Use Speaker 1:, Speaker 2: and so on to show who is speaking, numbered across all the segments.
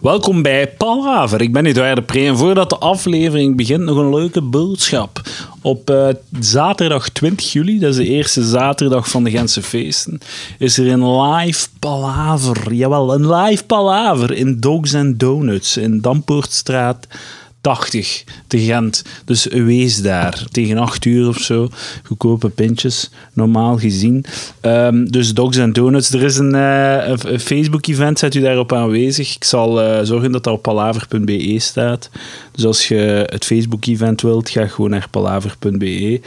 Speaker 1: Welkom bij Palhaver. Ik ben Eduard de Pre en voordat de aflevering begint nog een leuke boodschap. Op eh, zaterdag 20 juli, dat is de eerste zaterdag van de Gentse feesten, is er een live Palhaver. Jawel, een live Palhaver in Dogs and Donuts in Dampoortstraat 80 te Gent. Dus wees daar. Tegen 8 uur of zo. Goedkope pintjes, normaal gezien. Ehm, dus Dogs and Donuts. Er is een, eh, een- een Facebook-event, zet u daarop aanwezig. Ik zal eh, zorgen dat dat op palaver.be staat. Dus als je het Facebook-event wilt, ga gewoon naar palaver.be.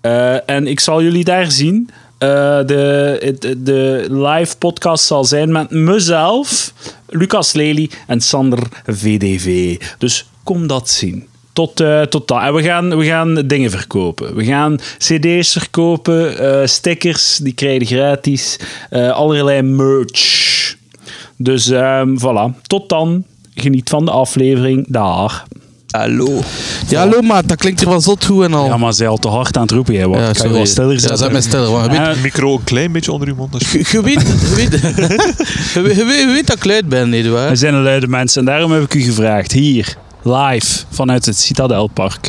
Speaker 1: Eh, en ik zal jullie daar zien. Eh, de, het- de live podcast zal zijn met mezelf, Lucas Lely en Sander VDV. Dus kom dat zien. Tot, eh, tot dan. En we gaan, we gaan dingen verkopen. We gaan CD's verkopen, eh, stickers, die krijg je gratis. eh, allerlei merch. Dus ehm, voilà. Tot dan. Geniet van de aflevering. Dag.
Speaker 2: Hallo. Ja, hallo maat, dat klinkt hier wel zot goed en al.
Speaker 1: Ja, maar zij al te hard aan het roepen. Jij. Wat,
Speaker 2: Ja,
Speaker 1: kan je wel stiller
Speaker 2: Ja,
Speaker 1: zetten?
Speaker 2: zet mij stiller. Want je, weet,
Speaker 1: Eh,
Speaker 3: micro een klein beetje onder uw mond. alsjeblieft.
Speaker 2: je, je weet, je, weet, je, weet, je weet- je weet dat ik luid ben,
Speaker 1: We
Speaker 2: nietwaar?
Speaker 1: zijn een luide mensen en daarom heb ik u gevraagd. Hier, live vanuit het Citadelpark.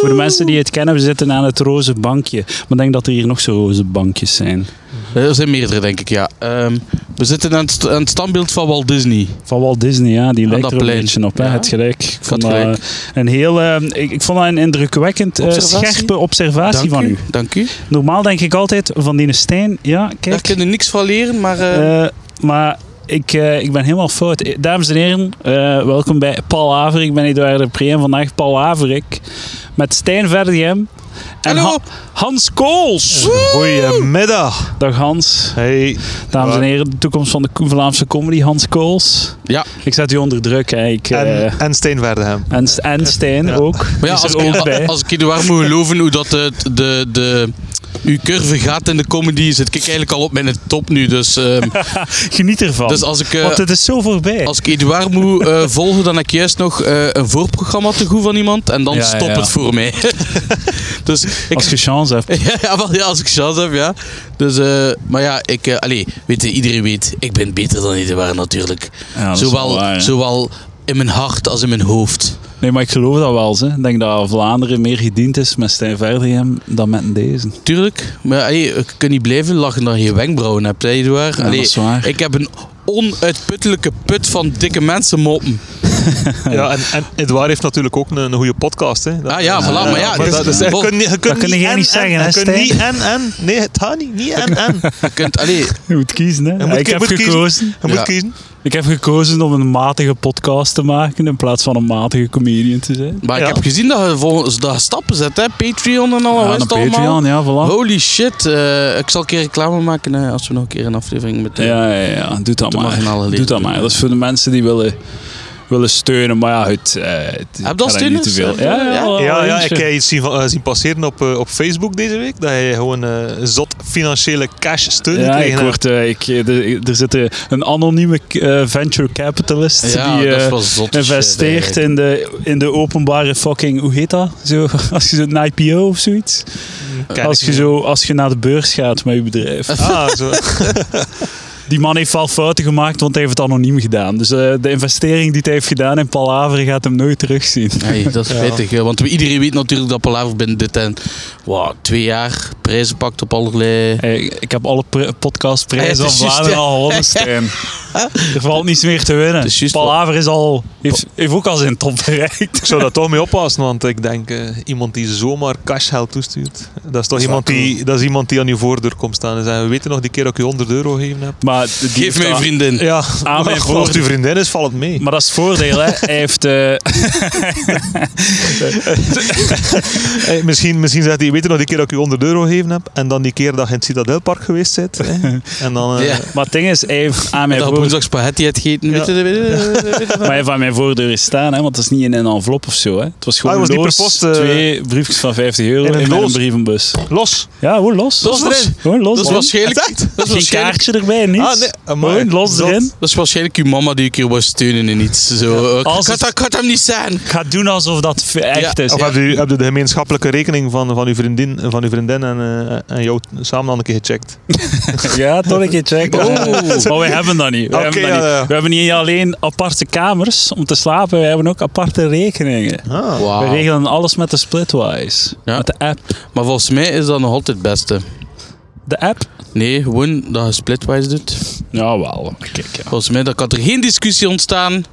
Speaker 1: Voor de mensen die het kennen, we zitten aan het roze bankje. Maar ik denk dat er hier nog zo roze bankjes zijn.
Speaker 2: Eh, Er zijn meerdere, denk ik, ja. Ehm, we zitten aan het, st- aan het standbeeld van Walt Disney.
Speaker 1: Van Walt Disney, ja, die lijkt
Speaker 2: dat
Speaker 1: er een
Speaker 2: plein.
Speaker 1: beetje op. Hè?
Speaker 2: Ja.
Speaker 1: Het gelijk. Ik vond,
Speaker 2: had
Speaker 1: dat,
Speaker 2: gelijk.
Speaker 1: eh, een heel, eh, ik, ik vond dat een indrukwekkend eh,
Speaker 2: Observatie?
Speaker 1: scherpe observatie
Speaker 2: Dank
Speaker 1: Ah, van
Speaker 2: u.
Speaker 1: u.
Speaker 2: Dank u.
Speaker 1: Normaal denk ik altijd van Dine Stijn, ja,
Speaker 2: Daar
Speaker 1: kijk.
Speaker 2: kun je niks van leren, maar... eh,
Speaker 1: Eh, maar ik, eh, ik ben helemaal fout. Eh, Dames en heren, eh, welkom bij Paul Haver. Ik ben Eduard de Pre en vandaag Paul Haverik met Stijn Verdiem en
Speaker 2: Hallo.
Speaker 1: Ha- Hans Kools.
Speaker 3: Goedemiddag.
Speaker 1: Dag Hans.
Speaker 3: Hey.
Speaker 1: Dames en heren, de toekomst van de Ko- Vlaamse comedy, Hans Kools.
Speaker 2: ja,
Speaker 1: Ik zet u onder druk. Hè. Ik,
Speaker 3: En,
Speaker 1: eh,
Speaker 3: en Steen Verdehem.
Speaker 1: en, S- en Stijn ook.
Speaker 2: maar ja
Speaker 1: Is
Speaker 2: als,
Speaker 1: er ook bij.
Speaker 2: ik, als ik in de warm moet geloven hoe dat de, de, de, uw curve gaat in de comedy, zit ik eigenlijk al op mijn top nu. Dus, ehm,
Speaker 1: Geniet ervan.
Speaker 2: dus als ik... eh,
Speaker 1: Want het is zo voorbij.
Speaker 2: Als ik Edouard moet eh, volgen, dan heb ik juist nog eh, een voorprogramma te goed van iemand. En dan
Speaker 1: Ja, ja,
Speaker 2: stopt
Speaker 1: ja.
Speaker 2: het voor mij. dus ik...
Speaker 1: Als je chance hebt.
Speaker 2: ja, wel, ja, als ik chance heb, ja. Dus, eh, maar ja, ik... eh, allee, weet je, iedereen weet, ik ben beter dan Edouard natuurlijk.
Speaker 1: Ja, dat is
Speaker 2: zowel,
Speaker 1: wel waar, hè.
Speaker 2: zowel in mijn hart als in mijn hoofd.
Speaker 1: Nee, maar ik geloof dat wel. Ze. Ik denk dat Vlaanderen meer gediend is met Stijn Verdiem dan met deze.
Speaker 2: Tuurlijk. Maar allee, ik kan niet blijven lachen dat je geen wenkbrauwen hebt, hè, Edouard.
Speaker 1: Ja,
Speaker 2: Allee,
Speaker 1: dat is waar.
Speaker 2: Ik heb een onuitputtelijke put van dikke mensen moppen.
Speaker 3: Ja, en, en Edouard heeft natuurlijk ook een, een goede podcast. Hè. Dat-
Speaker 2: Ah ja, voilà,
Speaker 3: eh,
Speaker 2: maar ja,
Speaker 3: dat,
Speaker 2: dus-
Speaker 3: is echt-
Speaker 2: bon.
Speaker 3: je kunt niet, je kunt
Speaker 1: kun
Speaker 3: niet
Speaker 1: jij
Speaker 3: en-
Speaker 1: niet
Speaker 3: en-
Speaker 1: zeggen,
Speaker 3: je
Speaker 1: hè,
Speaker 3: kunt
Speaker 1: Stijn?
Speaker 3: niet en en. Nee, het gaat niet. Niet en en.
Speaker 2: Je kunt, allee,
Speaker 1: Je moet kiezen, hè?
Speaker 3: moet-
Speaker 1: ik
Speaker 3: je
Speaker 1: heb
Speaker 3: moet kiezen.
Speaker 1: gekozen.
Speaker 3: Je moet
Speaker 2: Ja.
Speaker 3: kiezen.
Speaker 1: Ik heb gekozen om een matige podcast te maken in plaats van een matige comedian te zijn.
Speaker 2: Maar
Speaker 3: Ja.
Speaker 2: ik heb gezien dat je, volgens, dat je stappen zet, hè? Patreon en al.
Speaker 1: Ja,
Speaker 2: wat Oh, is
Speaker 1: een
Speaker 2: het allemaal? Oh.
Speaker 1: Patreon, ja, voilà.
Speaker 2: Holy shit. eh, ik zal een keer reclame maken hè, als we nog een keer een aflevering met
Speaker 1: Ja, ja, ja. Doe dat
Speaker 2: De marginale
Speaker 1: maar. Doe
Speaker 2: leeftijd.
Speaker 1: dat maar. Dat is voor de mensen die willen, willen steunen. Maar ja, het, eh het
Speaker 2: dat
Speaker 1: ik ga daar
Speaker 2: steuners?
Speaker 1: niet te veel. Ja, ja,
Speaker 2: Ja,
Speaker 1: wel
Speaker 3: Ja, ja,
Speaker 1: eentje.
Speaker 3: ik heb iets zien, van- eh, zien passeren op, eh, op Facebook deze week. Dat hij gewoon eh, zot financiële cash steun
Speaker 1: Ja,
Speaker 3: kreeg.
Speaker 1: ik word, eh, ik, eh, de- er zit eh, een anonieme eh, venture capitalist
Speaker 2: Ja,
Speaker 1: die
Speaker 2: dat is
Speaker 1: eh,
Speaker 2: wel zot.
Speaker 1: investeert in de, in de openbare fucking, hoe heet dat? Zo, als je zo een IPO of zoiets. Als je, zo, als je naar de beurs gaat met je bedrijf.
Speaker 3: Ah, zo.
Speaker 1: Die man heeft wel fouten gemaakt, want hij heeft het anoniem gedaan. Dus eh, de investering die hij heeft gedaan in Palaver gaat hem nooit terugzien.
Speaker 2: Nee, dat is spijtig. hè, Want we- iedereen weet natuurlijk dat Palaver binnen dit en wow, twee jaar prijzen pakt op allerlei...
Speaker 1: Hey, ik heb alle pre-
Speaker 2: Ja, het
Speaker 1: podcastprijzen
Speaker 2: is
Speaker 1: van
Speaker 2: juist,
Speaker 1: Vlaanderen
Speaker 2: ja.
Speaker 1: al gewonnen, Stijn. Er valt niets meer te winnen.
Speaker 2: Het is juist
Speaker 1: Palaver is Oh. al, heeft, heeft ook al zijn top bereikt.
Speaker 3: Ik zou dat toch mee oppassen, want ik denk eh, iemand die zomaar cashgeld toestuurt, dat is toch
Speaker 2: wel
Speaker 3: iemand, die, dat is iemand die aan je voordeur komt staan en zegt, we weten nog die keer dat ik je 100 euro gegeven heb.
Speaker 1: Maar die heeft
Speaker 2: Geef mij
Speaker 1: dat-
Speaker 2: een vriendin.
Speaker 3: Ja,
Speaker 1: Aan mijn
Speaker 3: als
Speaker 1: voordeur.
Speaker 3: het uw vriendin is, valt het mee.
Speaker 1: Maar dat is het voordeel, hè. Hij heeft... eh,
Speaker 3: Eh, misschien, misschien zegt hij, weet je nog die keer dat ik je 100 euro gegeven heb en dan die keer dat je in het Citadelpark geweest bent. hè? En dan... eh,
Speaker 2: Ja.
Speaker 1: maar het ding is, hij heeft aan mijn
Speaker 2: Dat je
Speaker 1: voordeur...
Speaker 2: woensdag spaghetti hebt gegeten. Weet je, weet je- weet je-
Speaker 1: Maar hij heeft aan mijn voordeur is staan, hè, want het is niet in een envelop of zo. Hè. Het was gewoon
Speaker 3: Ah, het was niet
Speaker 1: loos,
Speaker 3: per post, eh,
Speaker 1: twee briefjes van 50 euro
Speaker 3: in
Speaker 1: in
Speaker 3: een
Speaker 1: een,
Speaker 3: doos.
Speaker 1: brievenbus.
Speaker 3: Los!
Speaker 1: Ja, gewoon los.
Speaker 2: Dat was erin.
Speaker 1: Gewoon los.
Speaker 2: Dat is
Speaker 1: man.
Speaker 2: waarschijnlijk...
Speaker 3: Echt?
Speaker 2: Dat is
Speaker 1: Geen
Speaker 2: waarschijnlijk...
Speaker 1: kaartje erbij, niks.
Speaker 3: Ah, nee, amai.
Speaker 1: Gewoon los
Speaker 3: Zot.
Speaker 1: erin.
Speaker 2: Dat is waarschijnlijk uw mama die ik hier was steunen in iets. Zo, eh,
Speaker 1: Als
Speaker 2: ik, had,
Speaker 1: het-
Speaker 2: dat- ik had hem niet zijn.
Speaker 1: Ik ga doen alsof dat f- echt
Speaker 2: Ja,
Speaker 1: is.
Speaker 3: Of heb je, heb je de gemeenschappelijke rekening van, van, uw, vriendin, van uw vriendin en, eh, en jou samen dan een keer gecheckt?
Speaker 1: Ja, toch een keer checken.
Speaker 2: Oh.
Speaker 1: Maar wij hebben dat niet. We
Speaker 3: Oké,
Speaker 1: hebben, dat
Speaker 3: ja,
Speaker 1: niet.
Speaker 3: ja.
Speaker 1: we hebben niet alleen aparte kamers om te slapen, we hebben ook aparte rekeningen.
Speaker 3: Ah.
Speaker 1: We
Speaker 2: Wauw.
Speaker 1: regelen alles met de Splitwise.
Speaker 2: Ja.
Speaker 1: Met de app.
Speaker 2: Maar volgens mij is dat nog altijd het beste.
Speaker 1: De app?
Speaker 2: Nee, gewoon dat je splitwise doet.
Speaker 1: Jawel. Kijk, ja.
Speaker 2: Volgens mij dat kan er geen discussie ontstaan.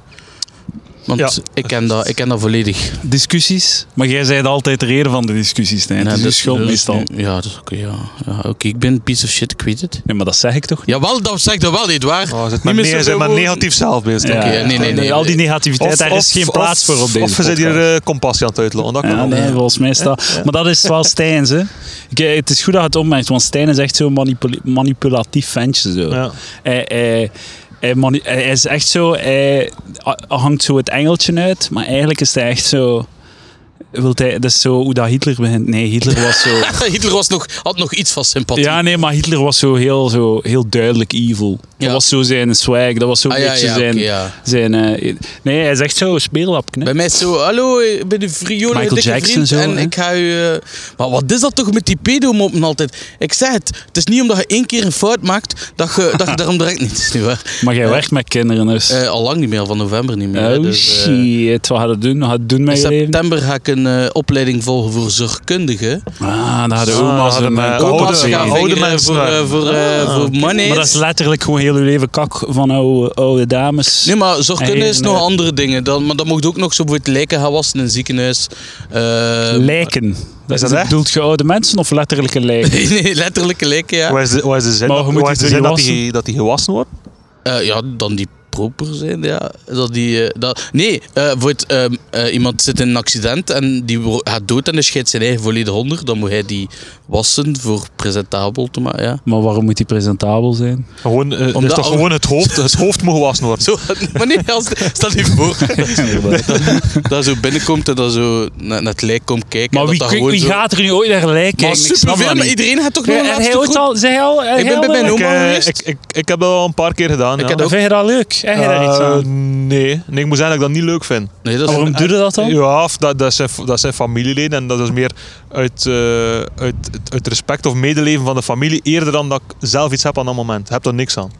Speaker 2: Want
Speaker 3: Ja.
Speaker 2: ik, ken dat, ik ken dat volledig.
Speaker 1: Discussies. Maar jij zei altijd de reden van de discussies, Stijn.
Speaker 2: Nee,
Speaker 1: het is
Speaker 2: dat
Speaker 1: je
Speaker 2: is-
Speaker 1: schuld
Speaker 2: dat is
Speaker 1: meestal.
Speaker 2: nu- Ja, dat is oké. ja. ja, oké, ik ben een piece of shit, ik weet het.
Speaker 1: Nee, maar dat zeg ik toch niet?
Speaker 2: Jawel, dat zeg ik dat wel, niet waar?
Speaker 3: Oh, zit maar,
Speaker 2: Niet meer
Speaker 3: nee,
Speaker 2: zoveel
Speaker 3: zit maar
Speaker 2: woorden.
Speaker 3: negatief zelf bezig.
Speaker 1: Ja,
Speaker 2: oké, nee, nee, nee, nee.
Speaker 1: Al die negativiteit, daar is geen plaats voor op deze
Speaker 3: Of we zitten
Speaker 1: podcast.
Speaker 3: hier eh, compassie aan het uitlokken. Dat kan
Speaker 1: Ja,
Speaker 3: ook.
Speaker 1: nee, volgens mij staat. Maar dat is wel Stijn, hè? Ik, eh, het is goed dat je het opmerkt, want Stijn is echt zo'n manipul- manipulatief ventje. Zo.
Speaker 3: Ja.
Speaker 1: Hij, hij, hij, mani- hij is echt zo. Hij a- hangt zo het engeltje uit, maar eigenlijk is hij echt zo. Wilt hij, dat is zo hoe dat Hitler begint. Nee, Hitler was zo.
Speaker 2: Hitler was nog, had nog iets van sympathie.
Speaker 1: ja, nee, maar Hitler was zo heel, zo, heel duidelijk evil. Dat
Speaker 2: Ja.
Speaker 1: was zo zijn swag, dat was zo een
Speaker 2: Ah, ja,
Speaker 1: beetje
Speaker 2: ja, oké,
Speaker 1: zijn.
Speaker 2: ja.
Speaker 1: zijn eh, nee, hij is echt zo speerlap.
Speaker 2: Bij mij is zo, hallo, ik ben de viool,
Speaker 1: Michael
Speaker 2: dikke
Speaker 1: Jackson
Speaker 2: vriend,
Speaker 1: zo,
Speaker 2: en
Speaker 1: hè?
Speaker 2: ik ga u... eh, maar wat is dat toch met die pedomoppen altijd? Ik zeg het, het is niet omdat je één keer een fout maakt, dat je, dat je daarom direct niet is, nietwaar?
Speaker 1: Maar jij werkt met kinderen, dus.
Speaker 2: Eh allang niet meer, van november niet meer. hè,
Speaker 1: Oh
Speaker 2: dus, eh,
Speaker 1: shit, wat gaat het doen? Wat gaat het doen
Speaker 2: in
Speaker 1: met je leven?
Speaker 2: september ga ik een eh, opleiding volgen voor zorgkundigen.
Speaker 1: Ah, daar hadden
Speaker 3: Ah,
Speaker 1: oma's
Speaker 3: hadden
Speaker 1: een
Speaker 3: we-
Speaker 1: eh,
Speaker 3: Oude-
Speaker 2: Opa's
Speaker 1: kokos
Speaker 3: ja,
Speaker 2: gaan
Speaker 1: in.
Speaker 3: oude
Speaker 2: vingeren
Speaker 3: mensen
Speaker 2: voor, eh,
Speaker 3: daar.
Speaker 2: voor, eh,
Speaker 3: Ah,
Speaker 2: voor money.
Speaker 1: Maar dat is letterlijk gewoon heel uw leven kak van oude, oude dames.
Speaker 2: Nee, maar zorgkunde
Speaker 1: En,
Speaker 2: is nog
Speaker 1: eh,
Speaker 2: andere dingen. Dan, maar dan mocht je ook nog zo bijvoorbeeld lijken gaan wassen in een ziekenhuis. Eh,
Speaker 1: lijken. Dat
Speaker 3: dat
Speaker 1: is-
Speaker 3: echt?
Speaker 1: bedoelt je oude mensen of letterlijke lijken?
Speaker 2: nee, letterlijke lijken, ja.
Speaker 3: Waar is de, waar is de zin,
Speaker 1: Maar
Speaker 3: dat,
Speaker 1: hoe moet
Speaker 3: waar is
Speaker 1: die
Speaker 3: de zin dat,
Speaker 1: gewassen?
Speaker 3: die, dat die gewassen wordt?
Speaker 2: Eh, ja, dan die proper zijn, ja. Dat die, eh, dat... Nee, eh, voor het, ehm, eh, iemand zit in een accident en die wo- gaat dood en die scheidt zijn eigen volledig onder. Dan moet hij die wassen voor presentabel te maken, ja.
Speaker 1: Maar waarom moet die presentabel zijn?
Speaker 3: Gewoon, eh, dat
Speaker 2: Omdat
Speaker 3: is toch
Speaker 2: al-
Speaker 3: gewoon het hoofd, het hoofd moet gewassen worden.
Speaker 2: Zo, maar nee, als, stel je voor dat, dat zo binnenkomt en dat zo naar, naar het lijk komt kijken.
Speaker 1: maar
Speaker 2: dat
Speaker 1: wie,
Speaker 2: dat
Speaker 1: wie-
Speaker 2: gewoon
Speaker 1: wie
Speaker 2: zo-
Speaker 1: gaat er nu ooit naar lijken?
Speaker 2: Maar
Speaker 1: Ik snap
Speaker 2: superveel,
Speaker 1: dat
Speaker 2: maar
Speaker 1: niet.
Speaker 2: iedereen gaat toch nog een
Speaker 1: Ja, en hij
Speaker 2: laatste
Speaker 1: ooit
Speaker 2: groep.
Speaker 1: al, zei hij al, hij
Speaker 2: Ik ben
Speaker 1: al
Speaker 2: bij mijn
Speaker 1: leuk?
Speaker 3: Ik,
Speaker 2: oma
Speaker 3: eh,
Speaker 2: geweest.
Speaker 3: ik, ik, ik heb dat al een paar keer gedaan. ja.
Speaker 2: heb dat
Speaker 1: Vind je dat leuk? Heb je daar iets
Speaker 3: Eh,
Speaker 1: aan?
Speaker 3: nee. nee, ik moet zeggen dat ik dat niet leuk vind.
Speaker 2: Nee, dat
Speaker 1: Maar
Speaker 2: is
Speaker 1: Waarom doe je dat dan?
Speaker 3: Ja, of dat, dat, zijn, dat zijn familieleden en dat is meer uit, eh, uit, uit respect of medeleven van de familie, eerder dan dat ik zelf iets heb aan dat moment. Ik heb er niks aan.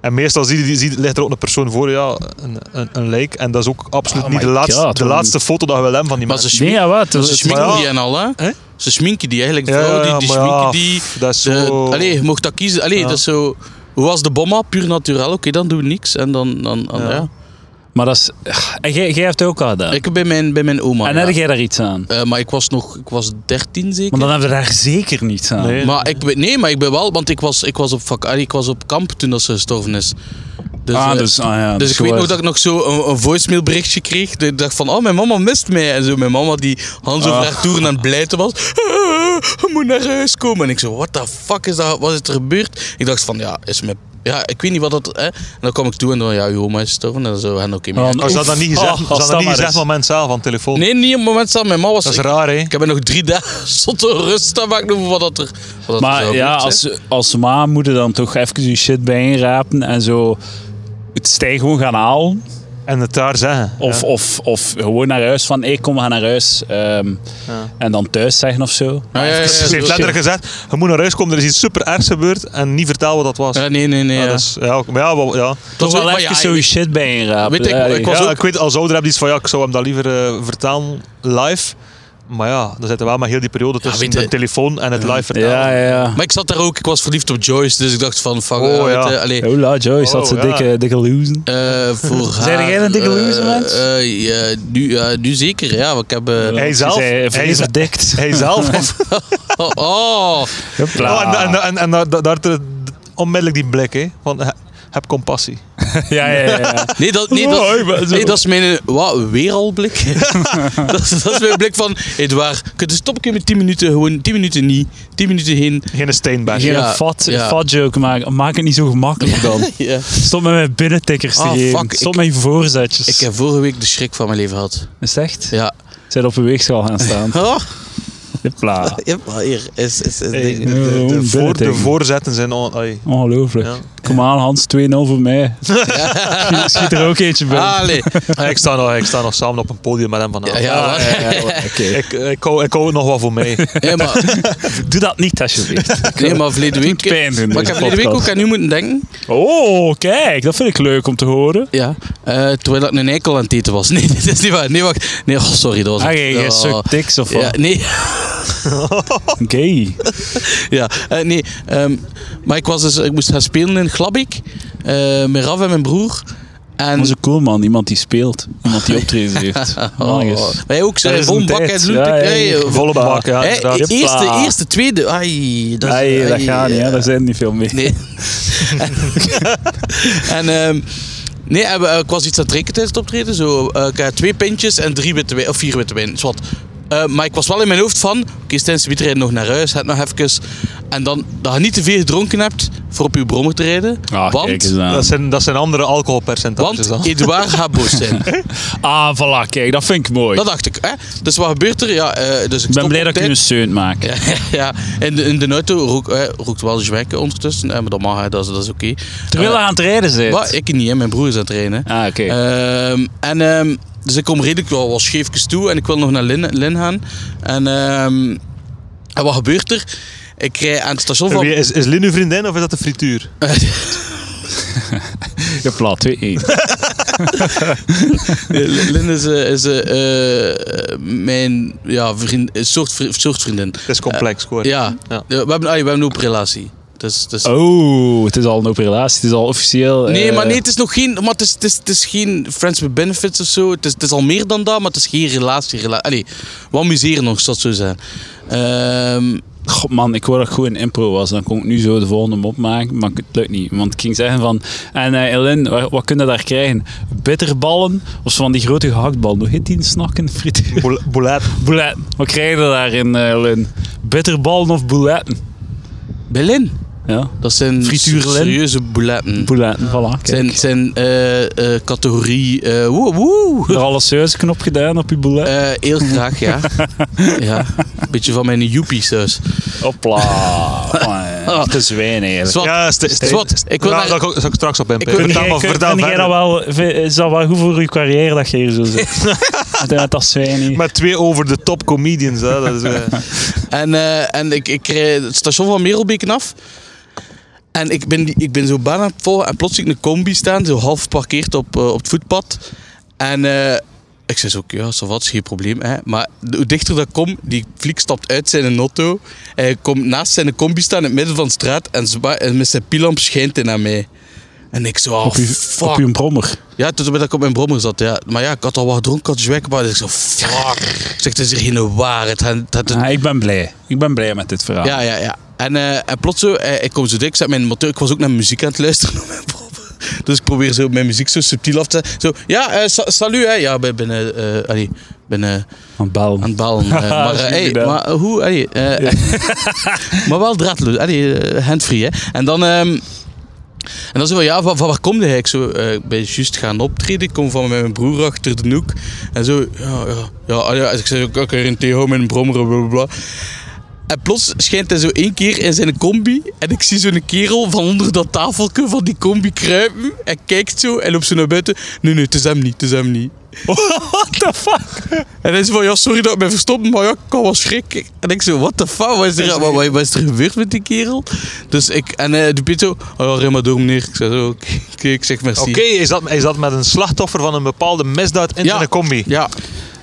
Speaker 3: En meestal zie je, zie, ligt er ook een persoon voor, ja, een, een, een lijk. En dat is ook absoluut
Speaker 1: Oh
Speaker 3: niet
Speaker 1: my
Speaker 3: de laatste,
Speaker 1: God,
Speaker 3: de
Speaker 1: man.
Speaker 3: laatste foto dat je wil hebben van die
Speaker 2: Maar ze
Speaker 3: mensen.
Speaker 1: Nee,
Speaker 2: schminken,
Speaker 1: ja, wat?
Speaker 2: ze
Speaker 1: Het-
Speaker 2: schminken
Speaker 3: maar ja.
Speaker 2: die en al, hè?
Speaker 3: Hè?
Speaker 2: Ze schminken die eigenlijk.
Speaker 3: Ja,
Speaker 2: vrouwen die,
Speaker 3: ja,
Speaker 2: die
Speaker 3: maar ja,
Speaker 2: schminken die.
Speaker 3: pff, dat is
Speaker 2: de-
Speaker 3: zo-
Speaker 2: Allee, je mocht dat kiezen. Allee,
Speaker 3: Ja.
Speaker 2: dat is zo... Hoe was de bomma? Puur naturel. Oké, dan doen we niks. En dan... dan, dan-
Speaker 3: Ja.
Speaker 2: ja.
Speaker 1: Maar dat is... ah, En jij, jij hebt het ook al gedaan.
Speaker 2: Ik heb bij mijn, bij mijn oma.
Speaker 1: en
Speaker 2: ja.
Speaker 1: heb jij daar iets aan?
Speaker 2: Eh, maar ik was nog... Ik was 13 zeker.
Speaker 1: Want dan hebben we daar zeker niets aan.
Speaker 3: Nee.
Speaker 2: Maar ik, ben- nee, maar ik ben wel... Want ik was, ik was, op, vak, allee, ik was op kamp toen dat ze gestorven is. Dus,
Speaker 1: ah,
Speaker 2: eh,
Speaker 1: dus, ah, ja,
Speaker 2: Dus ik weet
Speaker 1: waar.
Speaker 2: nog dat ik nog zo een, een voicemailberichtje kreeg. Dat ik dacht van, oh, mijn mama mist mij. En zo, mijn mama die Hans over
Speaker 1: Ah.
Speaker 2: haar toeren aan het blijten was. "Ah, Je moet naar huis komen. En ik zo, what the fuck is dat? Wat is er gebeurd? Ik dacht van, ja, is mijn... Ja, ik weet niet wat dat... Hè? En dan kwam ik toe en dan, ja, uw oma is gestorven. En dan zo, en oké, maar ja,
Speaker 1: Oh,
Speaker 3: Maar ze hadden dat niet gezegd,
Speaker 1: Oh,
Speaker 3: ze
Speaker 1: als
Speaker 3: hadden
Speaker 1: dat
Speaker 3: dat niet
Speaker 1: maar
Speaker 3: gezegd
Speaker 1: is.
Speaker 3: van mensen zelf aan de telefoon.
Speaker 2: Nee, niet op het moment zelf. Mijn mama was...
Speaker 3: Dat is
Speaker 2: ik,
Speaker 3: raar, hè?
Speaker 2: ik heb er nog drie dagen zotte rust aan maken over wat dat er... Wat dat er
Speaker 1: Maar
Speaker 2: zou
Speaker 1: ja,
Speaker 2: gebeurd zijn.
Speaker 1: als, als ma moet je dan toch even je shit bijeenrapen en zo het stijl gewoon gaan halen.
Speaker 3: En het daar zeggen.
Speaker 1: Of, of, of gewoon naar huis van, ik kom, we gaan naar huis. ehm,
Speaker 3: Ja.
Speaker 1: En dan thuis zeggen of zo.
Speaker 2: Nou Ja, ja, ja,
Speaker 3: Ze heeft
Speaker 2: zo-
Speaker 3: letterlijk gezegd, je moet naar huis komen, er is iets super ergs gebeurd en niet vertel wat dat was.
Speaker 2: Ja, nee, nee, nee.
Speaker 3: Ja,
Speaker 2: ja.
Speaker 3: Ah, dat is- ja, ook- maar ja, wel- ja.
Speaker 1: Toch
Speaker 2: is ook-
Speaker 1: wel
Speaker 2: maar
Speaker 1: even
Speaker 2: ja,
Speaker 1: zo je shit bijeenrapen.
Speaker 2: Weet ik,
Speaker 1: Ja,
Speaker 2: ik was
Speaker 3: ja,
Speaker 2: ook-
Speaker 3: ik weet, als ouder heb je iets van ja, ik zou hem dat liever eh, vertalen live. Maar ja, dan zitten we wel maar heel die periode tussen
Speaker 2: weet je-
Speaker 3: de telefoon en het live vertalen.
Speaker 1: ja, ja.
Speaker 2: Maar ik zat daar ook, ik was verliefd op Joyce, dus ik dacht van, fuck,
Speaker 3: Oh,
Speaker 2: eh, weet
Speaker 3: ja.
Speaker 2: je, allee,
Speaker 1: Hola, Joyce had
Speaker 3: Oh,
Speaker 1: ze
Speaker 3: ja.
Speaker 1: dikke, dikke losen.
Speaker 2: eh, voor haar...
Speaker 1: Zijn jij een dikke
Speaker 2: eh,
Speaker 1: loser, mens?
Speaker 2: eh, ja, nu, ja, nu zeker, ja, want ik heb... eh,
Speaker 3: Hij zelf?
Speaker 1: Hij
Speaker 3: Hij
Speaker 1: is
Speaker 3: zelf?
Speaker 1: verdikt.
Speaker 3: Hij zelf.
Speaker 2: oh, oh.
Speaker 1: Hopla.
Speaker 3: Oh, en en, en, en daar, daar- daar te- onmiddellijk die blik, hè, van eh, heb compassie.
Speaker 1: Ja, ja, ja. ja.
Speaker 2: Nee, dat, nee,
Speaker 1: Oh, ik
Speaker 2: dat,
Speaker 1: ben zo-
Speaker 2: nee, dat is mijn eh, wat, weeralblik. dat, is- dat is mijn blik van, Edouard, kun je stoppen met 10 minuten, gewoon 10 10 minuten niet, 10 minuten heen.
Speaker 3: Geen steenberg.
Speaker 1: Geen
Speaker 2: Ja,
Speaker 1: fat,
Speaker 2: ja.
Speaker 1: fat joke maken. Maak het niet zo gemakkelijk dan.
Speaker 2: Ja.
Speaker 1: Stop met mijn binnentikkers te
Speaker 2: Ah,
Speaker 1: geven.
Speaker 2: fuck,
Speaker 1: Stop
Speaker 2: ik-
Speaker 1: met je voorzetjes.
Speaker 2: Ik heb vorige week de schrik van mijn leven gehad.
Speaker 1: Is het echt?
Speaker 2: Ja.
Speaker 1: Zijn op een weegschaal gaan staan.
Speaker 2: Oh,
Speaker 1: Hopla.
Speaker 2: Ja, maar hier is, is, is
Speaker 3: Hey,
Speaker 2: ding.
Speaker 3: de, de-
Speaker 1: Gewoon
Speaker 3: de voor, de
Speaker 1: binnentikken.
Speaker 3: voorzetten zijn on. ai.
Speaker 1: Ongelooflijk.
Speaker 3: Ja.
Speaker 1: Kom aan, Hans, 2-0 voor mij. Schiet- Schiet er ook eentje bij.
Speaker 2: Allee.
Speaker 3: Ah, ik, sta nog, ik sta nog samen op een podium met hem
Speaker 1: Oh.
Speaker 3: vanavond.
Speaker 1: Ah,
Speaker 2: Ja, ja, ja.
Speaker 1: Oké.
Speaker 3: Ik, ik, hou, ik hou het nog wel voor mij.
Speaker 2: Nee, maar,
Speaker 1: Doe dat niet, alsjeblieft.
Speaker 2: nee, maar verleden week...
Speaker 1: pijn doen,
Speaker 2: maar ik
Speaker 1: deze
Speaker 2: heb verleden week ook
Speaker 1: podcast.
Speaker 2: aan u moeten denken.
Speaker 1: Oh, kijk, dat vind ik leuk om te horen.
Speaker 2: Ja, eh, terwijl ik een eikel aan het eten was. Nee, dit is niet waar. Nee, wacht. Nee, oh, sorry, dat was...
Speaker 1: Ah, jij jij
Speaker 2: oh.
Speaker 1: sukt dicks of wat?
Speaker 2: Ja, nee,
Speaker 1: Gay.
Speaker 2: ja, eh, nee. ehm, maar ik, was dus, ik moest gaan spelen in Glabik. eh met Raf en mijn broer. En
Speaker 1: Dat is een cool man, iemand die speelt. Iemand die optredens heeft.
Speaker 2: Oh,
Speaker 1: Man, is-
Speaker 2: wij ook
Speaker 1: Er
Speaker 2: zijn
Speaker 1: is
Speaker 2: vol
Speaker 1: een
Speaker 2: bak
Speaker 1: tijd.
Speaker 2: en
Speaker 1: Ja, ja, ja.
Speaker 3: Volle bak, ja. inderdaad.
Speaker 2: eerste,
Speaker 1: Hoppa.
Speaker 2: eerste, tweede. Ai, dat, is-
Speaker 1: Ai, dat
Speaker 2: ai,
Speaker 1: gaat niet, hè.
Speaker 2: eh,
Speaker 1: daar zijn niet veel mee.
Speaker 2: Nee. en ehm, nee, en we- eh, ik was iets aan het drinken tijdens het optreden. Zo, eh, ik had twee pintjes en drie witte wijn, of vier witte wijn. Zwat. Eh, maar ik was wel in mijn hoofd van, oké, Stijn, ze rijden nog naar huis, het nog even. En dan dat je niet te veel gedronken hebt voor op je brommer te rijden.
Speaker 1: Ah,
Speaker 2: want,
Speaker 1: kijk eens aan.
Speaker 3: Dat zijn, dat zijn andere alcoholpercentages
Speaker 2: want
Speaker 3: dan.
Speaker 2: Edouard gaat boos zijn.
Speaker 1: Ah, voilà, kijk, dat vind ik mooi.
Speaker 2: Dat dacht ik. Hè? Dus wat gebeurt er? Ja, eh, dus ik
Speaker 1: ik ben
Speaker 2: stop
Speaker 1: blij
Speaker 2: op
Speaker 1: dat ik
Speaker 2: tijd.
Speaker 1: nu een steunt maak.
Speaker 2: Ja, ja. In, de, in de auto rook, eh, rookt wel zwek ondertussen. Eh, maar dat mag, hè, dat is, dat is oké.
Speaker 1: Terwijl hij
Speaker 2: Eh,
Speaker 1: aan het rijden zit.
Speaker 2: maar ik niet, hè. mijn broer is aan het trainen.
Speaker 1: Ah, oké.
Speaker 2: Ehm, en, ehm, dus ik kom redelijk wel, wel scheefjes toe en ik wil nog naar Lin, Lin gaan. En, ehm, en wat gebeurt er? Ik rij aan het station van...
Speaker 3: Wie- Is, is Lin uw vriendin of is dat de frituur?
Speaker 1: Je plat, 2-1.
Speaker 2: Eh, Lin is, eh, is eh, eh, mijn ja, vriend, eh, soort, vri- soort vriendin.
Speaker 3: Het is complex, hoor.
Speaker 2: Ja,
Speaker 3: Ja.
Speaker 2: we hebben, ah, we hebben een open relatie. Dus, dus,
Speaker 1: Oh, het is al een open relatie, het is al officieel.
Speaker 2: Nee,
Speaker 1: eh,
Speaker 2: maar nee, het is nog geen. Maar het is, het is, het is geen Friends with Benefits of zo. Het is, het is al meer dan dat, maar het is geen relatie. relatie. Allee, we amuseren nog, zal het zo zijn. Ehm,
Speaker 1: God man, ik wou dat ik goed in impro was. Dan kon ik nu zo de volgende mop maken, maar het lukt niet. Want ik ging zeggen van, en eh Ellen, wat, wat kun je daar krijgen? Bitterballen of zo van die grote gehaktballen? Hoe heet die snakken? Frituur?
Speaker 3: Boel- Boulet.
Speaker 1: Bouletten. Wat krijg je daarin, eh Ellen? Bitterballen of bouletten?
Speaker 2: Berlin,
Speaker 1: Ja,
Speaker 2: dat zijn
Speaker 1: Frituur Lin.
Speaker 2: serieuze bouletten.
Speaker 1: bouletten, voilà.
Speaker 2: Het zijn,
Speaker 1: Kijk.
Speaker 2: het zijn eh, eh, categorie. eh, woe, woe.
Speaker 1: Er al een sausknop gedaan op je boulet.
Speaker 2: Eh, heel graag, ja. ja. Beetje van mijn dus. joepie-saus.
Speaker 1: Eh. Hopla. Man, Te zwijn eigenlijk.
Speaker 2: Zwat,
Speaker 3: Ja, st- st-
Speaker 2: zwat, ik wil
Speaker 3: daar
Speaker 2: daar-
Speaker 3: zal ik ook- zal ik straks op inpikken.
Speaker 2: wil-
Speaker 3: Vertel
Speaker 1: Kun
Speaker 3: maar-
Speaker 1: jij-
Speaker 3: vertel
Speaker 1: kun jij
Speaker 3: verder.
Speaker 1: dat wel, is dat wel goed voor je carrière dat je hier zo zit? Met- Met dat zwijn hier.
Speaker 3: Met twee over de top comedians. Hè. Dat is, eh,
Speaker 2: En, eh, en ik, ik rijd het station van Merelbeken af. En ik ben, die- ik ben zo bijna aan het volgen. En plots zie ik een combi staan, zo half geparkeerd op, eh, op het voetpad. En eh, ik zei zo, ja, ça va, het is geen probleem. Hè. Maar de- hoe dichter dat ik kom, die fliek stapt uit zijn auto. Hij komt naast zijn combi staan in het midden van de straat. En, zwa- en met zijn pilamp schijnt hij naar mij. En ik zo, oh,
Speaker 1: op, je,
Speaker 2: fuck.
Speaker 1: op je brommer.
Speaker 2: Ja, toen ben ik op mijn brommer zat. Ja. Maar ja, ik had al wat gedronken, ik had zwek. Maar ik zo, fuck. Ik zeg, het is hier geen waar. Het, het, het,
Speaker 1: Ah, ik ben blij. Ik ben blij met dit verhaal.
Speaker 2: ja, ja, ja. En, eh, en plots zo, eh, ik kom zo dik, ik zet mijn motor, ik was ook naar muziek aan het luisteren op mijn proppen. Dus ik probeer zo mijn muziek zo subtiel af te zetten. Zo, ja, eh, sa- salut, hè. Ja, ben, ben, eh, eh, allee, ben eh,
Speaker 1: Aan bel.
Speaker 2: aan het balen. eh, maar, eh, hey,
Speaker 1: Jullie
Speaker 2: maar hoe, allee, eh, maar wel draadloos, allee, eh, handfree, hè. En dan... ehm, en dan zo van, ja, van, van waar kom je eigenlijk? Zo, eh, ik ben juist gaan optreden, ik kom van met mijn broer achter de hoek. En zo, ja, ja, ja. ah ja ik zei ook, ik heb een theo met een brommer, bla, bla, bla. En plots schijnt hij zo één keer in zijn combi. En ik zie zo'n kerel van onder dat tafeltje van die combi kruipen. En kijkt zo en loopt zo naar buiten. Nee, nee, het is hem niet, het is hem niet.
Speaker 1: What the fuck?
Speaker 2: En hij zo van, ja, sorry dat ik ben verstopt, maar ja, ik kan wel schrikken. En ik zo, what the fuck, wat is er, wat, wat- wat is er gebeurd met die kerel? Dus ik, en eh de Piet zo, oh ja, rij maar door meneer. Ik zei zo, oké, oké, ik zeg merci.
Speaker 3: Oké, is, dat, is dat met een slachtoffer van een bepaalde misdaad in
Speaker 2: Ja.
Speaker 3: zijn combi?
Speaker 2: Ja,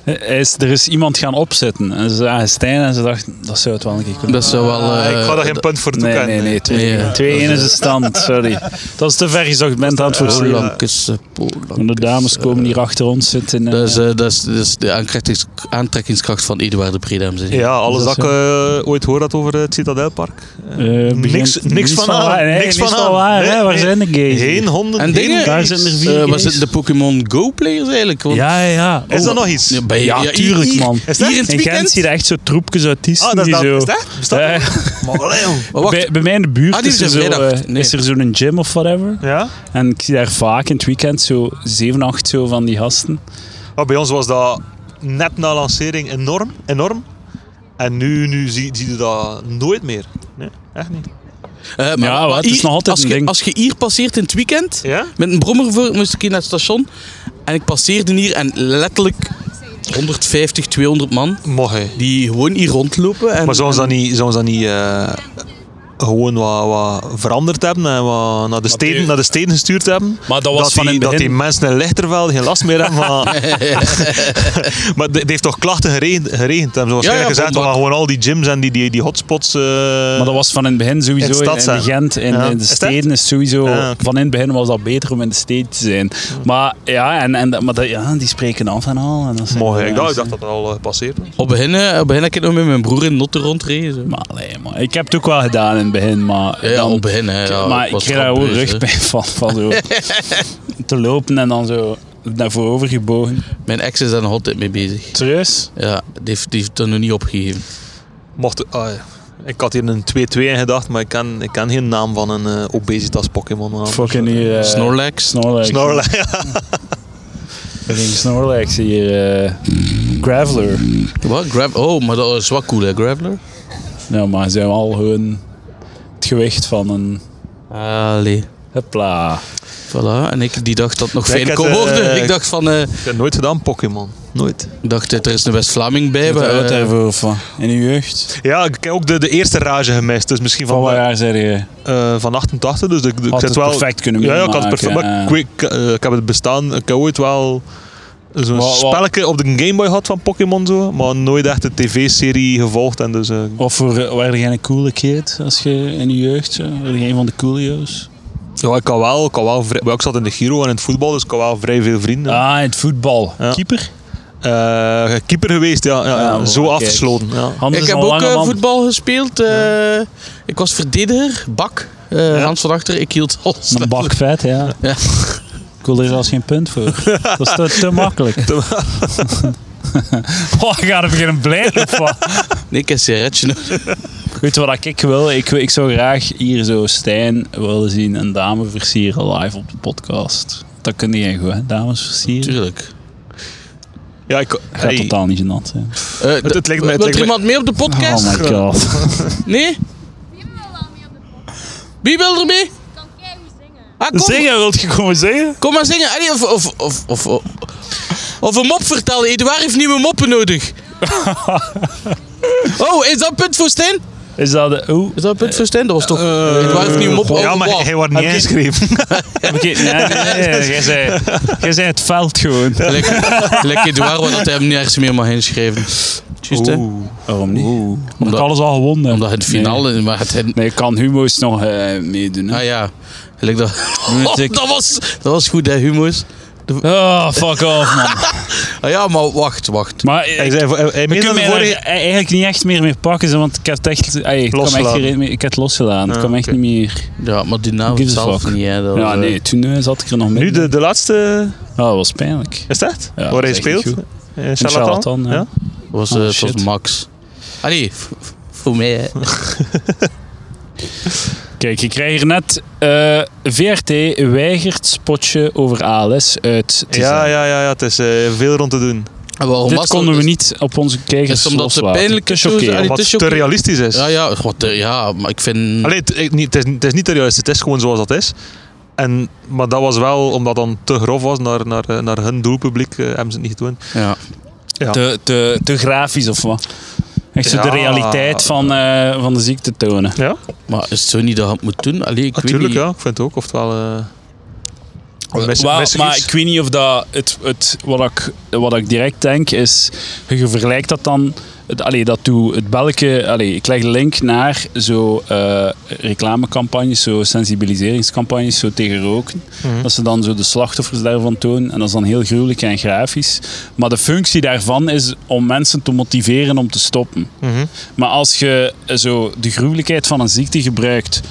Speaker 1: Er is, er is iemand gaan opzetten. En ze zagen Stijn en ze dachten, dat zou het wel een keer kunnen.
Speaker 2: dat zou wel... eh,
Speaker 3: Ah, ik ga daar geen punt voor toe
Speaker 1: Nee, nee, nee. 2-1
Speaker 2: Nee,
Speaker 1: is de stand, sorry. Dat is te ver gezocht, bent aan het voorzien.
Speaker 2: Polankus, eh, Polankus.
Speaker 1: En de dames komen hier achter ons zitten. en,
Speaker 2: Dat is,
Speaker 1: eh,
Speaker 2: eh, dat is, dat is de aantrekkings- aantrekkingskracht van Eduard de Breda. dames en heren.
Speaker 3: Ja, alles
Speaker 1: Is
Speaker 3: dat
Speaker 1: dat
Speaker 3: ik eh, ooit hoor had over het Citadelpark.
Speaker 1: eh, begint-
Speaker 3: niks- niks van aan,
Speaker 1: waar, nee,
Speaker 3: niks
Speaker 1: niks
Speaker 3: van
Speaker 1: van
Speaker 3: aan.
Speaker 1: waar, hè,
Speaker 3: Nee,
Speaker 1: Waar
Speaker 3: nee.
Speaker 1: zijn de gays?
Speaker 3: Geen honden.
Speaker 2: En
Speaker 3: geen-
Speaker 2: dingen,
Speaker 1: daar zijn er vier
Speaker 2: Eh, maar
Speaker 1: gays.
Speaker 2: zitten de Pokémon Go-players eigenlijk? Want-
Speaker 1: Ja, ja. Oh.
Speaker 3: Is dat nog iets?
Speaker 2: Ja, bij-
Speaker 1: Ja,
Speaker 2: ja, hier-
Speaker 1: tuurlijk,
Speaker 2: hier-
Speaker 1: man.
Speaker 2: Is dat? Hier in het
Speaker 1: in Gent
Speaker 2: weekend?
Speaker 1: zie je echt zo troepjes autisten
Speaker 3: Ah, dat is
Speaker 1: die
Speaker 3: dat.
Speaker 1: zo...
Speaker 3: Is dat? Oh, Bestaat
Speaker 1: Eh,
Speaker 3: Maar allee, jong.
Speaker 2: Maar wacht,
Speaker 1: bij, bij mij in de buurt
Speaker 2: Ah, die
Speaker 1: is, er
Speaker 2: zijn
Speaker 1: zo,
Speaker 2: vrijdag.
Speaker 1: eh,
Speaker 2: Nee.
Speaker 1: is er zo'n gym of whatever.
Speaker 3: Ja?
Speaker 1: En ik zie daar vaak in het weekend zo 7, 8 zo van die gasten.
Speaker 3: Maar bij ons was dat net na lancering enorm. enorm. En nu, nu zie, zie je dat nooit meer. Nee, echt niet.
Speaker 2: Eh, maar,
Speaker 1: Ja,
Speaker 2: maar
Speaker 1: het is
Speaker 2: hier-
Speaker 1: nog altijd
Speaker 2: als
Speaker 1: een
Speaker 2: je,
Speaker 1: ding.
Speaker 2: Als je hier passeert in het weekend,
Speaker 3: Ja?
Speaker 2: met een brommer voor, moest ik hier naar het station. En ik passeerde hier en letterlijk 150, 200 man
Speaker 3: Mocht hè.
Speaker 2: die gewoon hier rondlopen. En,
Speaker 3: Maar zouden ze dat niet, zouden ze dat niet eh, gewoon wat, wat veranderd hebben en wat naar, de steden,
Speaker 4: die-
Speaker 3: naar de steden gestuurd hebben?
Speaker 4: Maar dat was
Speaker 3: Ah, dat
Speaker 4: van
Speaker 3: die,
Speaker 4: in het
Speaker 3: dat die
Speaker 4: begin.
Speaker 3: mensen in Lichtervelde geen last meer hebben. van- maar het heeft toch klachten geregend, geregend hebben ze waarschijnlijk
Speaker 2: ja,
Speaker 3: gezegd.
Speaker 2: omdat-
Speaker 3: We gaan gewoon al die gyms en die, die, die hotspots... eh,
Speaker 1: Maar dat was van in het begin sowieso.
Speaker 3: In
Speaker 1: In,
Speaker 3: de stad
Speaker 1: in
Speaker 3: zijn.
Speaker 1: de Gent, in,
Speaker 3: Ja.
Speaker 1: in de
Speaker 3: Is dat? Ah,
Speaker 1: steden is sowieso.
Speaker 3: Ja, oké.
Speaker 1: Van in het begin was dat beter om in de steden te zijn. Maar ja, en, en, dat- maar dat, ja, die spreken af en al. En dat zijn-
Speaker 3: Mooi, hè.
Speaker 1: ja,
Speaker 3: ik dacht, ik
Speaker 1: ze-
Speaker 3: dacht dat dat al eh, gepasseerd was.
Speaker 2: Op begin, eh, op begin heb ik nog met mijn broer in Notte rondreden. zo.
Speaker 1: Maar, allee, maar ik heb het ook wel gedaan in het begin. Maar
Speaker 2: Ja, ja,
Speaker 1: dan-
Speaker 2: op begin. Hè, ja,
Speaker 1: maar
Speaker 2: Oh, ik
Speaker 1: ik
Speaker 2: was
Speaker 1: kreeg daar ook
Speaker 2: trapbeus, hè.
Speaker 1: rugpijn van. van zo te lopen en dan zo naar voorover gebogen.
Speaker 2: Mijn ex is daar nog altijd mee bezig.
Speaker 1: Serieus?
Speaker 2: Ja, die heeft, die heeft dat nog niet opgegeven.
Speaker 3: Mocht, ah, ja. ik had hier een 2-2 in gedacht, maar ik ken, ik ken geen naam van een eh, obesitas Pokémon.
Speaker 1: Fucking hier. eh,
Speaker 2: Snorlax.
Speaker 1: Snorlax.
Speaker 3: Snorlax.
Speaker 1: Fucking Snorlax hier. eh, Graveler.
Speaker 2: Wat? Grav oh, maar dat is wat cool, hè, Graveler?
Speaker 1: Nou, maar ze zijn al gewoon het gewicht van een.
Speaker 2: Allee.
Speaker 1: Hopla.
Speaker 2: Voilà, en ik die dacht dat het nog
Speaker 3: Ja, ik
Speaker 2: fijn
Speaker 3: had,
Speaker 2: kon
Speaker 3: eh,
Speaker 2: worden. Ik dacht van, eh,
Speaker 3: Ik heb nooit gedaan Pokémon. Nooit.
Speaker 2: ik dacht eh, er is een West-Vlaming bij.
Speaker 1: Wat
Speaker 2: maar,
Speaker 1: houdt
Speaker 2: eh,
Speaker 1: daarvoor van? In uw jeugd?
Speaker 3: Ja, ik heb ook de, de eerste rage gemist. Dus misschien
Speaker 1: Van
Speaker 3: van,
Speaker 1: wat jaar zei je?
Speaker 3: eh, van 88. Dus ik, ik
Speaker 1: Had
Speaker 3: zit
Speaker 1: het
Speaker 3: wel,
Speaker 1: perfect kunnen
Speaker 3: Ja, ja, ik had het
Speaker 1: meemaken,
Speaker 3: perfect. Maar ik, weet- ik, eh, ik heb het bestaan. Ik heb ooit wel zo'n
Speaker 1: Wat- wat-
Speaker 3: spelletje op de Game Boy gehad van Pokémon. Zo, maar nooit echt de tv-serie gevolgd. En dus, eh,
Speaker 1: Of voor, waren jij een coole kid als je in je jeugd? Zo? Waren jij een van de coolio's?
Speaker 3: ja, ik, kan wel, ik, kan wel vrij- maar ik zat in de Giro en in het voetbal, dus ik had wel vrij veel vrienden.
Speaker 1: Ah, in het voetbal.
Speaker 3: Ja.
Speaker 1: Keeper?
Speaker 3: Eh, keeper geweest, ja. ja, ja,
Speaker 1: maar
Speaker 3: zo
Speaker 1: kijk.
Speaker 3: afgesloten. Ja.
Speaker 1: Anders
Speaker 2: ik heb
Speaker 1: een
Speaker 2: ook
Speaker 1: lange
Speaker 2: eh,
Speaker 1: man.
Speaker 2: voetbal gespeeld. eh, Ik was verdediger, bak. eh, Hans van Achter, ik hield alles.
Speaker 1: Een bak vet, ja.
Speaker 2: Ja.
Speaker 1: Ik wil er zelfs geen punt voor. Dat is te, te makkelijk. oh, ik ga er beginnen blijven van.
Speaker 2: Nee, ik heb een sigaretje nog.
Speaker 1: Weet je wat ik wil? Ik, ik zou graag hier zo Stijn willen zien. Een dame versieren live op de podcast. Dat kun je goed, hè? Dames versieren.
Speaker 2: Tuurlijk.
Speaker 3: Ja, ik,
Speaker 1: Gaat
Speaker 3: hey,
Speaker 1: totaal niet gênant zijn.
Speaker 2: Eh, d-
Speaker 3: het lijkt me- het
Speaker 2: wilt
Speaker 3: lijkt
Speaker 2: er
Speaker 3: me-
Speaker 2: iemand mee op de podcast?
Speaker 1: Oh my god.
Speaker 2: Nee? Wie wil er mee? Ah, kom,
Speaker 1: wilt je komen zingen?
Speaker 2: kom maar zingen. Allee, of, of, of, of, of, of een mop vertellen. Eduard heeft nieuwe moppen nodig. oh, is dat een punt voor Stijn?
Speaker 1: Is dat de... Oeh.
Speaker 2: Is dat een punt voor Stijn? Dat was toch...
Speaker 1: Eh,
Speaker 2: Eduard heeft nieuwe moppen.
Speaker 3: ja, maar
Speaker 2: Oh,
Speaker 3: hij,
Speaker 2: wow.
Speaker 3: hij wordt niet
Speaker 1: Heb je-
Speaker 3: ingeschreven.
Speaker 1: Oké, nee, nee, nee, nee, Jij zei, jij zei het veld gewoon.
Speaker 2: Lekker, lekker Eduard, want dat hij hem nergens meer mag inschrijven. Juist, hè?
Speaker 3: Oeh.
Speaker 1: Waarom niet? Omdat,
Speaker 2: Omdat-
Speaker 1: ik alles al gewonnen heb.
Speaker 2: Omdat het finale... Maar het, het-
Speaker 1: Nee, nee kan Humo's nog eh, meedoen. hè?
Speaker 2: ah ja, gelijk dat...
Speaker 1: Moet
Speaker 2: Oh,
Speaker 1: ik-
Speaker 2: dat, was, dat was goed, hè, humo's.
Speaker 1: Oh, fuck off, man.
Speaker 2: Ah ja, maar wacht, wacht.
Speaker 1: Maar eh,
Speaker 3: Hij, zei, hij, hij
Speaker 1: ik
Speaker 3: meende
Speaker 1: kan mij
Speaker 3: de vorige-
Speaker 1: daar e-, eigenlijk niet echt meer mee pakken, zo, want ik heb het echt... ey, ik, kan echt
Speaker 3: Losgelaten.
Speaker 1: geen- ik heb het losgedaan. ik
Speaker 3: Ah,
Speaker 1: kan echt
Speaker 3: oké.
Speaker 1: niet meer...
Speaker 2: Ja, maar die naam
Speaker 1: Gives a
Speaker 2: zelf
Speaker 1: fuck.
Speaker 2: niet, hè. Dat
Speaker 1: Ja,
Speaker 2: was, eh,
Speaker 1: nee, toen eh, zat ik er nog mee.
Speaker 3: Nu de, de laatste,
Speaker 1: Oh, dat was pijnlijk.
Speaker 3: is dat?
Speaker 1: Ja,
Speaker 3: Waar
Speaker 1: dat
Speaker 3: hij
Speaker 1: is echt niet
Speaker 3: speelt?
Speaker 1: goed.
Speaker 3: Eh,
Speaker 1: Een
Speaker 3: Charlatan?
Speaker 1: charlatan, ja.
Speaker 3: ja.
Speaker 2: was,
Speaker 1: Oh,
Speaker 2: eh, het
Speaker 1: shit.
Speaker 2: was Max. Ah nee, v- v- voor mij, hè.
Speaker 1: Kijk, ik krijg hier net... eh, VRT weigert spotje over ALS uit te
Speaker 3: Ja,
Speaker 1: zenden.
Speaker 3: ja, ja, ja, het is eh, veel rond te doen.
Speaker 2: En waarom
Speaker 1: Dit
Speaker 2: was
Speaker 1: konden we
Speaker 2: dat?
Speaker 1: niet op onze kijkers
Speaker 2: Is omdat ze
Speaker 1: loslaten.
Speaker 2: pijnlijke
Speaker 1: Het is oké.
Speaker 2: toezen-
Speaker 3: Wat
Speaker 2: het is ook
Speaker 3: te
Speaker 2: niet-
Speaker 3: realistisch is.
Speaker 2: Ja, ja, wat, eh, ja, maar ik vind...
Speaker 3: Allee, het, ik- niet- het, is, het is niet te realistisch, het is gewoon zoals dat is. En, maar dat was wel, omdat dan te grof was naar, naar, eh, naar hun doelpubliek, eh, hebben ze het niet gedaan.
Speaker 2: Ja.
Speaker 1: te, te, te grafisch of wat? Echt zo de
Speaker 3: Ja.
Speaker 1: realiteit van, eh, van de ziekte tonen.
Speaker 3: Ja,
Speaker 2: Maar is het zo niet dat je het moet doen? Allee, ik
Speaker 3: natuurlijk,
Speaker 2: weet
Speaker 3: ja.
Speaker 2: niet.
Speaker 3: Ik vind het ook. Oftewel, eh mis-
Speaker 1: Wel,
Speaker 3: mis-
Speaker 1: maar
Speaker 3: iets.
Speaker 1: ik weet niet of dat het, het, wat, ik, wat ik direct denk is, je vergelijkt dat dan, het, allee, dat doe het belke, allee, ik leg de link naar zo eh, reclamecampagnes, zo sensibiliseringscampagnes zo tegen roken.
Speaker 3: Mhm.
Speaker 1: Dat ze dan zo de slachtoffers daarvan tonen en dat is dan heel gruwelijk en grafisch. Maar de functie daarvan is om mensen te motiveren om te stoppen.
Speaker 3: Mhm.
Speaker 1: Maar als je eh, zo de gruwelijkheid van een ziekte gebruikt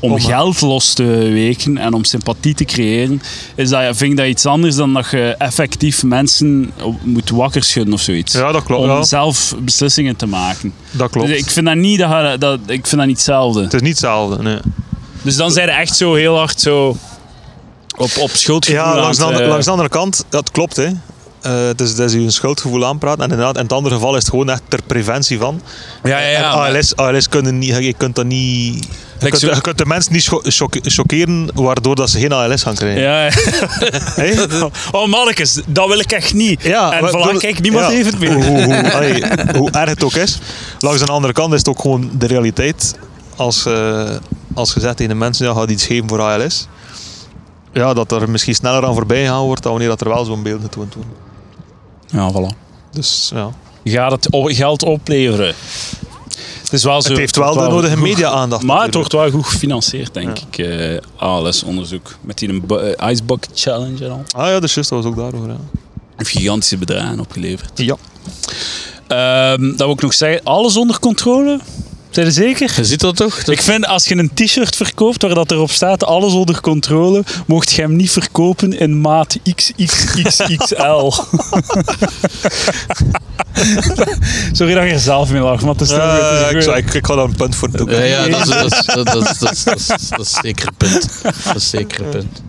Speaker 1: om
Speaker 3: Om-
Speaker 1: geld los te weken en om sympathie te creëren, is dat, vind ik dat iets anders dan dat je effectief mensen op- moet wakker schudden of zoiets.
Speaker 3: Ja, dat klopt.
Speaker 1: om
Speaker 3: Ja,
Speaker 1: zelf beslissingen te maken.
Speaker 3: dat klopt.
Speaker 1: Dus ik vind dat niet, dat, je- dat, ik vind dat niet hetzelfde.
Speaker 3: Het is niet hetzelfde, nee.
Speaker 1: Dus dan zijn ze echt zo heel hard zo op, op schuldgevoel
Speaker 3: Ja, langs de,
Speaker 1: aan
Speaker 3: ander-
Speaker 1: het, eh,
Speaker 3: langs de andere kant, dat klopt hè. eh, het is, het is je een schuldgevoel aanpraten. En inderdaad, in het andere geval is het gewoon echt ter preventie van.
Speaker 2: Ja, ja, ja.
Speaker 3: En
Speaker 2: maar-
Speaker 3: ALS, ALS kunnen niet, je kunt dat niet... Je
Speaker 2: Like
Speaker 3: kunt,
Speaker 2: zo-
Speaker 3: je kunt de mens niet scho- choc- chockeren, waardoor dat ze geen ALS gaan krijgen.
Speaker 1: Ja.
Speaker 3: Hé?
Speaker 1: Oh, mannetjes, dat wil ik echt niet.
Speaker 3: Ja,
Speaker 1: en
Speaker 3: maar
Speaker 1: voilà,
Speaker 3: bedoel-
Speaker 1: kijk, niemand
Speaker 3: ja.
Speaker 1: heeft het meer.
Speaker 3: Hoe, hoe, hoe- allee, hoe erg het ook is. Langs de andere kant is het ook gewoon de realiteit. Als, eh als je zegt tegen de mensen, ja, gaat iets geven voor ALS. Ja, dat er misschien sneller aan voorbij gaan wordt dan wanneer dat er wel zo'n beeld getoond wordt.
Speaker 2: Ja, voilà.
Speaker 3: Dus ja.
Speaker 1: Gaat het op- geld opleveren? Het, is wel zo,
Speaker 3: Het heeft wel de nodige media-aandacht.
Speaker 1: Maar het
Speaker 3: natuurlijk.
Speaker 1: wordt wel goed gefinancierd, denk ik. eh ALS onderzoek. Met die een bu- eh, Ice Bucket Challenge en al.
Speaker 3: Ah ja, dus juist, dat was ook daarover. Ja.
Speaker 1: Heeft gigantische bedragen opgeleverd.
Speaker 3: Ja.
Speaker 1: Ehm, dat wil ik nog zeggen. Alles onder controle? Zijn er zeker?
Speaker 2: Je ziet dat toch? Dat-
Speaker 1: Ik vind als je een t-shirt verkoopt waar dat erop staat alles onder controle, mocht je hem niet verkopen in maat XXXXL. Sorry dat je er zelf mee lacht, maar het is toch het is
Speaker 3: Eh, ik,
Speaker 1: gewoon-
Speaker 3: zou- ik, ik ga daar een punt voor doen. Eh,
Speaker 2: Ja, ja, dat is, dat, is, dat, is, dat, is, dat, is, dat is zeker een punt. Dat is zeker een punt.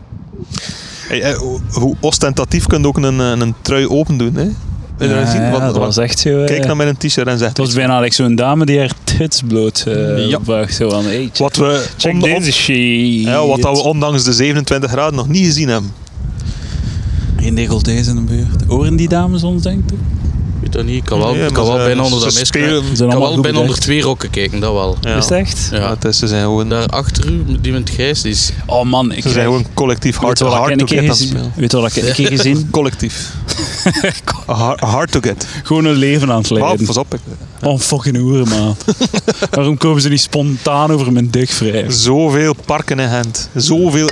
Speaker 3: Hey, eh, hoe- hoe ostentatief kun je ook een, eh, een, een trui open doen. Hè? Wil je dat
Speaker 1: Ja,
Speaker 3: zien?
Speaker 1: ja,
Speaker 3: Want-
Speaker 1: dat
Speaker 3: want
Speaker 1: was echt zo. eh,
Speaker 3: Kijk naar mijn t-shirt en zeg
Speaker 1: het was bijna like zo'n dame die haar tits bloot eh
Speaker 2: Ja.
Speaker 1: bracht. Zo aan, hey, check,
Speaker 3: wat we
Speaker 1: check
Speaker 3: om- om-
Speaker 1: deze shit.
Speaker 3: Ja, wat dat we ondanks de 27 graden nog niet gezien hebben.
Speaker 1: Oh, Geen decolletés in de buurt. Horen die dames ons, denk ik?
Speaker 2: Ik weet dat niet. Ik kan wel,
Speaker 3: Nee,
Speaker 2: ik kan
Speaker 3: maar
Speaker 2: wel
Speaker 3: ze-
Speaker 2: bijna onder dat
Speaker 3: ze
Speaker 2: mes
Speaker 3: spelen-
Speaker 2: kijken.
Speaker 1: Ze
Speaker 2: Ik
Speaker 1: zijn
Speaker 2: kan
Speaker 1: allemaal
Speaker 2: wel
Speaker 1: goed
Speaker 2: bijna onder
Speaker 1: bedacht.
Speaker 2: twee rokken kijken, dat wel.
Speaker 3: Ja.
Speaker 1: Is het echt?
Speaker 2: Ja.
Speaker 3: Ja, het is, ze zijn gewoon,
Speaker 2: Daar achter u, die met grijs is.
Speaker 1: Oh man, ik
Speaker 3: ze zijn
Speaker 1: krijg-
Speaker 3: gewoon collectief hard,
Speaker 1: Weet je wat
Speaker 3: hard
Speaker 1: ik
Speaker 3: to
Speaker 1: een
Speaker 3: get
Speaker 1: keer
Speaker 3: aan het
Speaker 1: gezien?
Speaker 3: spelen.
Speaker 1: Weet je wat ik een keer gezien?
Speaker 3: Collectief. hard, hard to get.
Speaker 1: Gewoon een leven aan het
Speaker 3: Maar
Speaker 1: leiden.
Speaker 3: pas op, ik-
Speaker 1: Oh, fucking hoeren, man. Waarom komen ze niet spontaan over mijn dik vrij?
Speaker 3: zoveel parken in Gent. Zoveel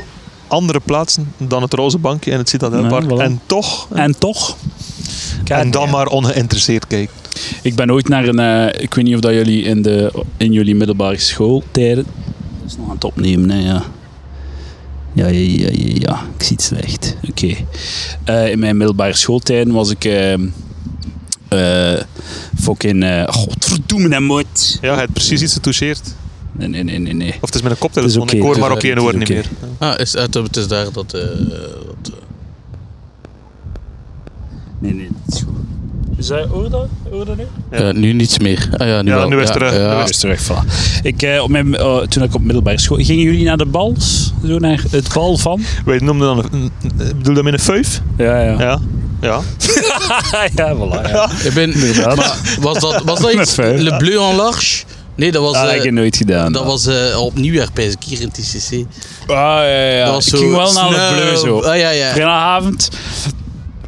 Speaker 3: andere plaatsen dan het Roze Bankje en het Citadelpark.
Speaker 1: Nee, voilà.
Speaker 3: En toch,
Speaker 1: En toch?
Speaker 3: en dan
Speaker 1: damn.
Speaker 3: maar ongeïnteresseerd kijken.
Speaker 1: Ik ben ooit naar een... eh, ik weet niet of dat jullie in, de, in jullie middelbare schooltijden... Dat is nog aan het opnemen, hè, ja. Ja, ja, ja, ja, ja. Ik zie het slecht. Oké. Eh, in mijn middelbare schooltijden was ik... ehm eh fucking... eh godverdoemen en moed.
Speaker 3: Ja, hij heeft precies iets getoucheerd.
Speaker 1: Nee, nee, nee, nee, nee.
Speaker 3: Of het is met een koptelefoon.
Speaker 1: Het is oké,
Speaker 3: ik hoor
Speaker 1: het is
Speaker 3: maar
Speaker 2: oké,
Speaker 3: oké en hoor
Speaker 1: het
Speaker 3: niet
Speaker 1: is
Speaker 3: meer.
Speaker 2: Ah, is, het, het is daar dat... eh dat eh,
Speaker 1: Nee, nee, dat is goed. Is dat Oorda? Oorda nu?
Speaker 2: eh, nu niets meer. Ah ja, nu,
Speaker 3: Ja,
Speaker 2: wel.
Speaker 3: nu is het er, eh,
Speaker 1: Ja,
Speaker 3: nu
Speaker 2: Ja,
Speaker 1: dat is terug. Voilà. Ik, eh, op mijn, eh, toen ik op middelbare school... Gingen jullie naar de bals? Zo naar het bal van?
Speaker 3: Wij noemden dan een, een- een- bedoel dat met een feuf?
Speaker 1: Ja, ja.
Speaker 3: Ja. Ja.
Speaker 1: ja, voilà. Ja.
Speaker 2: Ik ben, maar was dat, was dat iets?
Speaker 1: Fijn.
Speaker 2: Le Bleu en Large? Nee, dat was...
Speaker 1: Dat
Speaker 2: eh,
Speaker 1: heb ik nooit gedaan.
Speaker 2: dat was eh, op nieuwjaar, pijs ik, hier in TCC.
Speaker 1: Ah, ja, ja.
Speaker 2: Dat was
Speaker 1: ik
Speaker 2: zo
Speaker 1: ging wel naar
Speaker 2: snel.
Speaker 1: het bleu zo.
Speaker 2: Ah, ja, ja.
Speaker 1: Vrijdagavond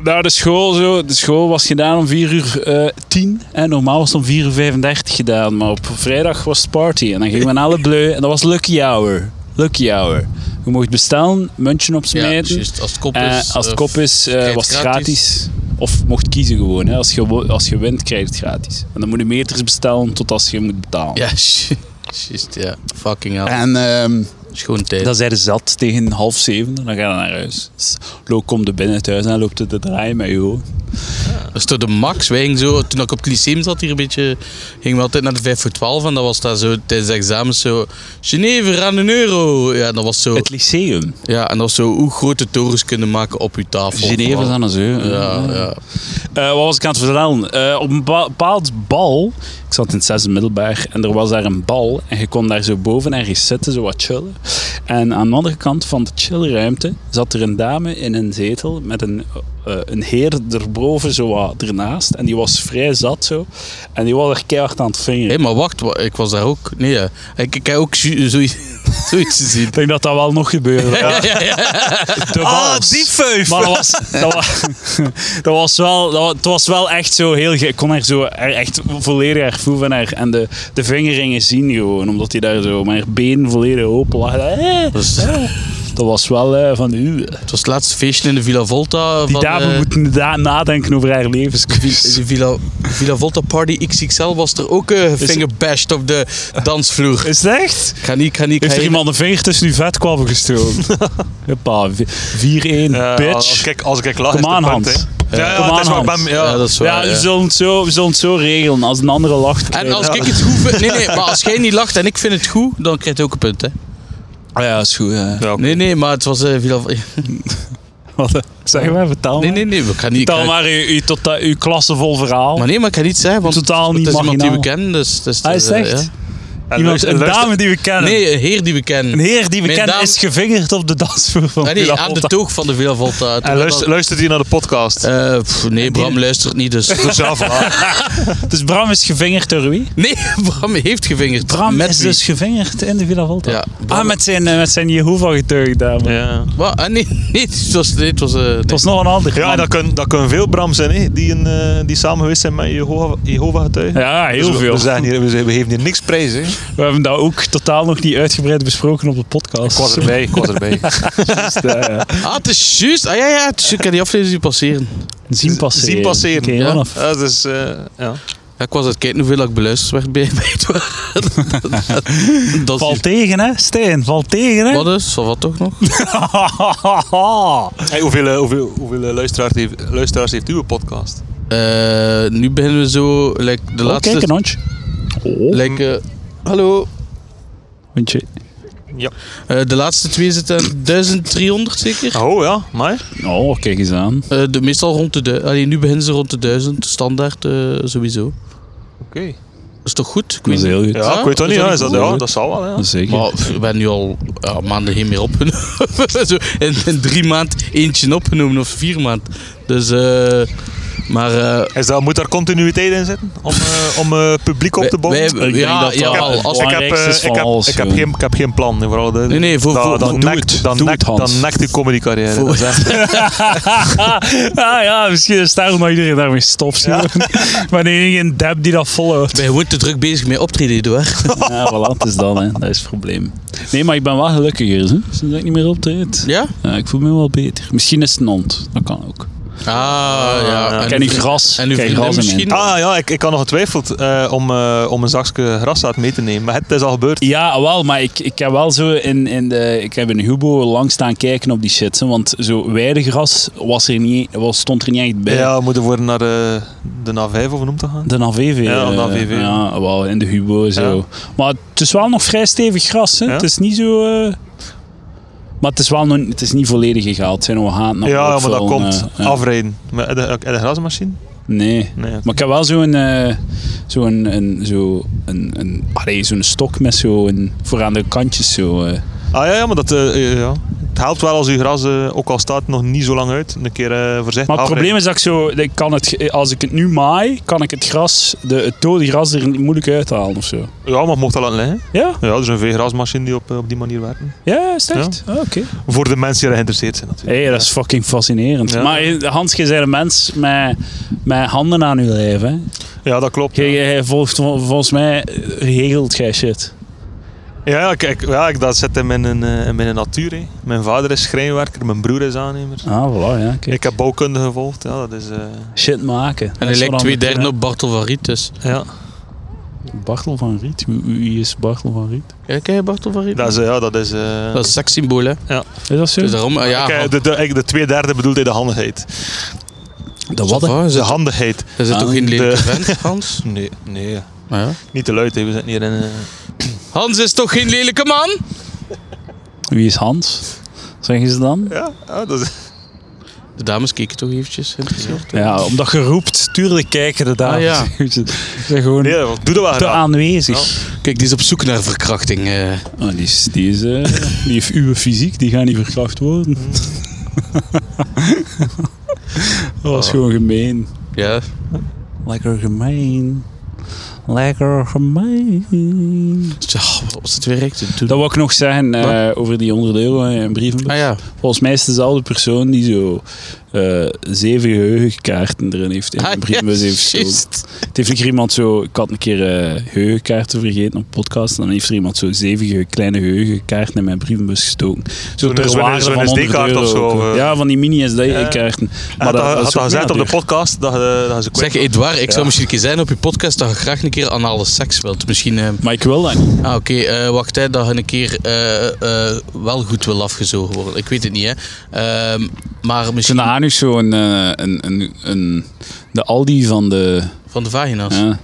Speaker 1: naar de school zo. De school was gedaan om 4 uur eh 10. En normaal was het om 4 uur 35 gedaan. Maar op vrijdag was het party. En dan gingen we naar het bleu. En dat was lucky hour. Lucky hour. Je mocht bestellen, muntje
Speaker 2: Ja,
Speaker 1: opsmijten.
Speaker 2: juist, als het kop is...
Speaker 1: Eh, als het
Speaker 2: eh,
Speaker 1: kop is, eh,
Speaker 2: krijg je
Speaker 1: was
Speaker 2: het
Speaker 1: het gratis. Of mocht kiezen gewoon. Hè. Als, je, wo- als je wint, krijg je het gratis. En dan moet je meters bestellen tot als je moet betalen.
Speaker 2: Ja, ju- juist, ja. Fucking hell.
Speaker 1: En ehm,
Speaker 2: Schoon tijd.
Speaker 1: dan zijn ze zat tegen half zeven. Dan ga je naar huis. Dus, loop, kom de binnen thuis en loopt het te draaien met je
Speaker 2: Oh.
Speaker 1: hoofd.
Speaker 2: Dat is toch de max. Wij gingen zo, toen ik op het lyceum zat, hier een beetje, gingen we altijd naar de 5 voor 12. En dat was daar zo tijdens de examens zo... Geneve, aan een euro. Ja, en dat was zo...
Speaker 1: Het lyceum.
Speaker 2: Ja, en dat was zo hoe grote torens kunnen maken op je tafel.
Speaker 1: Geneve is aan een zeu.
Speaker 2: Ja, ja.
Speaker 1: Eh, wat was ik aan het vertellen? Eh, op een bepa- bepaald bal, ik zat in het zesde middelbaar, en er was daar een bal. En je kon daar zo boven ergens zitten, zo wat chillen. En aan de andere kant van de chillruimte zat er een dame in een zetel met een, eh, een heer erboven, zo wat ernaast. En die was vrij zat zo. En die was er keihard aan het vingeren.
Speaker 2: Hé, maar wacht, wa- ik was daar ook. Nee, ja. ik, ik heb ook zo- zoiets, zoiets gezien.
Speaker 1: Ik denk dat dat wel nog gebeurde.
Speaker 2: Ja, ja, ja.
Speaker 1: De
Speaker 3: Ah,
Speaker 1: bals.
Speaker 3: feuf!
Speaker 1: Maar dat was, dat was, dat was wel, dat was, het was wel echt zo heel... ge- Ik kon haar zo er echt volledig hervoeven en, haar, en de, de vingeringen zien gewoon. Omdat hij daar zo met haar been volledig open lag. Eh,
Speaker 2: Dat was,
Speaker 1: Dat was wel eh, van u.
Speaker 2: het was het laatste feestje in de Villa Volta.
Speaker 1: Die
Speaker 2: van,
Speaker 1: dame
Speaker 2: eh,
Speaker 1: moeten da- nadenken over haar levenskunst.
Speaker 2: De Villa, Villa Volta Party XXL was er ook eh fingerbashed op de dansvloer.
Speaker 1: Is het echt?
Speaker 2: Ik ga niet, ik ga niet. ik
Speaker 1: Heeft
Speaker 2: ga
Speaker 1: er
Speaker 2: hier-
Speaker 1: iemand een vinger tussen uw vetkwabben gestoken? Huppa, vi- 4-1,
Speaker 3: Als
Speaker 1: bitch.
Speaker 3: ik, Eh, als ik lach,
Speaker 1: Kom
Speaker 3: is het
Speaker 1: aan,
Speaker 3: een punt,
Speaker 1: Hans.
Speaker 3: hè. Ja,
Speaker 1: Kom
Speaker 3: ja, het is
Speaker 1: aan,
Speaker 3: waar, ik
Speaker 1: Hans.
Speaker 3: ben-
Speaker 2: Ja, dat is
Speaker 1: Ja,
Speaker 2: waar.
Speaker 1: we
Speaker 2: Ja,
Speaker 1: zullen, het zo, we zullen het zo regelen. Als een andere lacht...
Speaker 2: En
Speaker 1: krijgen
Speaker 2: als
Speaker 1: we-
Speaker 2: ik het goed vind. Nee, nee, maar als jij niet lacht en ik vind het goed, dan krijg je ook een punt, hè?
Speaker 1: Ah Ja, is goed. ja.
Speaker 3: Ja, oké.
Speaker 2: Nee, nee, maar het was eh Villa Volta.
Speaker 1: Wat? Zeg maar, vertel
Speaker 2: Nee,
Speaker 1: maar.
Speaker 2: nee, nee. Ik ga niet, ik
Speaker 1: Vertel
Speaker 2: ga-
Speaker 1: maar uw, uw, tota-
Speaker 2: eh,
Speaker 1: uw klassevol verhaal.
Speaker 2: maar nee, maar ik ga niet zeggen, want
Speaker 1: Totaal niet
Speaker 2: het is iemand die we
Speaker 1: marginaal.
Speaker 2: kennen. Dus, dus,
Speaker 1: Hij
Speaker 2: eh,
Speaker 1: zegt,
Speaker 2: ja.
Speaker 3: En
Speaker 1: iemand,
Speaker 3: luister-
Speaker 1: een
Speaker 3: luister-
Speaker 1: dame die we kennen.
Speaker 2: Nee, een heer die we kennen.
Speaker 1: Een heer die we
Speaker 2: Mijn
Speaker 1: kennen
Speaker 2: dame-
Speaker 1: is gevingerd op de dansvloer van
Speaker 2: Ah, nee,
Speaker 1: Villa
Speaker 2: aan de
Speaker 1: Volta.
Speaker 2: toog van de Villa Volta.
Speaker 3: En luister, luistert hij naar de podcast?
Speaker 2: Eh, pff, nee, Bram luistert niet, dus...
Speaker 3: Ja, voilà.
Speaker 1: Dus Bram is gevingerd door wie?
Speaker 2: Nee, Bram heeft gevingerd.
Speaker 1: Bram
Speaker 2: Met
Speaker 1: is
Speaker 2: wie?
Speaker 1: dus gevingerd in de Villa Volta.
Speaker 2: Ja, Bram-
Speaker 1: ah, met zijn, eh, met zijn Jehovah-getuigd dame.
Speaker 3: ja.
Speaker 2: Wat? Ah, nee, nee, het was... Nee, het was eh, nee.
Speaker 1: Het was nog een ander
Speaker 3: Ja,
Speaker 1: man.
Speaker 3: dat kunnen, dat kunnen veel Bram zijn, hè, die, een, eh, die samen geweest zijn met Jehovah- Jehovah-getuigen.
Speaker 1: Ja, heel
Speaker 3: Dus we-
Speaker 1: veel.
Speaker 3: We, zijn hier, we, zijn- we geven hier niks prijs. Hè. Ik
Speaker 1: We hebben dat ook totaal nog niet uitgebreid besproken op de podcast.
Speaker 3: was erbij, ik was erbij.
Speaker 1: Dus, eh,
Speaker 2: Ah, het is juist. Ah, ja, ja, het is juist. Ik heb die aflevering zien passeren.
Speaker 1: zien passeren.
Speaker 3: Zien passeren,
Speaker 1: Oké,
Speaker 2: ja.
Speaker 1: vanaf.
Speaker 3: Ja, dus, eh, ja.
Speaker 2: Ja, ik was aan het kijken hoeveel ik beluisterd werd bij, bij het waren. Dat
Speaker 1: Val
Speaker 2: is
Speaker 1: tegen, hè? Steen, val tegen, hè? Oh,
Speaker 2: Wat is? Zal wat toch nog?
Speaker 3: Hey, hoeveel eh, hoeveel, hoeveel eh, luisteraars, heeft, luisteraars heeft uw podcast?
Speaker 2: Eh, nu beginnen we zo... Like, de
Speaker 1: Oh,
Speaker 2: laatste...
Speaker 1: kijk, een hondje. Oh,
Speaker 2: like, eh, hallo.
Speaker 1: hondje.
Speaker 3: Ja.
Speaker 2: Eh, de laatste twee zitten 1300 zeker?
Speaker 3: Oh ja, maar?
Speaker 1: Oh, kijk eens aan.
Speaker 2: Eh, de, meestal rond de... du- Allee, nu beginnen ze rond de 1000. Standaard eh, sowieso.
Speaker 3: Oké.
Speaker 2: Is toch goed? Ik
Speaker 1: Dat is
Speaker 2: weet
Speaker 1: heel goed.
Speaker 3: Ja, ik weet dat
Speaker 2: is
Speaker 3: niet.
Speaker 2: dat
Speaker 3: Ja,
Speaker 2: niet
Speaker 3: is dat,
Speaker 2: cool?
Speaker 3: ja, dat zal wel. Ja.
Speaker 1: Zeker.
Speaker 2: Maar pff, ik ben nu al ja, maanden geen meer opgenomen. Zo, in, in drie maanden eentje opgenomen of vier maanden. Dus, eh, maar. eh,
Speaker 3: Is dat, moet daar continuïteit in zitten om, eh, om eh, publiek op
Speaker 2: Wij-
Speaker 3: te bouwen?
Speaker 2: wij-
Speaker 1: Ik denk
Speaker 2: ja,
Speaker 1: dat dat
Speaker 2: ja,
Speaker 1: wel
Speaker 2: al-
Speaker 1: het
Speaker 2: als-
Speaker 3: ik, heb, eh,
Speaker 1: belangrijkste is
Speaker 3: ik,
Speaker 1: van
Speaker 3: heb,
Speaker 1: alles,
Speaker 3: ik, heb
Speaker 1: joh.
Speaker 3: geen, ik heb geen plan. Voor alle
Speaker 2: nee, nee, voor, voor,
Speaker 3: dan, dan,
Speaker 2: voor-
Speaker 1: doe
Speaker 3: nekt,
Speaker 1: het.
Speaker 3: dan,
Speaker 1: Doe
Speaker 3: nekt,
Speaker 1: het, Hans.
Speaker 3: dan nekt uw comedycarrière.
Speaker 2: Voor-
Speaker 3: Dat is echt-
Speaker 1: ah ja, misschien is daarom dat iedereen daarmee stopt. maar de enige deb die dat volhoudt.
Speaker 2: wij worden te druk bezig met optreden, Eduard.
Speaker 1: Ja, voilà, het is dan, hè. Dat is het probleem. Nee, maar ik ben wel gelukkiger, hè. Sinds dat ik niet meer optreed.
Speaker 2: Ja?
Speaker 1: Ja, ik voel me wel beter. Misschien is het een hond. Dat kan ook.
Speaker 2: Ah, ja.
Speaker 1: Ken ik gras?
Speaker 2: En uw
Speaker 1: Ken ik
Speaker 2: vriendin
Speaker 1: gras in
Speaker 2: misschien?
Speaker 3: Ah ja, ik, ik had nog getwijfeld eh, om, eh, om een zakje graszaad mee te nemen. Maar het is al gebeurd.
Speaker 1: Ja, wel, maar ik, ik heb wel zo in, in de... Ik heb in Hubo lang staan kijken op die shit, hè, Want zo weidegras was er niet, was, stond er niet echt bij.
Speaker 3: Ja, we moeten worden naar de, de NA5 of om te gaan.
Speaker 1: De NAVV.
Speaker 3: Ja,
Speaker 1: eh,
Speaker 3: NAVV.
Speaker 1: Ja, wel, in de Hubo zo. Maar het is wel nog vrij stevig gras, hè.
Speaker 3: Ja.
Speaker 1: Het is niet zo... eh, Maar het is wel nog, het is niet volledig gegaald. Het zijn nog haat
Speaker 3: Ja, ja, maar dat komt.
Speaker 1: af.
Speaker 3: Afrijden. Maar heb je- heb je een grasmachine?
Speaker 1: Nee.
Speaker 3: Nee.
Speaker 1: Maar ik heb wel zo'n eh, zo'n een, zo een, een, allee, zo'n stok met zo'n vooraan de kantjes zo. eh.
Speaker 3: Ah ja, ja maar dat, eh, eh, ja. het helpt wel als uw gras, eh, ook al staat het nog niet zo lang uit, een keer eh voorzichtig
Speaker 1: Maar het probleem
Speaker 3: afrijden.
Speaker 1: is dat ik zo, dat ik kan het, als ik het nu maai, kan ik het gras, de, het dode gras er niet moeilijk uithalen of zo.
Speaker 3: Ja, maar mocht dat laten liggen.
Speaker 1: Ja,
Speaker 3: Ja, er is een veegrasmachine die op, eh, op die manier werkt.
Speaker 1: ja, is het echt? Ah, Oké.
Speaker 3: Voor de mensen die geïnteresseerd zijn natuurlijk.
Speaker 1: Hé, dat is fucking fascinerend.
Speaker 3: Ja.
Speaker 1: Maar eh, Hans, je bent een mens met, met handen aan je lijf. Hè?
Speaker 3: Ja, dat klopt.
Speaker 1: Je, je volgt vol- volgens mij, eh, regelt jij shit.
Speaker 3: Ja, ja, kijk, ja ik, dat zit in mijn, eh, in mijn natuur. Hè. Mijn vader is schrijnwerker, mijn broer is aannemer.
Speaker 1: Ah, voilà, ja. Kijk.
Speaker 3: Ik heb bouwkunde gevolgd. Ja, dat is... eh,
Speaker 1: Shit maken. Dat
Speaker 2: En
Speaker 1: is
Speaker 2: hij lijkt
Speaker 1: wat
Speaker 2: twee
Speaker 1: anders,
Speaker 2: derde
Speaker 1: hè.
Speaker 2: op Bartel van Riet. Dus.
Speaker 3: ja.
Speaker 1: Bartel van Riet? Wie, wie is Bartel van Riet?
Speaker 2: Kijk, hè, Bartel van Riet.
Speaker 3: Dat is... eh, ja, dat is, eh,
Speaker 2: Dat is een sekssymbool, hè?
Speaker 1: Is dat zo?
Speaker 2: Dus daarom, eh, ja.
Speaker 3: Kijk,
Speaker 2: Hans,
Speaker 3: de, de, eigenlijk de twee derde bedoelt hij de handigheid.
Speaker 1: De
Speaker 2: ça va, Oh, is
Speaker 3: De
Speaker 2: het-
Speaker 3: handigheid.
Speaker 2: Is het toch geen
Speaker 3: de-
Speaker 2: lelijke vent, Hans?
Speaker 3: Nee, nee.
Speaker 2: Ja.
Speaker 3: Niet te luid, hè. we zitten hier in... eh,
Speaker 2: Hans is toch geen lelijke man?
Speaker 1: Wie is Hans? Zeggen ze dan?
Speaker 3: Ja, ja, dat is...
Speaker 2: De dames keken toch eventjes. Interessant.
Speaker 1: Ja, omdat je roept. Tuurlijk kijken de dames.
Speaker 2: Ah, ja.
Speaker 1: Ze zijn gewoon
Speaker 2: Hm.
Speaker 3: Nee, ah, dat- doe dat wel
Speaker 1: te
Speaker 3: gedaan.
Speaker 1: aanwezig.
Speaker 2: Kijk, die is op zoek naar verkrachting. eh.
Speaker 1: Ah, die, is, die, is, eh, die heeft uw fysiek, die gaat niet verkracht worden.
Speaker 2: Mm.
Speaker 1: dat
Speaker 2: Oh.
Speaker 1: was gewoon gemeen.
Speaker 2: Ja.
Speaker 1: Lekker gemeen. Lekker gemeen.
Speaker 2: Tja, wat was het weer echt te doen?
Speaker 1: Dat wil ik nog zeggen eh, over die 100 euro en brieven.
Speaker 2: Ah ja.
Speaker 1: Volgens mij is het dezelfde persoon die zo eh, zeven geheugenkaarten erin heeft in
Speaker 2: Ah,
Speaker 1: een brievenbus
Speaker 2: ja,
Speaker 1: heeft gestoken.
Speaker 2: juist.
Speaker 1: Het heeft een keer iemand zo... Ik had een keer eh, geheugenkaarten vergeten op een podcast. En dan heeft er iemand zo zeven ge- kleine geheugenkaarten in mijn brievenbus gestoken. Zo
Speaker 3: Zo'n-
Speaker 1: ter
Speaker 3: zo'n-
Speaker 1: waarde
Speaker 3: zo'n
Speaker 1: van 100
Speaker 3: SD-kaart
Speaker 1: euro.
Speaker 3: of zo,
Speaker 1: ook,
Speaker 3: of,
Speaker 1: hè.
Speaker 3: eh.
Speaker 1: Ja, van die mini-SD-kaarten.
Speaker 3: Maar
Speaker 2: Ah,
Speaker 3: dat, had
Speaker 1: is
Speaker 3: dat
Speaker 1: ook
Speaker 3: gezegd op de
Speaker 1: nadeur.
Speaker 3: podcast, dat, je- dat je ze kwijt
Speaker 2: Zeg, Edouard, ik zou misschien een keer zijn op je podcast dat je graag een keer anale seks wilt. Misschien... eh,
Speaker 1: Maar ik wil dat niet.
Speaker 2: ah, oké, eh, wacht, hè, dat je een keer eh, eh, wel goed wil afgezogen worden. Ik weet het niet, hè. Ehm, maar
Speaker 1: Ik vind
Speaker 2: misschien
Speaker 1: de anus zo een, eh, een, een, een... De Aldi van de...
Speaker 2: van de vagina's.
Speaker 1: Ja,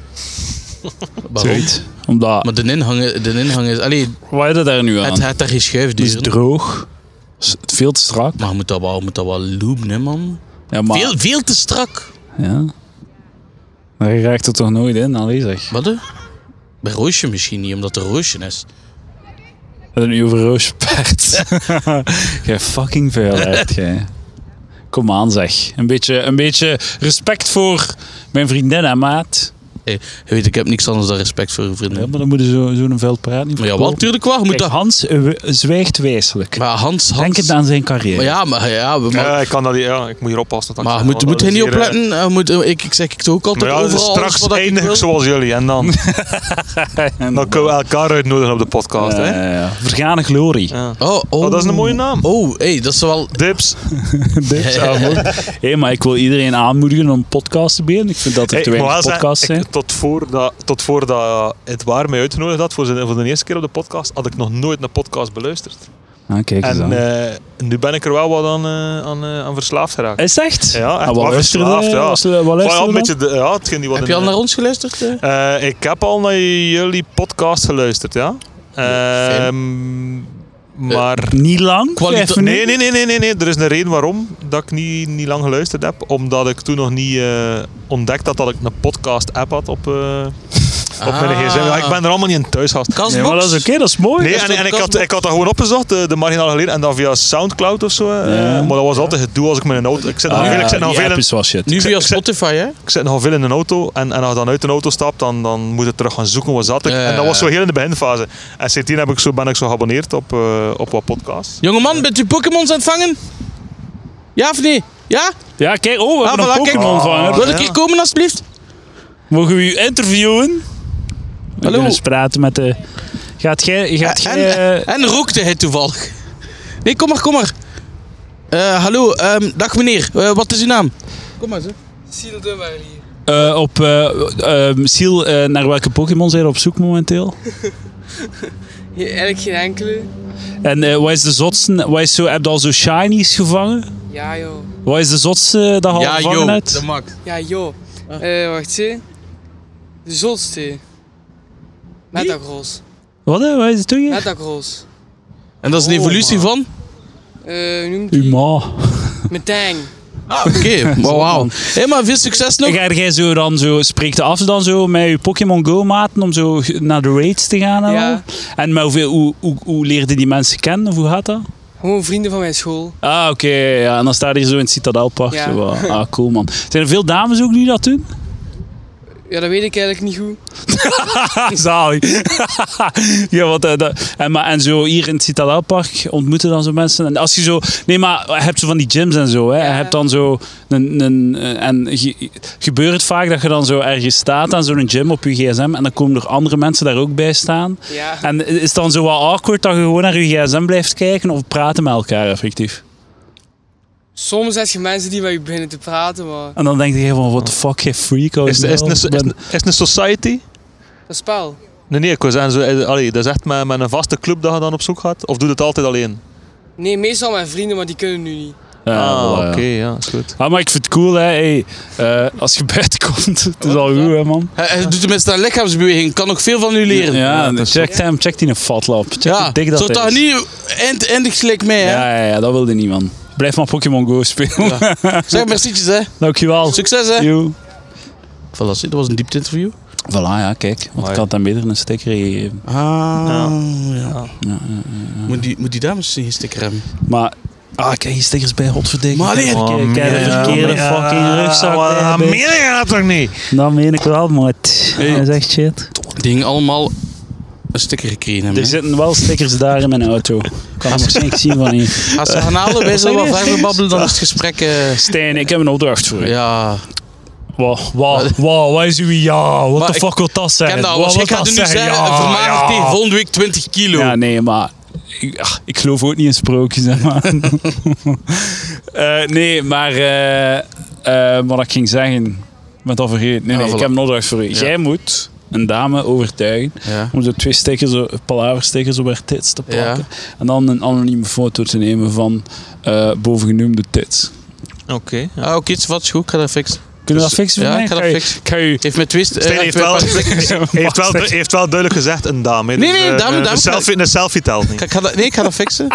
Speaker 2: Waarom?
Speaker 1: zoiets. Omdat...
Speaker 2: Maar de inhang, de inhang is... Allee,
Speaker 1: Wat heb je daar nu aan?
Speaker 2: het gaat daar geen schuif
Speaker 1: Het is
Speaker 2: duren.
Speaker 1: droog. S- Veel te strak.
Speaker 2: Maar je moet dat wel, je moet dat wel loomen, hè, man.
Speaker 1: Ja, maar,
Speaker 2: Veel, veel te strak.
Speaker 1: Ja. Maar je raakt er toch nooit in, allee zeg.
Speaker 2: Wat? hè? Bij Roosje misschien niet, omdat er Roosje is.
Speaker 1: Met een uur roosje paard. jij fucking vuil echt, jij. Kom aan zeg. Een beetje, een beetje respect voor mijn vriendin en maat.
Speaker 2: Hey, je weet, ik heb niks anders dan respect voor je vrienden.
Speaker 1: Ja, maar dan moet je zo- zo'n vuil praat niet
Speaker 2: maar ja, wel,
Speaker 1: verkopen.
Speaker 2: natuurlijk wel. Je moet
Speaker 1: Kijk,
Speaker 2: dat...
Speaker 1: Hans eh, we- zwijgt wijselijk.
Speaker 2: Maar Hans, Hans...
Speaker 1: Denk het nou aan zijn carrière.
Speaker 2: Maar ja, maar, ja, maar,
Speaker 3: Ja, ik kan dat niet- ja, ik moet hier oppassen. dat
Speaker 2: maar
Speaker 3: ik-
Speaker 2: je moet,
Speaker 3: want
Speaker 2: moet hij
Speaker 3: dat is
Speaker 2: niet
Speaker 3: hier, eh,
Speaker 2: opletten. Eh, moet, eh, ik, ik zeg ik doe ook altijd
Speaker 3: Maar ja,
Speaker 2: overal alles
Speaker 3: straks
Speaker 2: wat ik
Speaker 3: eindig
Speaker 2: wil.
Speaker 3: ik zoals jullie en dan, dan kunnen we elkaar uitnodigen op de podcast. hè?
Speaker 1: Eh, ja. vergane glorie.
Speaker 3: Ja.
Speaker 2: Oh, oh.
Speaker 3: Oh, dat is een mooie naam.
Speaker 2: Oh, hey, dat is wel...
Speaker 3: Dips.
Speaker 1: Dit zou mooi. Hé, maar ik wil iedereen aanmoedigen om podcasts te beginnen. Ik vind dat er
Speaker 3: Hey,
Speaker 1: te
Speaker 3: ik moet
Speaker 1: weinig
Speaker 3: wel zeggen,
Speaker 1: podcasts zijn.
Speaker 3: ik- Tot voordat tot voordat het waar mij uitgenodigd had voor, zijn, voor de eerste keer op de podcast, had ik nog nooit een podcast beluisterd.
Speaker 1: Ah, kijk eens
Speaker 3: En
Speaker 1: aan.
Speaker 3: eh, nu ben ik er wel wat aan, eh, aan, eh, aan verslaafd geraakt.
Speaker 1: Is het echt?
Speaker 3: Ja, echt
Speaker 1: Ah, wat
Speaker 3: wel
Speaker 1: luisterde
Speaker 3: verslaafd, ja.
Speaker 1: was- wat
Speaker 3: Maar ja,
Speaker 1: luisterde dan?
Speaker 3: een beetje de, ja, hetgeen die wat
Speaker 2: Heb
Speaker 3: in
Speaker 2: je al
Speaker 3: de-
Speaker 2: naar ons geluisterd? eh?
Speaker 3: Eh, ik heb al naar jullie podcast geluisterd, ja. Ehm, maar...
Speaker 1: Niet lang?
Speaker 2: Kwalite-
Speaker 1: Vijf minuten?
Speaker 3: Nee, nee, nee, nee, nee, nee. Er is een reden waarom dat ik niet, niet lang geluisterd heb. Omdat ik toen nog niet eh, ontdekt had dat ik een podcast-app had op, eh, op mijn
Speaker 2: Ah.
Speaker 3: gsm. Ja, ik ben er allemaal niet in thuis gehad.
Speaker 2: Kastbox?
Speaker 1: Nee, maar dat is oké, dat is mooi.
Speaker 3: Nee,
Speaker 1: Dat
Speaker 3: en,
Speaker 1: is
Speaker 3: en ik,
Speaker 2: dat
Speaker 3: had,
Speaker 2: is-
Speaker 3: ik had dat gewoon opgezocht, eh, de, de marginale geleden, en dan via Soundcloud of zo. eh,
Speaker 1: Ja.
Speaker 3: maar dat was altijd gedoe als ik met een auto... Ik zit
Speaker 1: toch-
Speaker 3: nog,
Speaker 1: Ah,
Speaker 3: veel, ik
Speaker 2: nou,
Speaker 3: zit nog
Speaker 1: die
Speaker 3: veel
Speaker 1: app
Speaker 3: in,
Speaker 1: is wel shit.
Speaker 2: Nu via
Speaker 3: ik zeg-
Speaker 2: Spotify, hè?
Speaker 3: ik zit nogal veel in een auto. En, en als ik dan uit een auto stap, dan, dan moet ik terug gaan zoeken waar zat ik.
Speaker 2: Ja.
Speaker 3: En dat was zo heel in de beginfase. En sindsdien heb ik zo, ben ik zo geabonneerd op, eh, op wat podcasts.
Speaker 2: Jongeman, bent u Pokémons aan het vangen? Ja of nee? Ja?
Speaker 1: Ja, kijk, oh, we
Speaker 2: Ah,
Speaker 1: hebben
Speaker 2: voilà,
Speaker 1: een
Speaker 2: kijk.
Speaker 1: Pokémon
Speaker 3: Ah.
Speaker 1: vanger.
Speaker 2: Wil ik hier komen, alsjeblieft?
Speaker 1: Mogen we u interviewen? We
Speaker 2: Hallo.
Speaker 1: gaan eens praten met de... Gaat jij... Gaat
Speaker 2: En,
Speaker 1: jij eh,
Speaker 2: en rookte hij toevallig? Nee, kom maar, kom maar. Eh, hallo, ehm, dag meneer. Eh, wat is uw naam? Kom maar, zo.
Speaker 4: Siel de Warlier.
Speaker 1: eh, op... eh, eh, Siel, eh, naar welke Pokémon zijn we op zoek momenteel?
Speaker 4: Ja, eigenlijk geen enkele.
Speaker 1: En eh, wat is de zotste... Wat is zo, heb je al zo shinies gevangen?
Speaker 4: Ja joh.
Speaker 1: Wat is de zotste dat je al
Speaker 2: Ja,
Speaker 1: gevangen
Speaker 2: joh.
Speaker 1: hebt?
Speaker 2: max.
Speaker 4: Ja joh. Eh, wacht ze. De zotste. Metagross.
Speaker 1: Wat, eh, wat is het toen? hier?
Speaker 4: Metagross.
Speaker 2: En dat is een
Speaker 3: Oh,
Speaker 2: evolutie
Speaker 3: man.
Speaker 2: van?
Speaker 4: Eh, hoe noemt
Speaker 1: Uw
Speaker 4: die?
Speaker 1: ma.
Speaker 4: Metang.
Speaker 2: Ah, oké. Maar wauw. Hé, maar veel succes nog.
Speaker 1: Ga jij zo dan zo, spreekt de af dan zo met je Pokémon Go-maten om zo g- naar de raids te gaan en
Speaker 4: Ja.
Speaker 1: al? En maar hoeveel, hoe, hoe, hoe leerde die mensen kennen of hoe gaat dat?
Speaker 4: Gewoon vrienden van mijn school.
Speaker 1: Ah, oké. ja. En dan staat hij zo in het Citadelpark.
Speaker 4: Ja.
Speaker 1: zo, ah, ah, cool man. Zijn er veel dames ook die dat doen?
Speaker 4: Ja, dat weet ik eigenlijk niet goed.
Speaker 1: Zalig. ja, wat, eh, dat- en, maar, en zo hier in het Citadelpark ontmoeten dan zo mensen. En als je zo... Nee, maar je hebt zo van die gyms en zo. Hè, En Je hebt dan zo... Een, een, eh, en ge- gebeurt het vaak dat je dan zo ergens staat aan zo'n gym op je gsm en dan komen er andere mensen daar ook bij staan.
Speaker 4: Ja.
Speaker 1: En is het dan zo wat awkward dat je gewoon naar je gsm blijft kijken of praten met elkaar effectief?
Speaker 4: Soms heb je mensen die met je beginnen te praten, maar
Speaker 1: En dan denk je van, what the fuck, je freak.
Speaker 3: Is, is,
Speaker 1: ben-
Speaker 3: is, is, is, een society?
Speaker 4: dat spel.
Speaker 3: Nee, nee, ik was aan zo, eh, allee, dat is echt met, met een vaste club dat je dan op zoek gaat? Of doe je het altijd alleen?
Speaker 4: Nee, meestal mijn vrienden, maar die kunnen nu niet.
Speaker 1: Ja, voilà,
Speaker 3: ah,
Speaker 1: ja.
Speaker 3: oké, ja, is goed.
Speaker 1: Ah, maar ik vind het cool, hè. Hey, eh, als je buiten komt, het
Speaker 3: Oh,
Speaker 1: is al goed, hè, man.
Speaker 2: Hij, hij doet tenminste aan lichaamsbeweging. Kan nog veel van u leren.
Speaker 1: Ja,
Speaker 3: dat is
Speaker 1: check hem, check die een fatlap. Check
Speaker 2: Ja,
Speaker 1: hoe dik dat
Speaker 2: zodat
Speaker 1: hij
Speaker 2: dat
Speaker 1: is.
Speaker 2: niet eind, eindigt gelijk mij, hè.
Speaker 1: Ja, ja, ja, dat wilde niet, man. Blijf maar Pokémon Go spelen.
Speaker 2: Zeg mercietjes, hè.
Speaker 1: Dankjewel.
Speaker 2: Succes, hè.
Speaker 1: Joe.
Speaker 2: Voilà, zie, dat was een diepte interview.
Speaker 1: Voilà, ja, kijk. Want ik
Speaker 3: Mooi.
Speaker 1: had hem beter een sticker gegeven.
Speaker 2: Ah, ja. Moet, die, moet die dames geen sticker hebben?
Speaker 1: Maar, ah, kijk, die stickers bij Godverdikke.
Speaker 2: Maar nee.
Speaker 1: Kijk, kijk, de
Speaker 3: Oh, ja,
Speaker 1: verkeerde Ah,
Speaker 3: ja,
Speaker 1: fucking rugzak.
Speaker 3: Wat
Speaker 1: bij,
Speaker 3: dat
Speaker 1: bij.
Speaker 3: meen je dat toch niet?
Speaker 1: Dat meen ik wel, maat. Dat is echt shit.
Speaker 2: Die gingen allemaal een sticker gekregen hebben.
Speaker 1: Er zitten wel stickers daar in mijn auto. Ik kan er waarschijnlijk zien van hier.
Speaker 2: hè. Als ze gaan halen, wij zullen wel verder babbelen dan is het gesprek... eh,
Speaker 1: Stijn, ik heb een opdracht voor je.
Speaker 2: ja,
Speaker 1: Wow, wow, wow, wat is uw ja? What
Speaker 2: Maar
Speaker 1: the
Speaker 2: ik
Speaker 1: fuck wil dat
Speaker 2: ik
Speaker 1: zeggen?
Speaker 2: ken dat
Speaker 1: Wat
Speaker 2: alles.
Speaker 1: wil
Speaker 2: Ik ga
Speaker 1: dat
Speaker 2: het nu zeggen,
Speaker 1: Ja,
Speaker 2: vermaandag
Speaker 1: ja.
Speaker 2: tegen volgende week 20 kilo.
Speaker 1: Ja, nee, maar ik, ach, ik geloof ook niet in sprookjes, hè, man. Eh, nee, maar eh, eh, wat ik ging zeggen, ik ben het al vergeten. Nee, nee,
Speaker 2: Ah,
Speaker 1: ik
Speaker 2: voilà.
Speaker 1: heb een opdracht voor u. Jij moet een dame overtuigen
Speaker 2: Ja.
Speaker 1: om zo twee stickers, eh, palaverstickers op haar tits te
Speaker 2: Ja.
Speaker 1: plakken. En dan een anonieme foto te nemen van eh bovengenoemde tits.
Speaker 3: Oké. ja.
Speaker 2: Ah, oké, iets wat is goed, ik ga dat fixen.
Speaker 1: Kunnen we dat fixen voor
Speaker 2: ja,
Speaker 1: mij?
Speaker 2: ik ga dat
Speaker 1: Kan je-
Speaker 2: fixen.
Speaker 1: kan je-
Speaker 2: Heeft met twist. eh,
Speaker 3: Stijn heeft
Speaker 2: twee
Speaker 3: wel,
Speaker 2: pakken.
Speaker 3: heeft, wel, heeft wel duidelijk gezegd een dame. hè.
Speaker 2: Nee,
Speaker 3: Dus,
Speaker 2: nee,
Speaker 3: eh,
Speaker 2: dame,
Speaker 3: een
Speaker 2: dame.
Speaker 3: selfie, een selfie telt niet.
Speaker 2: Ik ga dat, nee, ik ga dat fixen.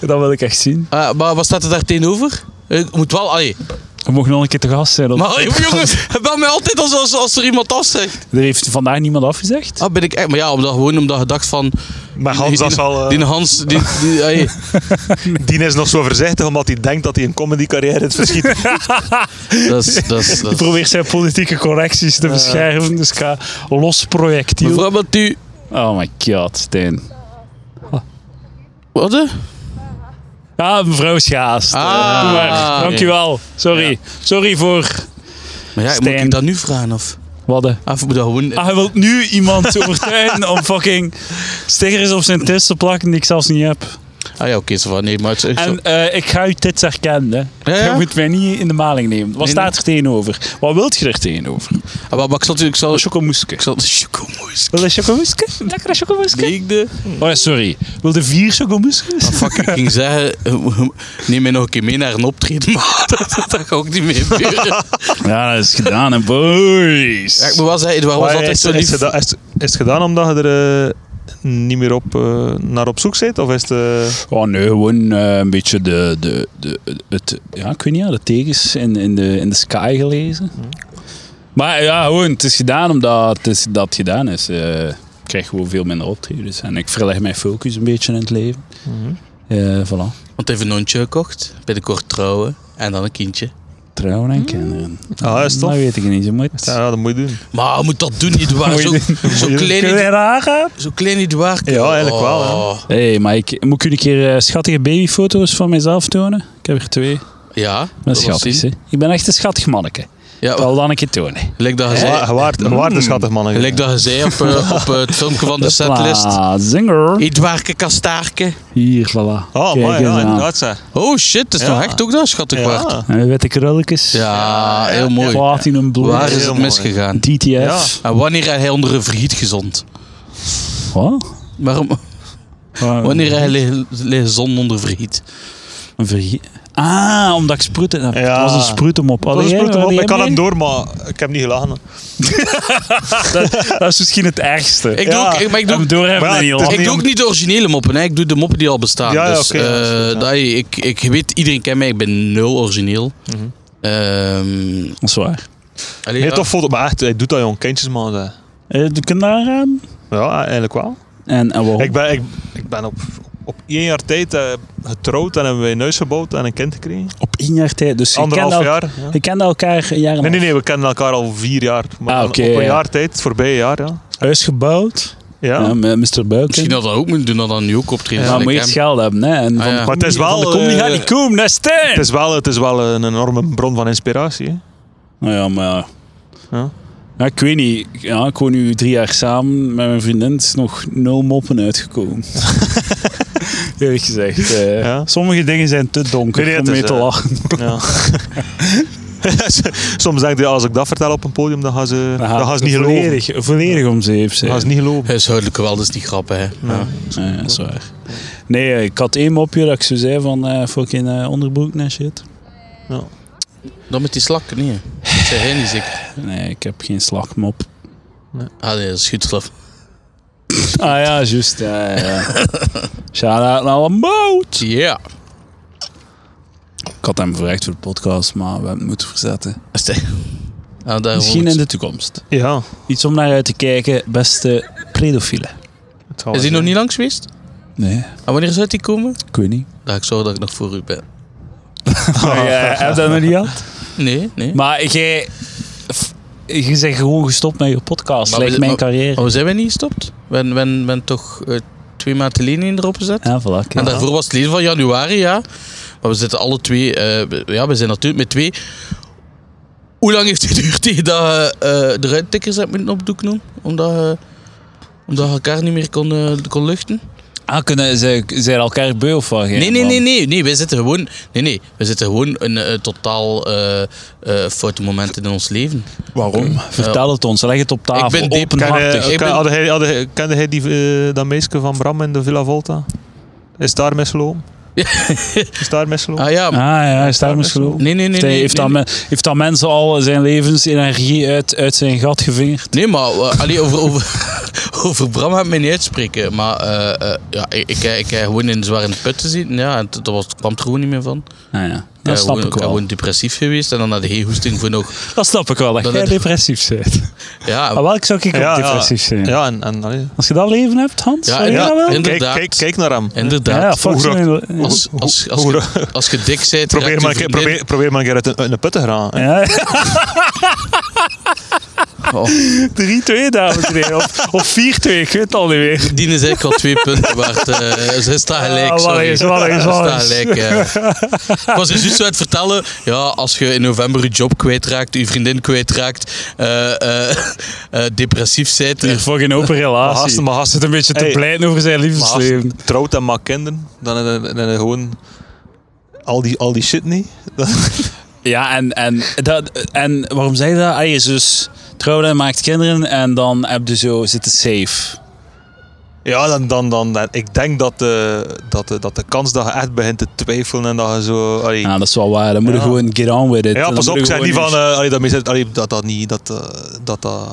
Speaker 1: Dat wil ik echt zien.
Speaker 2: Ah, maar wat staat er daar tegenover? Eh, Ik moet wel. Allee.
Speaker 1: We mogen nog een keer te gast zijn. op-
Speaker 2: Maar allee, jongen, bel mij altijd als, als, als er iemand afzegt.
Speaker 1: Er heeft vandaag niemand afgezegd.
Speaker 2: Ah, ben ik echt. Maar ja, omdat, gewoon omdat je dacht van.
Speaker 3: Maar Hans,
Speaker 2: die,
Speaker 3: dat
Speaker 2: die-
Speaker 3: zal, eh,
Speaker 2: Die Hans. Die, die, allee.
Speaker 3: die is nog zo voorzichtig omdat hij denkt dat hij een comedycarrière in het verschiet. heeft.
Speaker 2: dat is. Dat is, dat
Speaker 1: Die
Speaker 2: is.
Speaker 1: probeert zijn politieke correcties te verscherven. Dus ik ga los projectiel.
Speaker 2: Mevrouw Batu.
Speaker 1: Oh my god, Stijn.
Speaker 2: Wat? hè?
Speaker 1: Ja, mevrouw is gehaast.
Speaker 2: Ah,
Speaker 1: Doe maar.
Speaker 2: oké.
Speaker 1: Dankjewel. Sorry. Sorry voor...
Speaker 2: Maar ja, moet
Speaker 1: Stijn.
Speaker 2: ik dat nu vragen? Of,
Speaker 1: Wat? hè?
Speaker 2: of moet dat gewoon.
Speaker 1: Ah, hij wil nu iemand overtuigen om fucking stickers op zijn test te plakken die ik zelfs niet heb.
Speaker 2: Ah ja, oké, zo van nee, maar het is
Speaker 1: En eh, ik ga u dit herkennen. hè.
Speaker 2: Ja, ja.
Speaker 1: Je moet mij niet in de maling nemen. Wat
Speaker 2: Nee,
Speaker 1: staat er tegenover? Wat wilt je er tegenover?
Speaker 2: Ah, maar, maar ik zal natuurlijk zal,
Speaker 1: Een chocomoeske.
Speaker 2: ik zal chocomoes.
Speaker 1: Wil je chocomoeske? Lekkere chocomoeske?
Speaker 2: Deegde.
Speaker 1: Oh, ja, sorry. Wil je vier chocomoeskes?
Speaker 2: Fuck, ik ging zeggen, neem mij nog een keer mee naar een optreden, maar dat, dat ga ook niet meer gebeuren.
Speaker 1: Ja, dat is gedaan, hè, boys.
Speaker 2: Ja, ik moet wel zeggen, Edouard was
Speaker 3: Maar
Speaker 2: altijd
Speaker 3: is,
Speaker 2: zo
Speaker 3: is
Speaker 2: lief.
Speaker 3: geda- is- is het gedaan omdat je er eh, niet meer op, eh, naar op zoek zit? Of is het... eh,
Speaker 1: Oh nee, gewoon eh, een beetje de, de, de, het, ja, ik weet niet, ja, de tekens in, in, de, in de sky gelezen.
Speaker 3: Mhm.
Speaker 1: Maar ja, gewoon, het is gedaan omdat het, is, dat het gedaan is. Eh, ik krijg gewoon veel minder optredens. En ik verleg mijn focus een beetje in het leven.
Speaker 3: Mhm.
Speaker 1: Eh, voilà.
Speaker 2: Want hij heeft een hondje gekocht, binnenkort trouwen, en dan een kindje.
Speaker 1: Trouwen en kinderen.
Speaker 3: Ah, is tof.
Speaker 1: Dat weet ik niet. Je moet...
Speaker 3: ja, dat moet je doen.
Speaker 2: Maar je moet dat doen, Edouard. Zo, zo, klein, Ed-
Speaker 1: raar
Speaker 2: zo klein Edouard.
Speaker 3: Ja, eigenlijk wel, hè.
Speaker 2: Oh.
Speaker 1: Hé, hey, maar ik, moet ik jullie een keer eh, schattige babyfoto's van mezelf tonen? Ik heb er twee.
Speaker 2: Ja,
Speaker 1: Maar
Speaker 2: was
Speaker 1: schattig, hè?
Speaker 2: zien.
Speaker 1: Ik ben echt een schattig manneke. Ik
Speaker 2: Ja,
Speaker 1: zal dan een keer tonen.
Speaker 2: gelijk dat je
Speaker 3: Je wa-
Speaker 2: zei,
Speaker 3: je waart- je waart een schattig man. hè.
Speaker 2: gelijk dat je zei op, eh, op eh, het filmpje van de setlist.
Speaker 1: Hopla, zinger.
Speaker 2: Edouardke Kastaarke.
Speaker 1: Hier, voilà.
Speaker 3: Oh,
Speaker 1: Kijk
Speaker 3: maar
Speaker 1: eens
Speaker 3: ja,
Speaker 1: aan.
Speaker 3: inderdaad. zeg.
Speaker 2: Oh shit, dat is
Speaker 3: Ja.
Speaker 2: nog echt ook dat, schattig
Speaker 3: Ja.
Speaker 2: waard.
Speaker 1: En witte krulletjes.
Speaker 2: Ja, heel mooi.
Speaker 1: Platinum blue.
Speaker 2: Waar is
Speaker 3: Heel
Speaker 2: het
Speaker 3: mooi.
Speaker 2: misgegaan?
Speaker 1: DTF.
Speaker 3: Ja.
Speaker 2: En wanneer hij onder een vergiet gezond?
Speaker 1: Wat? Eh,
Speaker 2: Waarom? Oh. Wanneer hij ligt ligt zon onder vergiet?
Speaker 1: Een vergie- Ah, omdat ik sproeten heb.
Speaker 3: Ja.
Speaker 1: Het was een sproetem op.
Speaker 3: Dat is een sproeten op. Ik kan hem door, maar ik heb niet gelachen.
Speaker 1: Dat is misschien het ergste.
Speaker 2: Ik doe
Speaker 3: Ja.
Speaker 2: ook, ik, maar ik doe,
Speaker 1: hem door hebben
Speaker 3: Maar ja,
Speaker 1: en niet
Speaker 3: het is
Speaker 1: lachen.
Speaker 2: ik doe ook niet de originele moppen, hè. ik doe de moppen die al bestaan.
Speaker 3: Ja, ja,
Speaker 2: dus,
Speaker 3: oké, ja, dat is
Speaker 2: eh,
Speaker 3: goed, ja.
Speaker 2: dat- ik, ik weet, iedereen kent mij, ik ben nul origineel.
Speaker 3: Mhm.
Speaker 2: Ehm,
Speaker 1: Dat is waar.
Speaker 2: allee,
Speaker 3: Heel
Speaker 2: ja.
Speaker 3: tof foto. Maar echt, hij doet dat jong. Kindjes, man. zeg.
Speaker 1: Eh, doe ik hem daar aan?
Speaker 3: Ja, eigenlijk wel.
Speaker 1: En, en waarom?
Speaker 3: Ik ben, ik, ik ben op, op één jaar tijd eh, getrouwd en hebben wij een huis gebouwd en een kind gekregen.
Speaker 1: Op één jaar tijd. Dus je
Speaker 3: Anderhalf
Speaker 1: kende, el-
Speaker 3: jaar. ja.
Speaker 1: je kende elkaar een jaar en
Speaker 3: Nee, nee,
Speaker 1: een
Speaker 3: nee, we kennen elkaar al vier jaar. Maar
Speaker 1: Ah,
Speaker 3: dan
Speaker 1: oké,
Speaker 3: op een
Speaker 1: ja.
Speaker 3: jaar tijd, het voorbije jaar, ja.
Speaker 1: half. Huis gebouwd.
Speaker 3: ja.
Speaker 1: Ja. met Mr.
Speaker 2: Misschien
Speaker 1: Buiken.
Speaker 2: dat dat ook moet doen, dat dan nu ook optreden.
Speaker 1: Maar
Speaker 2: Ik
Speaker 1: moet je
Speaker 2: heb-
Speaker 1: eerst geld hebben. Hè? En
Speaker 2: Ah,
Speaker 1: van
Speaker 2: ja.
Speaker 1: de
Speaker 3: Maar het is
Speaker 1: comedy- van
Speaker 3: wel,
Speaker 1: De comedy gaat
Speaker 3: eh,
Speaker 1: niet komen. Dat is tijd.
Speaker 3: Het, is wel, het is wel een enorme bron van inspiratie. Hè.
Speaker 1: Nou ja, maar...
Speaker 3: Ja.
Speaker 1: Ja, ik weet niet. Ja, ik woon nu drie jaar samen met mijn vriendin. Het is nog nul moppen uitgekomen. Eerlijk gezegd. eh,
Speaker 3: Ja.
Speaker 1: Sommige dingen zijn te donker
Speaker 3: Nee, nee,
Speaker 1: om
Speaker 3: het
Speaker 1: mee
Speaker 3: is,
Speaker 1: te
Speaker 3: eh,
Speaker 1: lachen.
Speaker 3: Ja. Soms denk je, als ik dat vertel op een podium, dan gaan ze,
Speaker 1: Ja,
Speaker 3: dan gaan ze niet geloven.
Speaker 1: volledig, Volledig om zeep
Speaker 3: Dan
Speaker 1: zijn.
Speaker 3: gaan ze niet geloven.
Speaker 2: Huishoudelijke wel, dat is niet grappig. Hè. Ja.
Speaker 1: Ja, ja, dat is waar. Nee, eh, ik had één mopje dat ik zo zei van eh fucking eh, onderbroek en shit.
Speaker 2: Dan met die slakken, nee. Dat zei hij niet zeker.
Speaker 1: Nee, ik heb geen slagmop.
Speaker 2: Ah nee, dat is goed geloof.
Speaker 1: Ah ja, juist. Ja, ja. Shout-out naar Lamboot.
Speaker 2: Ja.
Speaker 1: Ik had hem gevraagd voor de podcast, maar we hebben het moeten verzetten.
Speaker 2: Dat is- Ah, daar
Speaker 1: Misschien
Speaker 2: hoort-
Speaker 1: in de toekomst.
Speaker 3: Ja.
Speaker 1: Iets om naar uit te kijken, beste predofielen.
Speaker 3: het zal
Speaker 2: Is
Speaker 3: wel
Speaker 2: hij nog
Speaker 3: zijn.
Speaker 2: niet langs geweest?
Speaker 1: Nee,
Speaker 2: En wanneer zou die komen?
Speaker 1: ik weet niet.
Speaker 2: Ja, ik zorg dat ik nog voor u ben.
Speaker 1: Oh, heb je dat nog niet gehad?
Speaker 2: Nee, nee.
Speaker 1: Maar jij... f- Je bent gewoon gestopt met je podcast,
Speaker 2: Maar we
Speaker 1: lijkt
Speaker 2: zijn-
Speaker 1: mijn
Speaker 2: maar-
Speaker 1: carrière.
Speaker 2: Oh, zijn wij niet gestopt? Ben, ben, ben toch eh, twee maanden geleden erop gezet?
Speaker 1: Ja, voilà.
Speaker 2: En
Speaker 1: kijk.
Speaker 2: daarvoor was het leden van januari, ja. Maar we zitten alle twee... eh, ja, we zijn natuurlijk met twee... Hoe lang heeft het geduurd tegen dat je eh, de ruittikkers hebt moeten opdoeken? doen? Omdat je omdat je elkaar niet meer kon, eh, kon luchten?
Speaker 1: Ah, kunnen ze zijn elkaar beu of wat?
Speaker 2: Nee, nee, nee, nee, nee. Wij zitten gewoon, nee, nee, wij zitten gewoon een, eh, totaal eh eh foute momenten in ons leven.
Speaker 1: Waarom? Vertel het ons, leg het op tafel.
Speaker 2: Ik ben diep-
Speaker 3: Ken je-
Speaker 1: openhartig.
Speaker 2: Ik
Speaker 3: ken-
Speaker 2: ben-
Speaker 3: hadden hij- hadden hij- Kende hij die, eh, dat meisje van Bram in de Villa Volta? Is daar misgelopen? Is daar misgelopen?
Speaker 2: Ah ja,
Speaker 1: Ah ja, hij is daar misgelopen.
Speaker 2: nee, nee, nee.
Speaker 1: Heeft
Speaker 2: nee,
Speaker 1: hij- heeft,
Speaker 2: nee,
Speaker 1: dat men- heeft dat mensen al zijn levensenergie uit, uit zijn gat gevingerd?
Speaker 2: Nee, maar eh, allee, over, over, over Bram gaat mij niet uitspreken. Maar eh, eh, ja, ik, ik, ik heb gewoon in een zware put te zitten. Ja, en dat was, kwam er gewoon niet meer van.
Speaker 1: Ah ja,
Speaker 2: Ja,
Speaker 1: dat snap
Speaker 2: gewoon-
Speaker 1: ik
Speaker 2: ben
Speaker 1: wel.
Speaker 2: gewoon depressief geweest en dan had hij hoesting voor nog.
Speaker 1: Dat snap ik wel, dat,
Speaker 2: Dat
Speaker 1: jij
Speaker 2: het-
Speaker 1: depressief bent.
Speaker 2: Ja,
Speaker 3: Ah,
Speaker 1: Maar welk zou ik ook depressief zijn?
Speaker 3: Ja, en, en allee.
Speaker 1: Als je dat leven hebt, Hans,
Speaker 2: Ja,
Speaker 1: zou je
Speaker 2: ja.
Speaker 1: dat wel?
Speaker 2: En-
Speaker 3: Kijk,
Speaker 2: Inderdaad.
Speaker 3: kijk, kijk naar hem.
Speaker 2: inderdaad.
Speaker 1: ja, fuck
Speaker 3: hoe
Speaker 1: zijn-
Speaker 2: Als, als, als,
Speaker 3: Hoe-
Speaker 2: je, als je dik bent,
Speaker 3: Probeer
Speaker 2: raakt je
Speaker 3: maar, een keer-
Speaker 2: vriendin-
Speaker 3: probeer, probeer maar een keer uit een, uit een put te gaan.
Speaker 1: Ja.
Speaker 2: Oh.
Speaker 1: 3-2, dames en heren. Of, of 4-2, ik weet het al niet meer.
Speaker 2: Die is eigenlijk al twee punten waard. eh, ze staan
Speaker 1: Ah,
Speaker 2: gelijk.
Speaker 1: wat
Speaker 2: sorry.
Speaker 1: is, wat is,
Speaker 2: Ze
Speaker 1: wat
Speaker 2: staan
Speaker 1: is.
Speaker 2: gelijk. eh. Ik was er juist zo aan het vertellen. Ja, als je in november je job kwijtraakt, je vriendin kwijtraakt, eh, eh, eh, depressief zijt.
Speaker 1: Hier voor geen open
Speaker 3: Maar
Speaker 1: relatie.
Speaker 3: gasten, maar gasten.
Speaker 1: zit een beetje te
Speaker 3: Hey.
Speaker 1: pleiten over zijn
Speaker 3: Maar als
Speaker 1: liefdesleven.
Speaker 3: je trouwt en maakt kinderen, dan dan- dan- dan gewoon al die, al die shit niet. Dan-
Speaker 1: Ja, en, en, dat, en waarom zei je dat? Ah, je zus trouwde en maakt kinderen en dan heb je zo zitten safe.
Speaker 3: Ja, dan, dan, dan, dan- ik denk dat de, dat, de, dat de kans dat je echt begint te twijfelen en dat je zo... allee,
Speaker 1: Ja, dat is wel waar. Dan moet je
Speaker 3: Ja.
Speaker 1: gewoon get on with it.
Speaker 3: ja,
Speaker 1: Dan
Speaker 3: pas
Speaker 1: moet
Speaker 3: op,
Speaker 1: je
Speaker 3: ik zeg
Speaker 1: gewoon
Speaker 3: niet van...
Speaker 1: eens-
Speaker 3: eh, allee, dat, mensen- allee, dat dat niet... Dat, eh, dat, dat,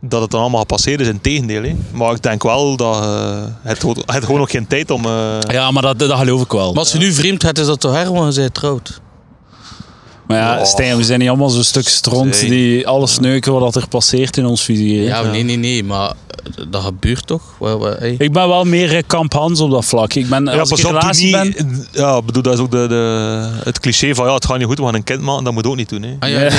Speaker 3: dat het dan allemaal gepasseerd is, in tegendeel. Hè. Maar ik denk wel dat je... Het, gewoon- het gewoon nog geen tijd om... eh,
Speaker 1: Ja, maar dat, dat geloof ik wel.
Speaker 2: Maar als je nu vreemd gaat, is dat toch haar, want je bent trouwd.
Speaker 1: Maar ja,
Speaker 3: Oh.
Speaker 1: Stijn, we zijn niet allemaal zo'n stuk stront
Speaker 3: Zee.
Speaker 1: die alles neuken wat er passeert in ons vizier. hè?
Speaker 2: Ja, nee, nee, nee. Maar eh, dat gebeurt toch? Wel, wel, hey.
Speaker 1: Ik ben wel meer eh, kamp Hans op dat vlak. Ik ben,
Speaker 3: Ja,
Speaker 1: als ik
Speaker 3: pas
Speaker 1: in
Speaker 3: op, doe
Speaker 1: relatie ben...
Speaker 3: niet... Ja, ik bedoel, dat is ook de, de, het cliché van ja, het gaat niet goed, we gaan een kind maken. Dat moet je ook niet doen. Hè.
Speaker 2: Ah, ja, nee.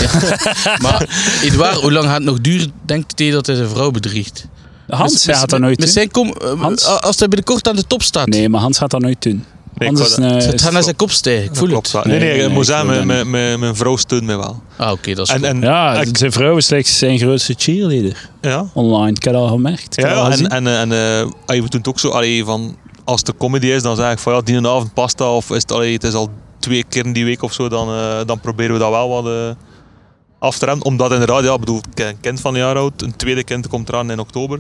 Speaker 2: maar Edouard, hoe lang gaat het nog duren, denkt hij dat hij zijn vrouw bedriegt?
Speaker 1: Hans
Speaker 2: Mis-
Speaker 1: gaat dat
Speaker 2: mis-
Speaker 1: nooit
Speaker 2: mis-
Speaker 1: doen.
Speaker 2: zijn kom, eh,
Speaker 1: Hans?
Speaker 2: Als hij binnenkort aan de top staat,
Speaker 1: Nee, maar Hans gaat dat nooit doen.
Speaker 3: Nee,
Speaker 1: Hans
Speaker 3: ik
Speaker 1: is
Speaker 3: wou
Speaker 1: een, eh,
Speaker 2: het gaat naar
Speaker 1: is-
Speaker 2: zijn kop stijgen. Ik
Speaker 3: Dat
Speaker 2: voel
Speaker 3: klopt
Speaker 2: het.
Speaker 3: wel. Nee, nee,
Speaker 1: Nee,
Speaker 3: ik
Speaker 1: nee,
Speaker 3: moet
Speaker 1: ik
Speaker 3: zeggen,
Speaker 1: wil
Speaker 3: mijn,
Speaker 1: dat
Speaker 3: mijn, mijn, mijn vrouw steunt mij wel.
Speaker 2: Ah, oké, dat is
Speaker 3: En,
Speaker 2: goed.
Speaker 3: en,
Speaker 1: Ja,
Speaker 3: ik-
Speaker 1: zijn vrouw is slechts zijn grootste cheerleader
Speaker 3: ja.
Speaker 1: online. Ik heb dat al gemerkt. Ik
Speaker 3: Ja,
Speaker 1: heb dat al
Speaker 3: ja, en,
Speaker 1: gezien.
Speaker 3: en, eh, en eh, allee, we doen het ook zo allee, van als er comedy is, dan zeg ik van ja, die avond pasta of is het, allee, het is al twee keer in die week of zo, dan, eh, dan proberen we dat wel wat eh, af te remmen. Omdat inderdaad, ja, ik bedoel, ik heb een kind van een jaar oud, een tweede kind komt eraan in oktober.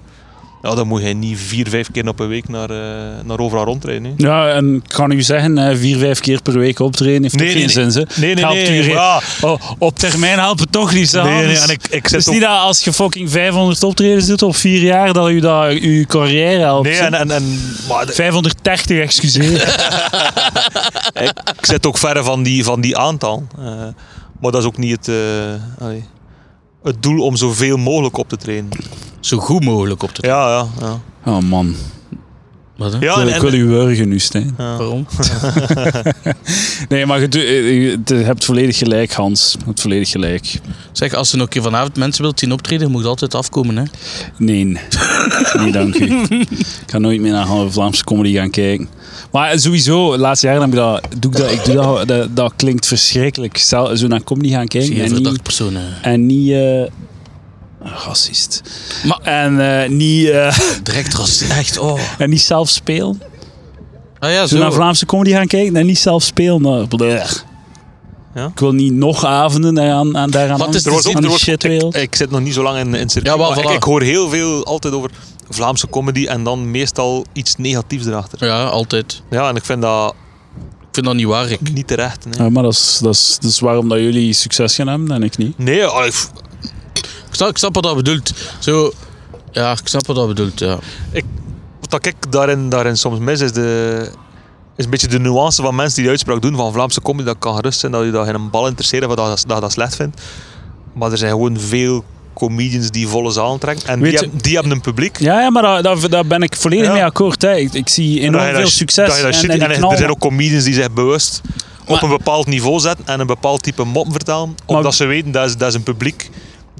Speaker 3: Ja, dan moet je niet vier, vijf keer op een week naar, eh, naar overal rondrijden. Hè.
Speaker 1: Ja, en ik kan u zeggen, eh, vier, vijf keer per week optreden heeft
Speaker 3: Nee,
Speaker 1: ook
Speaker 3: nee,
Speaker 1: geen zin. ze.
Speaker 3: Nee, nee,
Speaker 1: Helpt u
Speaker 3: nee.
Speaker 1: geen-
Speaker 3: ja.
Speaker 1: Oh, op termijn helpt het toch niet, hè,
Speaker 3: Nee, nee,
Speaker 1: Hans?
Speaker 3: en ik,
Speaker 1: Het
Speaker 3: ik
Speaker 1: is
Speaker 3: zit ook-
Speaker 1: niet dat als je fucking 500 optredens doet op vier jaar, dat u dat uw carrière helpt.
Speaker 3: Nee,
Speaker 1: hè.
Speaker 3: en, en, en, maar de-
Speaker 1: 530, excuseer.
Speaker 3: ik zit ook verre van die, van die aantal. Eh, maar dat is ook niet het, eh, allee, het doel om zoveel mogelijk op te trainen.
Speaker 2: Zo goed mogelijk op de
Speaker 3: Ja, ja, ja.
Speaker 1: Oh man,
Speaker 2: Wat, hè?
Speaker 3: ja
Speaker 1: ik wil,
Speaker 3: en,
Speaker 1: ik wil
Speaker 3: en,
Speaker 1: u wurgen nu, Stijn.
Speaker 2: Waarom?
Speaker 1: Nee, maar je, doet- eh, je- je hebt volledig gelijk, Hans. Je hebt volledig gelijk.
Speaker 2: Zeg, als ze nog een keer vanavond mensen wilt zien optreden, je moet altijd afkomen. Hè?
Speaker 1: Nee, nee dank u. Ik ga nooit meer naar halve Vlaamse comedy gaan kijken. Maar sowieso, laatste jaar heb ik dat, doe ik dat, ik doe dat, dat, dat klinkt verschrikkelijk. Stel, zo naar comedy gaan
Speaker 2: Zie
Speaker 1: kijken
Speaker 2: je
Speaker 1: en
Speaker 2: verdacht
Speaker 1: niet,
Speaker 2: personen.
Speaker 1: en niet eh, racist.
Speaker 2: Maar-
Speaker 1: en, eh, niet, eh,
Speaker 2: Direct ras. Echt, oh.
Speaker 1: en niet zelf spelen.
Speaker 2: Ah ja,
Speaker 1: Zo naar
Speaker 2: zo.
Speaker 1: Vlaamse comedy gaan kijken en niet zelf spelen. Nou, blech.
Speaker 3: Ja?
Speaker 1: Ik wil niet nog avonden daaraan, aan, daaraan
Speaker 2: Wat is
Speaker 1: aan-
Speaker 2: er was ook-
Speaker 1: aan
Speaker 2: er
Speaker 1: die
Speaker 3: was-
Speaker 1: shitwereld.
Speaker 3: ik zit nog niet zo lang in, in circuit,
Speaker 2: Ja, wel,
Speaker 3: maar ik,
Speaker 2: voilà.
Speaker 3: ik hoor heel veel altijd over Vlaamse comedy en dan meestal iets negatiefs erachter.
Speaker 2: Ja, altijd.
Speaker 3: Ja, en ik vind dat
Speaker 2: Ik vind dat niet waar, ik.
Speaker 3: niet terecht. Nee,
Speaker 1: Ja, maar dat is, dat, is, dat is waarom dat jullie succes gaan hebben en ik niet.
Speaker 3: nee ah, allee, f-
Speaker 2: Ik snap, ik snap wat dat bedoelt. Zo, ja, ik snap wat dat bedoelt, ja.
Speaker 3: wat ik daarin, daarin soms mis is, de, is een beetje de nuance van mensen die de uitspraak doen van Vlaamse comedy. Dat kan gerust zijn dat je dat geen bal interesseert of dat, je dat, dat je dat slecht vindt. Maar er zijn gewoon veel comedians die volle zaal trekken. En die,
Speaker 1: Weet je-
Speaker 3: hebben- die hebben een publiek.
Speaker 1: Ja, ja maar daar, daar, daar ben ik volledig
Speaker 3: Ja.
Speaker 1: mee akkoord. Hè. Ik, ik zie
Speaker 3: En dat
Speaker 1: enorm
Speaker 3: je
Speaker 1: veel
Speaker 3: dat-
Speaker 1: succes.
Speaker 3: dat je dat shit-
Speaker 1: en, en, die
Speaker 3: en er
Speaker 1: knallen.
Speaker 3: zijn ook comedians die zich bewust op
Speaker 1: Maar-
Speaker 3: een bepaald niveau zetten en een bepaald type mop vertellen. Omdat ze weten dat is, dat is een publiek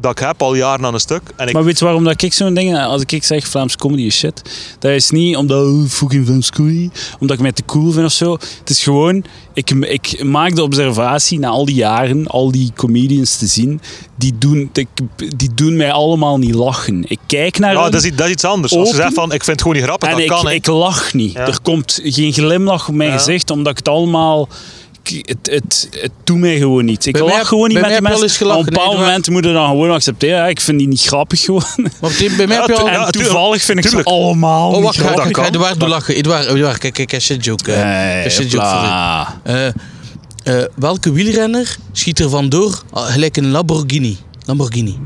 Speaker 3: dat ik heb al jaren aan een stuk. En ik,
Speaker 1: Maar weet je waarom dat ik zo'n ding, als ik zeg Vlaams comedy is shit, dat is niet omdat oh, fucking Vlaams comedy, omdat ik mij te cool vind of zo. Het is gewoon, ik, ik maak de observatie na al die jaren, al die comedians te zien, die doen, die, die doen mij allemaal niet lachen. Ik kijk naar
Speaker 3: ja,
Speaker 1: hen
Speaker 3: dat, is, iets- dat is iets anders. Als
Speaker 1: open.
Speaker 3: je zegt van ik vind het gewoon niet grappig,
Speaker 1: en
Speaker 3: dat
Speaker 1: ik,
Speaker 3: kan. hè.
Speaker 1: ik lach niet.
Speaker 3: Ja.
Speaker 1: Er komt geen glimlach op mijn
Speaker 3: Ja.
Speaker 1: gezicht, omdat ik het allemaal ik, het, het, het doet mij gewoon niet. Ik
Speaker 2: Bij mij
Speaker 1: lach
Speaker 2: heb-
Speaker 1: gewoon niet
Speaker 2: bij
Speaker 1: met
Speaker 2: mij
Speaker 1: die
Speaker 2: heb je
Speaker 1: mensen.
Speaker 2: al eens gelachen,
Speaker 1: Op een bepaald
Speaker 2: nee,
Speaker 1: moment moet je dan gewoon accepteren. Ja, ik vind die niet grappig gewoon.
Speaker 2: Maar meteen, bij mij heb je al...
Speaker 3: tu- ja,
Speaker 1: en toevallig vind ik
Speaker 3: tuurlijk.
Speaker 1: ze allemaal
Speaker 2: Oh,
Speaker 1: niet
Speaker 2: wacht, ga
Speaker 1: grappig.
Speaker 3: dat
Speaker 2: ik ga
Speaker 3: kan.
Speaker 2: Edouard doen lachen. Edouard, Edouard, kijk, kijk, cash joke. eh,
Speaker 1: Nee,
Speaker 2: cash joke voor u.
Speaker 1: hopla.
Speaker 2: Eh, eh, welke wielrenner schiet er vandoor ah, gelijk een Lamborghini? Lamborghini.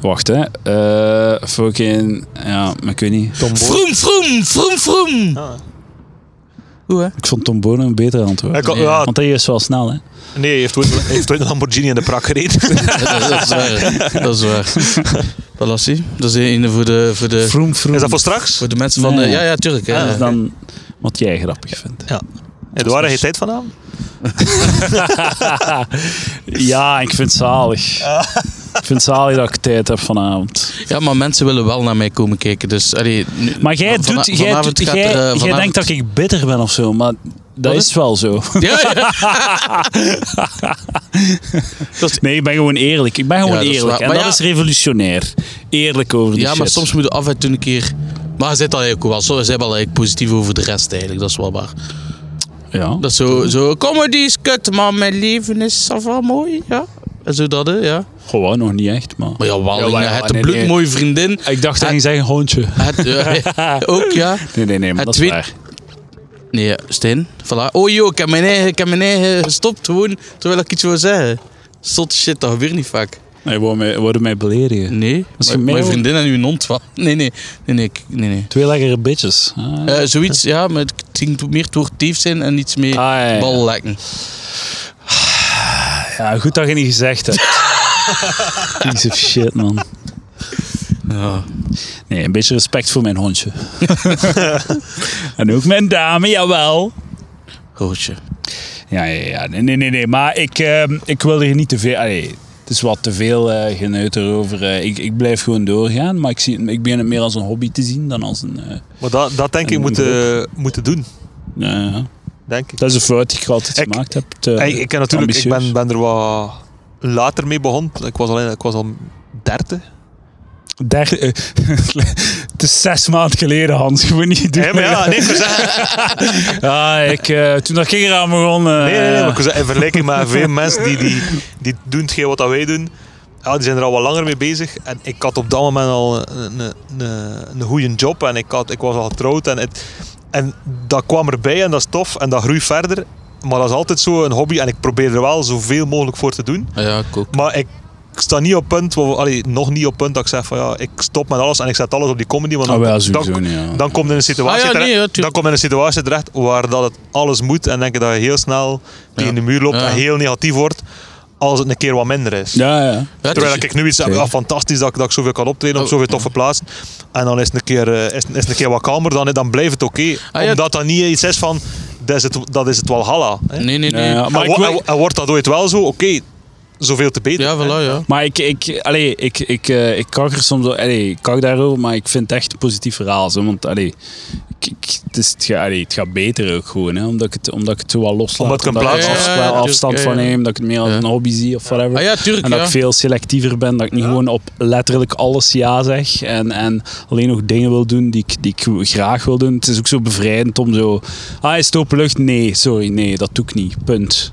Speaker 1: Wacht, hè. Eh fucking... Ja, maar ik weet niet.
Speaker 3: Tom Boer.
Speaker 2: Vroom, vroom, vroom, vroom.
Speaker 3: Ah.
Speaker 2: Hoe hè?
Speaker 1: Ik vond Tom Bonen een betere antwoord.
Speaker 3: Hij kan-
Speaker 2: Ja.
Speaker 3: ja,
Speaker 1: Want hij is wel snel, hè.
Speaker 3: nee, hij heeft ooit, hij heeft ooit een Lamborghini in de prak gereden.
Speaker 2: dat, dat is waar. Dat is waar. Palassi, dat is een voor de, voor de,
Speaker 1: Vroom, vroom.
Speaker 3: Is dat voor straks?
Speaker 2: Eh, voor de mensen van...
Speaker 1: Nee.
Speaker 2: eh, ja, ja, tuurlijk. hè.
Speaker 1: Ja, dat is Dus dan wat jij grappig vindt.
Speaker 3: Edouard, heeft tijd vandaan?
Speaker 1: Ja, ik vind het zalig. Ik vind het zalig dat ik tijd heb vanavond.
Speaker 2: Ja, maar mensen willen wel naar mij komen kijken. Dus, allee, nu-
Speaker 1: Maar jij,
Speaker 2: van-
Speaker 1: doet, jij,
Speaker 2: vanavond
Speaker 1: doet,
Speaker 2: gaat er,
Speaker 1: jij,
Speaker 2: eh,
Speaker 1: jij
Speaker 2: vanavond-
Speaker 1: denkt dat ik bitter ben of zo, maar dat
Speaker 2: is-
Speaker 1: is wel zo.
Speaker 2: Ja, ja.
Speaker 1: Nee, ik ben gewoon eerlijk. Ik ben gewoon
Speaker 2: Ja, dat is
Speaker 1: eerlijk.
Speaker 2: waar.
Speaker 1: En
Speaker 2: Maar
Speaker 1: dat
Speaker 2: ja-
Speaker 1: is revolutionair. Eerlijk over die
Speaker 2: Ja, maar
Speaker 1: shit.
Speaker 2: soms moet je af en toe een keer. Maar je zit al eigenlijk ook wel zo. Je bent al eigenlijk positief over de rest eigenlijk. Dat is wel waar.
Speaker 1: Ja.
Speaker 2: Dat is zo, zo comedy is kut, maar mijn leven is al wel mooi. Ja. En zo dat, hè, ja.
Speaker 1: Gewoon nog niet echt, maar...
Speaker 2: Maar jawel,
Speaker 1: Jawel,
Speaker 2: je hebt een
Speaker 1: nee,
Speaker 2: bloedmooie vriendin.
Speaker 1: Ik dacht dat je zei een hondje.
Speaker 2: Het, ja, ook, ja.
Speaker 1: Nee, nee, nee, maar
Speaker 2: Het
Speaker 1: dat is
Speaker 2: weet-
Speaker 1: waar.
Speaker 2: Nee, ja, Stijn. Voilà. Oh joh, ik heb mijn eigen, ik heb mijn eigen gestopt gewoon terwijl ik iets wil zeggen. Stot shit, dat gebeurt niet vaak.
Speaker 1: Nee, worden mij, worden mij beledigen.
Speaker 2: Nee.
Speaker 1: Misschien
Speaker 2: Mijn,
Speaker 1: mij
Speaker 2: mijn
Speaker 1: ook.
Speaker 2: vriendin en uw hond wat? Nee, nee. Nee, nee. ik- nee, nee.
Speaker 1: Twee lekkere bitches. Ah,
Speaker 2: Eh, zoiets, ja, maar het ging meer door tief zijn en iets meer
Speaker 1: Ah, ja, ja.
Speaker 2: bal lekken.
Speaker 1: Ja, goed dat je niet gezegd hebt. Piece of shit, man.
Speaker 2: Ja.
Speaker 1: Nee, een beetje respect voor mijn hondje. en ook mijn dame, jawel.
Speaker 2: Roosje.
Speaker 1: Ja, ja, ja. Nee, nee, nee. nee. Maar ik, ehm, ik wil er niet te veel... Allee, het is wat te veel eh geneuter over. eh, ik, ik blijf gewoon doorgaan, maar ik, zie, het- ik begin het meer als een hobby te zien dan als een... eh,
Speaker 3: Maar dat, dat denk ik
Speaker 1: En
Speaker 3: moeten, moeten doen.
Speaker 1: nou ja.
Speaker 3: Denk ik.
Speaker 1: dat is een fout die ik altijd
Speaker 3: Ik-
Speaker 1: gemaakt heb. Te,
Speaker 3: Hey, ik ken natuurlijk, ik
Speaker 1: ambitieus.
Speaker 3: ben, ben er wat later mee begonnen. Ik was al, ik was al dertig.
Speaker 1: Daar, eh, het is zes maanden geleden, Hans. Je moet niet doen.
Speaker 3: Nee, maar ja, nee, ik wil zeggen-
Speaker 1: Ah, ik, eh, toen dat ik eraan begon... eh,
Speaker 3: nee, nee, nee, maar ik wil zeggen, in vergelijking met veel mensen die, die, die doen hetgeen wat dat wij doen, ja, die zijn er al wat langer mee bezig. En ik had op dat moment al een, een, een, een goede job en ik, had, ik was al getrouwd. En, het, en dat kwam erbij en dat is tof en dat groeit verder. Maar dat is altijd zo een hobby en ik probeer er wel zoveel mogelijk voor te doen.
Speaker 2: Ah Ja, ik ook.
Speaker 3: Maar ik sta niet op punt, waar- allee, nog niet op punt dat ik zeg van ja, ik stop met alles en ik zet alles op die comedy. Want
Speaker 1: Ah, wel,
Speaker 3: dan-
Speaker 1: sowieso
Speaker 3: dan,
Speaker 1: niet, ja.
Speaker 3: dan komt in een situatie
Speaker 2: Ah, ja,
Speaker 3: terecht,
Speaker 2: nee, ja, tuurlijk.
Speaker 3: dan komt in een situatie terecht waar dat het alles moet en denk ik dat je heel snel tegen de muur loopt
Speaker 2: Ja.
Speaker 3: en heel negatief wordt als het een keer wat minder is.
Speaker 1: Ja, ja.
Speaker 2: Ja, het
Speaker 3: Terwijl
Speaker 2: is-
Speaker 3: ik nu iets heb,
Speaker 1: Zeker.
Speaker 3: ja, fantastisch dat ik, dat ik zoveel kan optreden op
Speaker 2: Oh,
Speaker 3: zoveel toffe plaatsen. En dan is het een keer, eh, is, is het een keer wat kalmer, dan, dan blijft het oké.
Speaker 2: Ah, ja.
Speaker 3: Omdat dat niet iets is van, dat is het, dat is het wel halla. hè.
Speaker 2: Nee, nee, nee.
Speaker 1: Ja,
Speaker 2: Ja,
Speaker 1: ja. Maar
Speaker 3: en,
Speaker 1: ik
Speaker 3: wo-
Speaker 1: wil-
Speaker 3: en- en wordt dat ooit wel zo, oké, zoveel te beter. hè.
Speaker 2: voilà, ja.
Speaker 1: Maar ik, ik, allee, ik, ik, eh, ik kak er soms wel- allee, ik kak daarover, maar ik vind het echt een positief verhaal. Zo, want allee, ik, ik- het, is, het, gaat, allee, het gaat beter ook gewoon, hè, omdat, ik het, omdat ik het zo wat loslaat.
Speaker 3: Omdat ik een
Speaker 1: ik
Speaker 3: plaats-
Speaker 1: af-
Speaker 2: Ja, ja,
Speaker 1: wel
Speaker 2: natuurlijk,
Speaker 1: afstand
Speaker 3: dus-
Speaker 2: ja,
Speaker 1: van
Speaker 2: ja.
Speaker 1: neem, dat ik het meer als
Speaker 2: Ja.
Speaker 1: een hobby zie of whatever.
Speaker 2: Ah ja, tuurlijk,
Speaker 1: en dat
Speaker 2: ja.
Speaker 1: ik veel selectiever ben, dat ik niet gewoon op letterlijk alles ja zeg en, en alleen nog dingen wil doen die ik, die ik graag wil doen. Het is ook zo bevrijdend om zo, ah is het open lucht? Nee, sorry, nee, dat doe ik niet, punt.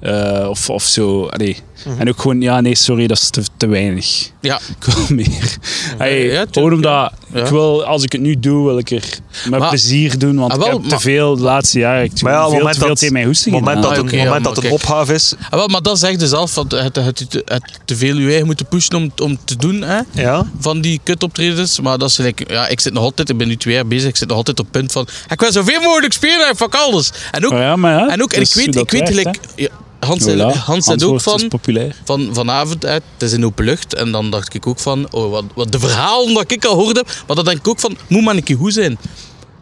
Speaker 1: Eh, of, of zo, allee.
Speaker 2: Mhm.
Speaker 1: En ook gewoon, ja nee, sorry, dat is te, te weinig.
Speaker 2: Ja.
Speaker 1: Ik wil meer. Hey,
Speaker 2: ja,
Speaker 1: gewoon
Speaker 2: tuurlijk,
Speaker 1: omdat,
Speaker 2: Ja.
Speaker 1: ik wil, als ik het nu doe, wil ik er met
Speaker 2: Maar-
Speaker 1: plezier doen, want
Speaker 2: ah, wel,
Speaker 1: ik heb
Speaker 2: maar-
Speaker 1: te veel de laatste jaren, ik
Speaker 3: Maar ja,
Speaker 1: heb
Speaker 3: op
Speaker 1: veel
Speaker 3: moment
Speaker 1: te veel
Speaker 3: dat-
Speaker 1: tegen mijn hoesten
Speaker 3: het moment dat,
Speaker 2: Ah,
Speaker 3: het,
Speaker 2: oké, ja,
Speaker 3: moment
Speaker 2: maar
Speaker 3: dat het
Speaker 2: kijk.
Speaker 3: opgave is,
Speaker 2: Ah, wel, maar dat zegt dus zelf, want het, het, het, het te veel je eigen moeten pushen om, om te doen, hè.
Speaker 3: ja.
Speaker 2: Van die kutoptredens. Maar dat is gelijk, ja, ik zit nog altijd, ik ben nu twee jaar bezig, ik zit nog altijd op het punt van, ik wil zoveel mogelijk spelen en fuck alles. En ook,
Speaker 1: Oh ja, maar ja,
Speaker 2: en ook,
Speaker 1: dat
Speaker 2: en ik
Speaker 1: is hoe
Speaker 2: weet,
Speaker 1: dat
Speaker 2: ik weet
Speaker 1: werkt,
Speaker 2: gelijk, ja, Hans,
Speaker 1: hè. Voilà,
Speaker 2: Hans zei het ook
Speaker 1: antwoord is
Speaker 2: van,
Speaker 1: populair.
Speaker 2: van vanavond uit, het is in open lucht. En dan dacht ik ook van, oh, wat, wat de verhalen dat ik al hoorde heb. Maar dan denk ik ook van, moet maar een keer goed zijn.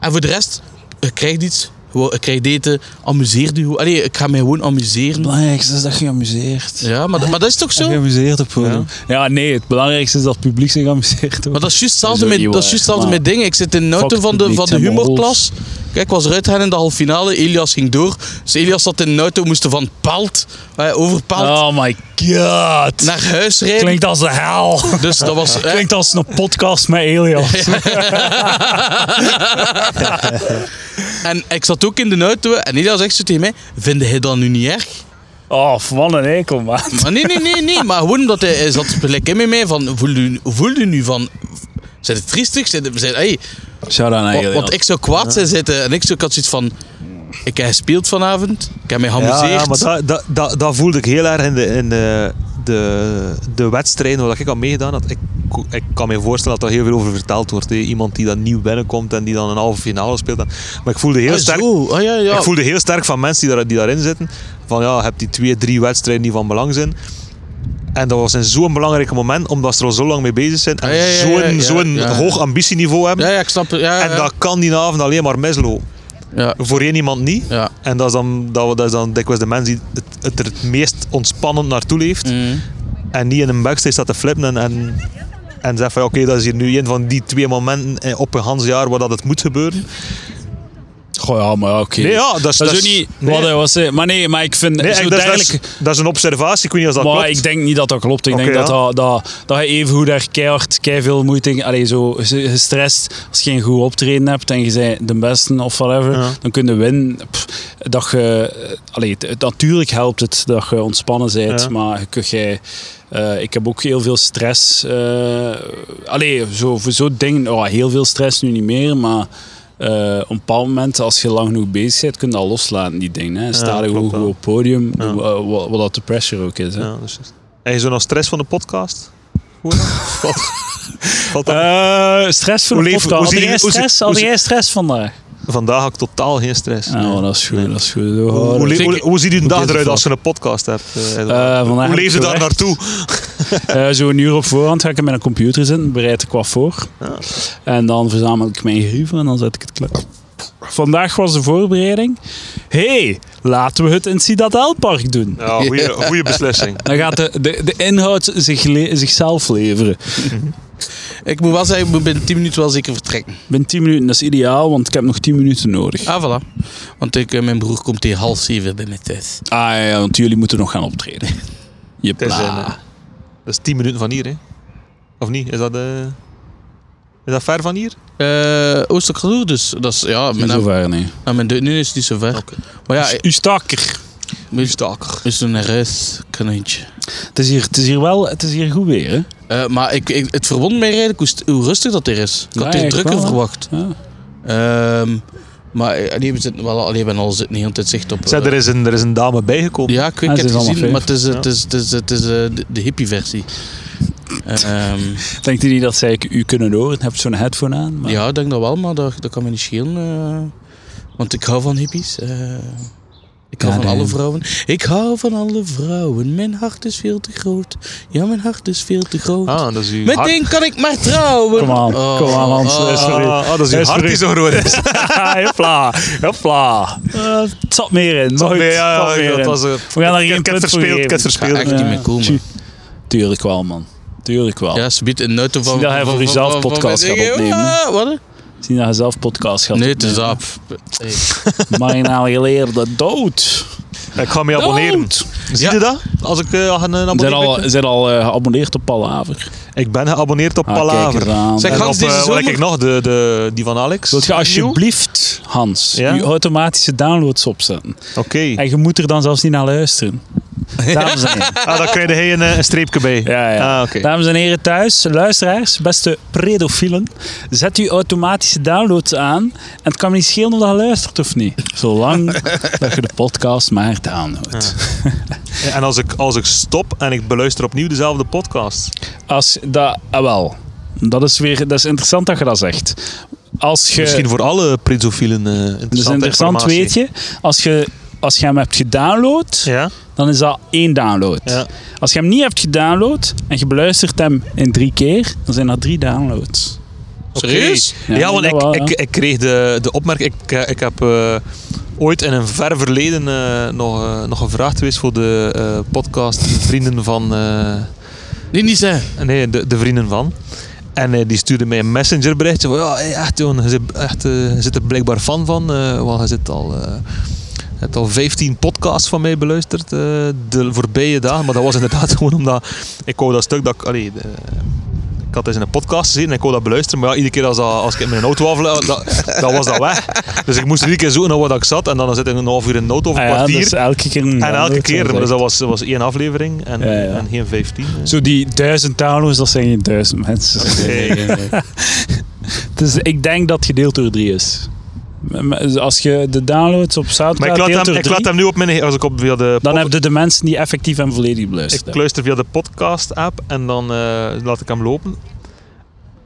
Speaker 2: En voor de rest, ik krijg iets, gewoon, ik krijg eten, amuseer je. Allee, ik ga mij gewoon amuseren.
Speaker 1: belangrijkste is dat je amuseert.
Speaker 2: Ja, maar, maar dat is toch zo?
Speaker 1: Geamuseerd op podium. Ja. nee, het belangrijkste is dat het publiek zich amuseert. hoor.
Speaker 2: Maar dat is juist
Speaker 1: Dat
Speaker 2: hetzelfde
Speaker 1: is ook
Speaker 2: met,
Speaker 1: niet
Speaker 2: dat is juist
Speaker 1: waar,
Speaker 2: hetzelfde met dingen. Ik zit in de auto
Speaker 1: Fuck
Speaker 2: van de,
Speaker 1: publiek,
Speaker 2: van de
Speaker 1: hè,
Speaker 2: humorklas. Kijk, ik was eruit gaan in de halve finale. Elias ging door. Dus Elias zat in de auto, moesten van paalt, eh, over paalt,
Speaker 1: Oh my god.
Speaker 2: naar huis rijden.
Speaker 1: Klinkt als de hel.
Speaker 2: Dus dat was... eh,
Speaker 1: Klinkt als een podcast met Elias.
Speaker 2: En ik zat ook in de auto en Ida zegt zo tegen mij: Vind je dat nu niet erg?
Speaker 1: Oh, wat een enkel, man.
Speaker 2: Maar nee, nee, nee, nee. Maar gewoon omdat hij, hij zat gelijk in met mij van: Voel je, voel je nu van. Zijn het triestig? Zijn, het- zijn, hey,
Speaker 1: Zou dan
Speaker 2: wa- want ik zou kwaad zijn zitten en ik, zou, ik had zoiets van: Ik heb gespeeld vanavond, ik heb mij
Speaker 3: Ja, ja, maar
Speaker 2: geamuseerd.
Speaker 3: dat, dat, dat, dat voelde ik heel erg in de, in de, de, de wedstrijden waar ik aan meegedaan had. Ik, ik kan me voorstellen dat daar heel veel over verteld wordt. hè. Iemand die dan nieuw binnenkomt en die dan een halve finale speelt. En- Maar ik voelde heel
Speaker 2: Ah,
Speaker 3: sterk...
Speaker 2: zo. Ah, ja, ja.
Speaker 3: Ik voelde heel sterk van mensen die, daar, die daarin zitten. Van ja, heb die twee, drie wedstrijden die van belang zijn. En dat was een zo'n belangrijk moment, omdat ze er al zo lang mee bezig zijn. En
Speaker 2: Ah, ja, ja, ja,
Speaker 3: zo'n
Speaker 2: ja,
Speaker 3: zo'n
Speaker 2: ja.
Speaker 3: hoog ambitieniveau hebben.
Speaker 2: ja, ja, ik snap het. Ja, ja,
Speaker 3: En dat kan die avond alleen maar mislopen.
Speaker 2: ja.
Speaker 3: Voor één iemand niet.
Speaker 2: ja.
Speaker 3: En dat is dan, dat, dat is dan dikwijls de mens die het, het er het meest ontspannend naartoe leeft.
Speaker 1: Mhm.
Speaker 2: Mm.
Speaker 3: En niet in een backstage staat te flippen en, en, en zegt van oké, dat is hier nu een van die twee momenten eh, op een gans jaar waar dat het moet gebeuren.
Speaker 1: Goh, ja, maar ja, oké.
Speaker 3: Nee, ja, dat is-
Speaker 1: dat is
Speaker 3: dat
Speaker 1: ook
Speaker 3: is-
Speaker 1: niet
Speaker 3: nee.
Speaker 1: wat hij was. eh, Maar nee, maar ik vind
Speaker 3: Nee,
Speaker 1: zo
Speaker 3: ik- Dus dat, is- dat is,
Speaker 1: duidelijk...
Speaker 3: dat is een observatie, ik weet niet of dat
Speaker 1: dus Maar
Speaker 3: klopt.
Speaker 1: ik denk niet dat dat klopt. Ik
Speaker 3: Oké,
Speaker 1: denk dat,
Speaker 3: ja.
Speaker 1: dat, dat, dat je evengoed daar keihard, veel moeite in... Allee, zo ge- gestrest, als je geen goed optreden hebt en je bent de beste of whatever,
Speaker 3: Ja.
Speaker 1: dan kun je winnen. Pff, dat je... eh, Allee, het- het- natuurlijk helpt het dat je ontspannen bent,
Speaker 3: Ja.
Speaker 1: maar je kun jij... eh, ik heb ook heel veel stress. eh allee, zo, voor zo'n ding... Oh, heel veel stress nu niet meer, maar... eh, op een bepaald moment, als je lang genoeg bezig bent, kun je dat loslaten, die dingen. hè. Sta er gewoon
Speaker 3: klopt wel.
Speaker 1: goed op het podium,
Speaker 3: Ja.
Speaker 1: eh, wat, wat dat de pressure ook is. Hè.
Speaker 3: Ja, dat is juist. En je zo nog stress van de podcast? Hoe dan? Valt- valt dat-
Speaker 1: Eh, stress voor
Speaker 3: Hoe
Speaker 1: de
Speaker 3: leven-
Speaker 1: podcast. Had
Speaker 3: hoe zie-
Speaker 1: jij
Speaker 3: hoe zie-
Speaker 1: stress?
Speaker 3: hoe
Speaker 1: Had
Speaker 3: zie-
Speaker 1: jij stress vandaag?
Speaker 3: Vandaag had ik totaal geen stress.
Speaker 1: Ah,
Speaker 3: Nee.
Speaker 1: maar dat is goed,
Speaker 3: Nee.
Speaker 1: dat is goed. Doe
Speaker 3: Hoe, hoe,
Speaker 1: houden.
Speaker 3: hoe,
Speaker 2: Zeker.
Speaker 3: hoe, ziet uw dag
Speaker 1: is
Speaker 3: eruit
Speaker 1: het
Speaker 3: als je een podcast hebt? eh, Edouard?
Speaker 1: Eh, vandaag
Speaker 3: hoe
Speaker 1: heb
Speaker 3: leef
Speaker 1: ik
Speaker 3: je daar
Speaker 1: gewerkt.
Speaker 3: naartoe?
Speaker 1: Eh, zo een uur op voorhand ga ik in mijn computer zitten, bereid ik wat voor.
Speaker 3: Ja.
Speaker 1: En dan verzamel ik mijn grieven en dan zet ik het klaar. Vandaag was de voorbereiding. hey, laten we het in het Citadelpark doen.
Speaker 3: Ja, goede, goede beslissing.
Speaker 1: Dan gaat de, de, de inhoud zich le- zichzelf leveren.
Speaker 2: Ik moet wel zeggen, ik moet binnen 10 minuten wel zeker vertrekken.
Speaker 1: Binnen 10 minuten, dat is ideaal, want ik heb nog 10 minuten nodig. Ah
Speaker 2: Ah, voilà. Want ik, eh, mijn broer komt tegen half zeven binnen thuis.
Speaker 1: ja, Ah, ja, want jullie moeten nog gaan optreden. Je
Speaker 3: Het is, eh, dat is 10 minuten van hier, hè? Of niet? Is dat, eh, is dat ver van hier?
Speaker 2: Eh Oosterkaloer dus. Dat is, ja,
Speaker 1: Niet
Speaker 2: mijn,
Speaker 1: zo
Speaker 2: naam,
Speaker 1: ver, nee.
Speaker 2: nou, mijn deur- nu is het niet zo ver. Maar ja,
Speaker 1: U stakker.
Speaker 2: is staker. Is een reiskanijntje.
Speaker 1: Het is, hier, het, is hier wel, het is hier goed weer, hè?
Speaker 2: Eh maar ik, ik, het verwond mij redelijk hoe, st- hoe rustig dat er is. Ik
Speaker 1: Ja,
Speaker 2: had hier
Speaker 1: echt
Speaker 2: drukker
Speaker 1: wel, hè?
Speaker 2: verwacht.
Speaker 1: Ja.
Speaker 2: Ehm, maar eh, nee, we zitten wel alleen ben al zitten niet altijd zicht op. eh,
Speaker 3: Zeg, er, is een, er is een dame bijgekomen.
Speaker 2: ja, ik, weet-
Speaker 1: Ah,
Speaker 2: ik
Speaker 1: ze
Speaker 2: heb
Speaker 1: is
Speaker 2: het
Speaker 1: allemaal
Speaker 2: gezien,
Speaker 1: vijf.
Speaker 2: maar het is, eh, het is, het is, het is, eh, de, de hippie-versie. Ehm
Speaker 1: Denkt u niet dat zij u kunnen horen? Heb je zo'n headphone aan? Maar...
Speaker 2: Ja, ik denk dat wel, maar dat, dat kan me niet schelen. eh, want ik hou van hippies. eh, ik hou
Speaker 1: Ja,
Speaker 2: van
Speaker 1: nee.
Speaker 2: alle vrouwen. Ik hou van alle vrouwen. Mijn hart is veel te groot. Ja, mijn hart is veel te groot.
Speaker 3: Ah, dat is uw hart.
Speaker 2: Meteen kan ik maar trouwen.
Speaker 1: Kom aan,
Speaker 2: Oh,
Speaker 1: kom aan, Hans.
Speaker 2: oh,
Speaker 1: Sorry.
Speaker 3: Ah, ah, dat is uw
Speaker 1: Hij is
Speaker 3: hart die
Speaker 1: verrukt.
Speaker 3: zo groot is.
Speaker 1: Hopla, hopla. Eh, het zat meer in. Maar goed,
Speaker 3: Nee,
Speaker 1: het
Speaker 3: ja,
Speaker 1: zat
Speaker 3: ja,
Speaker 1: meer
Speaker 3: dat
Speaker 1: in.
Speaker 3: was, eh,
Speaker 1: We gaan daar
Speaker 3: ik-
Speaker 1: geen
Speaker 3: ik heb
Speaker 1: punt voor
Speaker 3: het verspeeld, ik
Speaker 1: geven.
Speaker 3: heb het verspeeld.
Speaker 2: Ik ga echt niet meer komen.
Speaker 1: tju. Tuurlijk wel, man. Tuurlijk wel.
Speaker 2: Ja, ze biedt een auto van...
Speaker 1: Zie dat hij
Speaker 2: van-
Speaker 1: voor
Speaker 2: van-
Speaker 1: jezelf
Speaker 2: van- van-
Speaker 1: podcast
Speaker 2: van-
Speaker 1: gaat opnemen,
Speaker 2: Ja, wat?
Speaker 1: Zien dat je nou zelf podcast gaat
Speaker 2: Nee, het is
Speaker 1: opnemen.
Speaker 2: af. Hey.
Speaker 1: Marginaal geleerde dood.
Speaker 3: Ik ga me abonneren.
Speaker 1: Dood.
Speaker 3: Zie je dat? Als ik eh, ga een
Speaker 1: Zijn al,
Speaker 3: abonnement.
Speaker 1: zijn al eh, geabonneerd op Palaver.
Speaker 3: Ik ben geabonneerd op
Speaker 1: Ah,
Speaker 3: Palaver.
Speaker 1: kijk eens aan.
Speaker 2: Zeg,
Speaker 3: En
Speaker 2: Hans,
Speaker 3: op, eh,
Speaker 2: deze
Speaker 3: wat
Speaker 2: zomer-
Speaker 3: heb ik nog? De, de, die van Alex?
Speaker 1: Wilt je
Speaker 3: Nieuw?
Speaker 1: alsjeblieft, Hans,
Speaker 3: Ja?
Speaker 1: je automatische downloads opzetten?
Speaker 3: Oké.
Speaker 1: En je moet er dan zelfs niet naar luisteren. Dames en heren.
Speaker 3: Ah, dan krijg je een, eh, een streepje bij.
Speaker 1: Ja, ja.
Speaker 3: Ah, oké.
Speaker 1: Dames en heren thuis, luisteraars, beste predofielen. Zet uw automatische downloads aan. En het kan me niet schelen of dat je luistert of niet. Zolang dat je de podcast maar downloadt.
Speaker 3: Ah. En als ik, als ik stop en ik beluister opnieuw dezelfde podcast.
Speaker 1: Als dat... ah, wel. Dat is weer... Dat is interessant dat je dat zegt. Als je...
Speaker 3: Misschien voor alle prinsofielen eh
Speaker 1: dat is
Speaker 3: interessante
Speaker 1: Dus interessant,
Speaker 3: informatie.
Speaker 1: weet je. Als je, als je hem hebt gedownload,
Speaker 3: Ja?
Speaker 1: dan is dat één download.
Speaker 3: Ja.
Speaker 1: Als je hem niet hebt gedownload en je beluistert hem in drie keer, dan zijn dat drie downloads.
Speaker 2: Serieus?
Speaker 3: Ja,
Speaker 1: Ja,
Speaker 3: want
Speaker 1: dat
Speaker 3: ik,
Speaker 1: wel,
Speaker 3: ik, ik kreeg de, de opmerking. Ik, eh, ik heb eh, ooit in een ver verleden eh, nog, eh, nog gevraagd geweest voor de eh, podcast Vrienden van. eh,
Speaker 2: Nee, niet zijn.
Speaker 3: nee, de, de Vrienden van. En eh, die stuurde mij een messengerberichtje van ja, hey, echt jongen, je zit, echt, eh, je zit er blijkbaar fan van, eh, want je zit al, eh, je hebt al 15 podcasts van mij beluisterd eh, de voorbije dagen. Maar dat was inderdaad gewoon omdat ik wou dat stuk dat ik, allee, de- Ik had eens in een podcast gezien en ik kon dat beluisteren. Maar ja, iedere keer als, dat- als ik in mijn auto afleid, dat, dat was dat weg. Dus ik moest iedere keer zoeken naar waar dat ik zat. En dan zit ik een half uur in de auto of een
Speaker 1: Ah ja,
Speaker 3: kwartier.
Speaker 1: dus elke keer een
Speaker 3: en elke
Speaker 1: download,
Speaker 3: keer.
Speaker 1: dat
Speaker 3: Maar
Speaker 1: is echt-
Speaker 3: dus dat was, was één aflevering en,
Speaker 1: Ja, ja.
Speaker 3: en geen vijftien.
Speaker 1: Zo die duizend downloads, dat zijn geen duizend mensen. Dus ik denk dat het gedeeld door drie is. M- m- Als je de downloads op
Speaker 3: Maar
Speaker 1: Soundcloud
Speaker 3: ik laat,
Speaker 1: deelt
Speaker 3: hem,
Speaker 1: door
Speaker 3: ik laat
Speaker 1: drie,
Speaker 3: hem nu op mijn... Als ik op via de
Speaker 1: dan
Speaker 3: pod-
Speaker 1: heb je de mensen die effectief en volledig
Speaker 3: Ik
Speaker 1: beluisterd hebben.
Speaker 3: luister via de podcast-app en dan eh, laat ik hem lopen.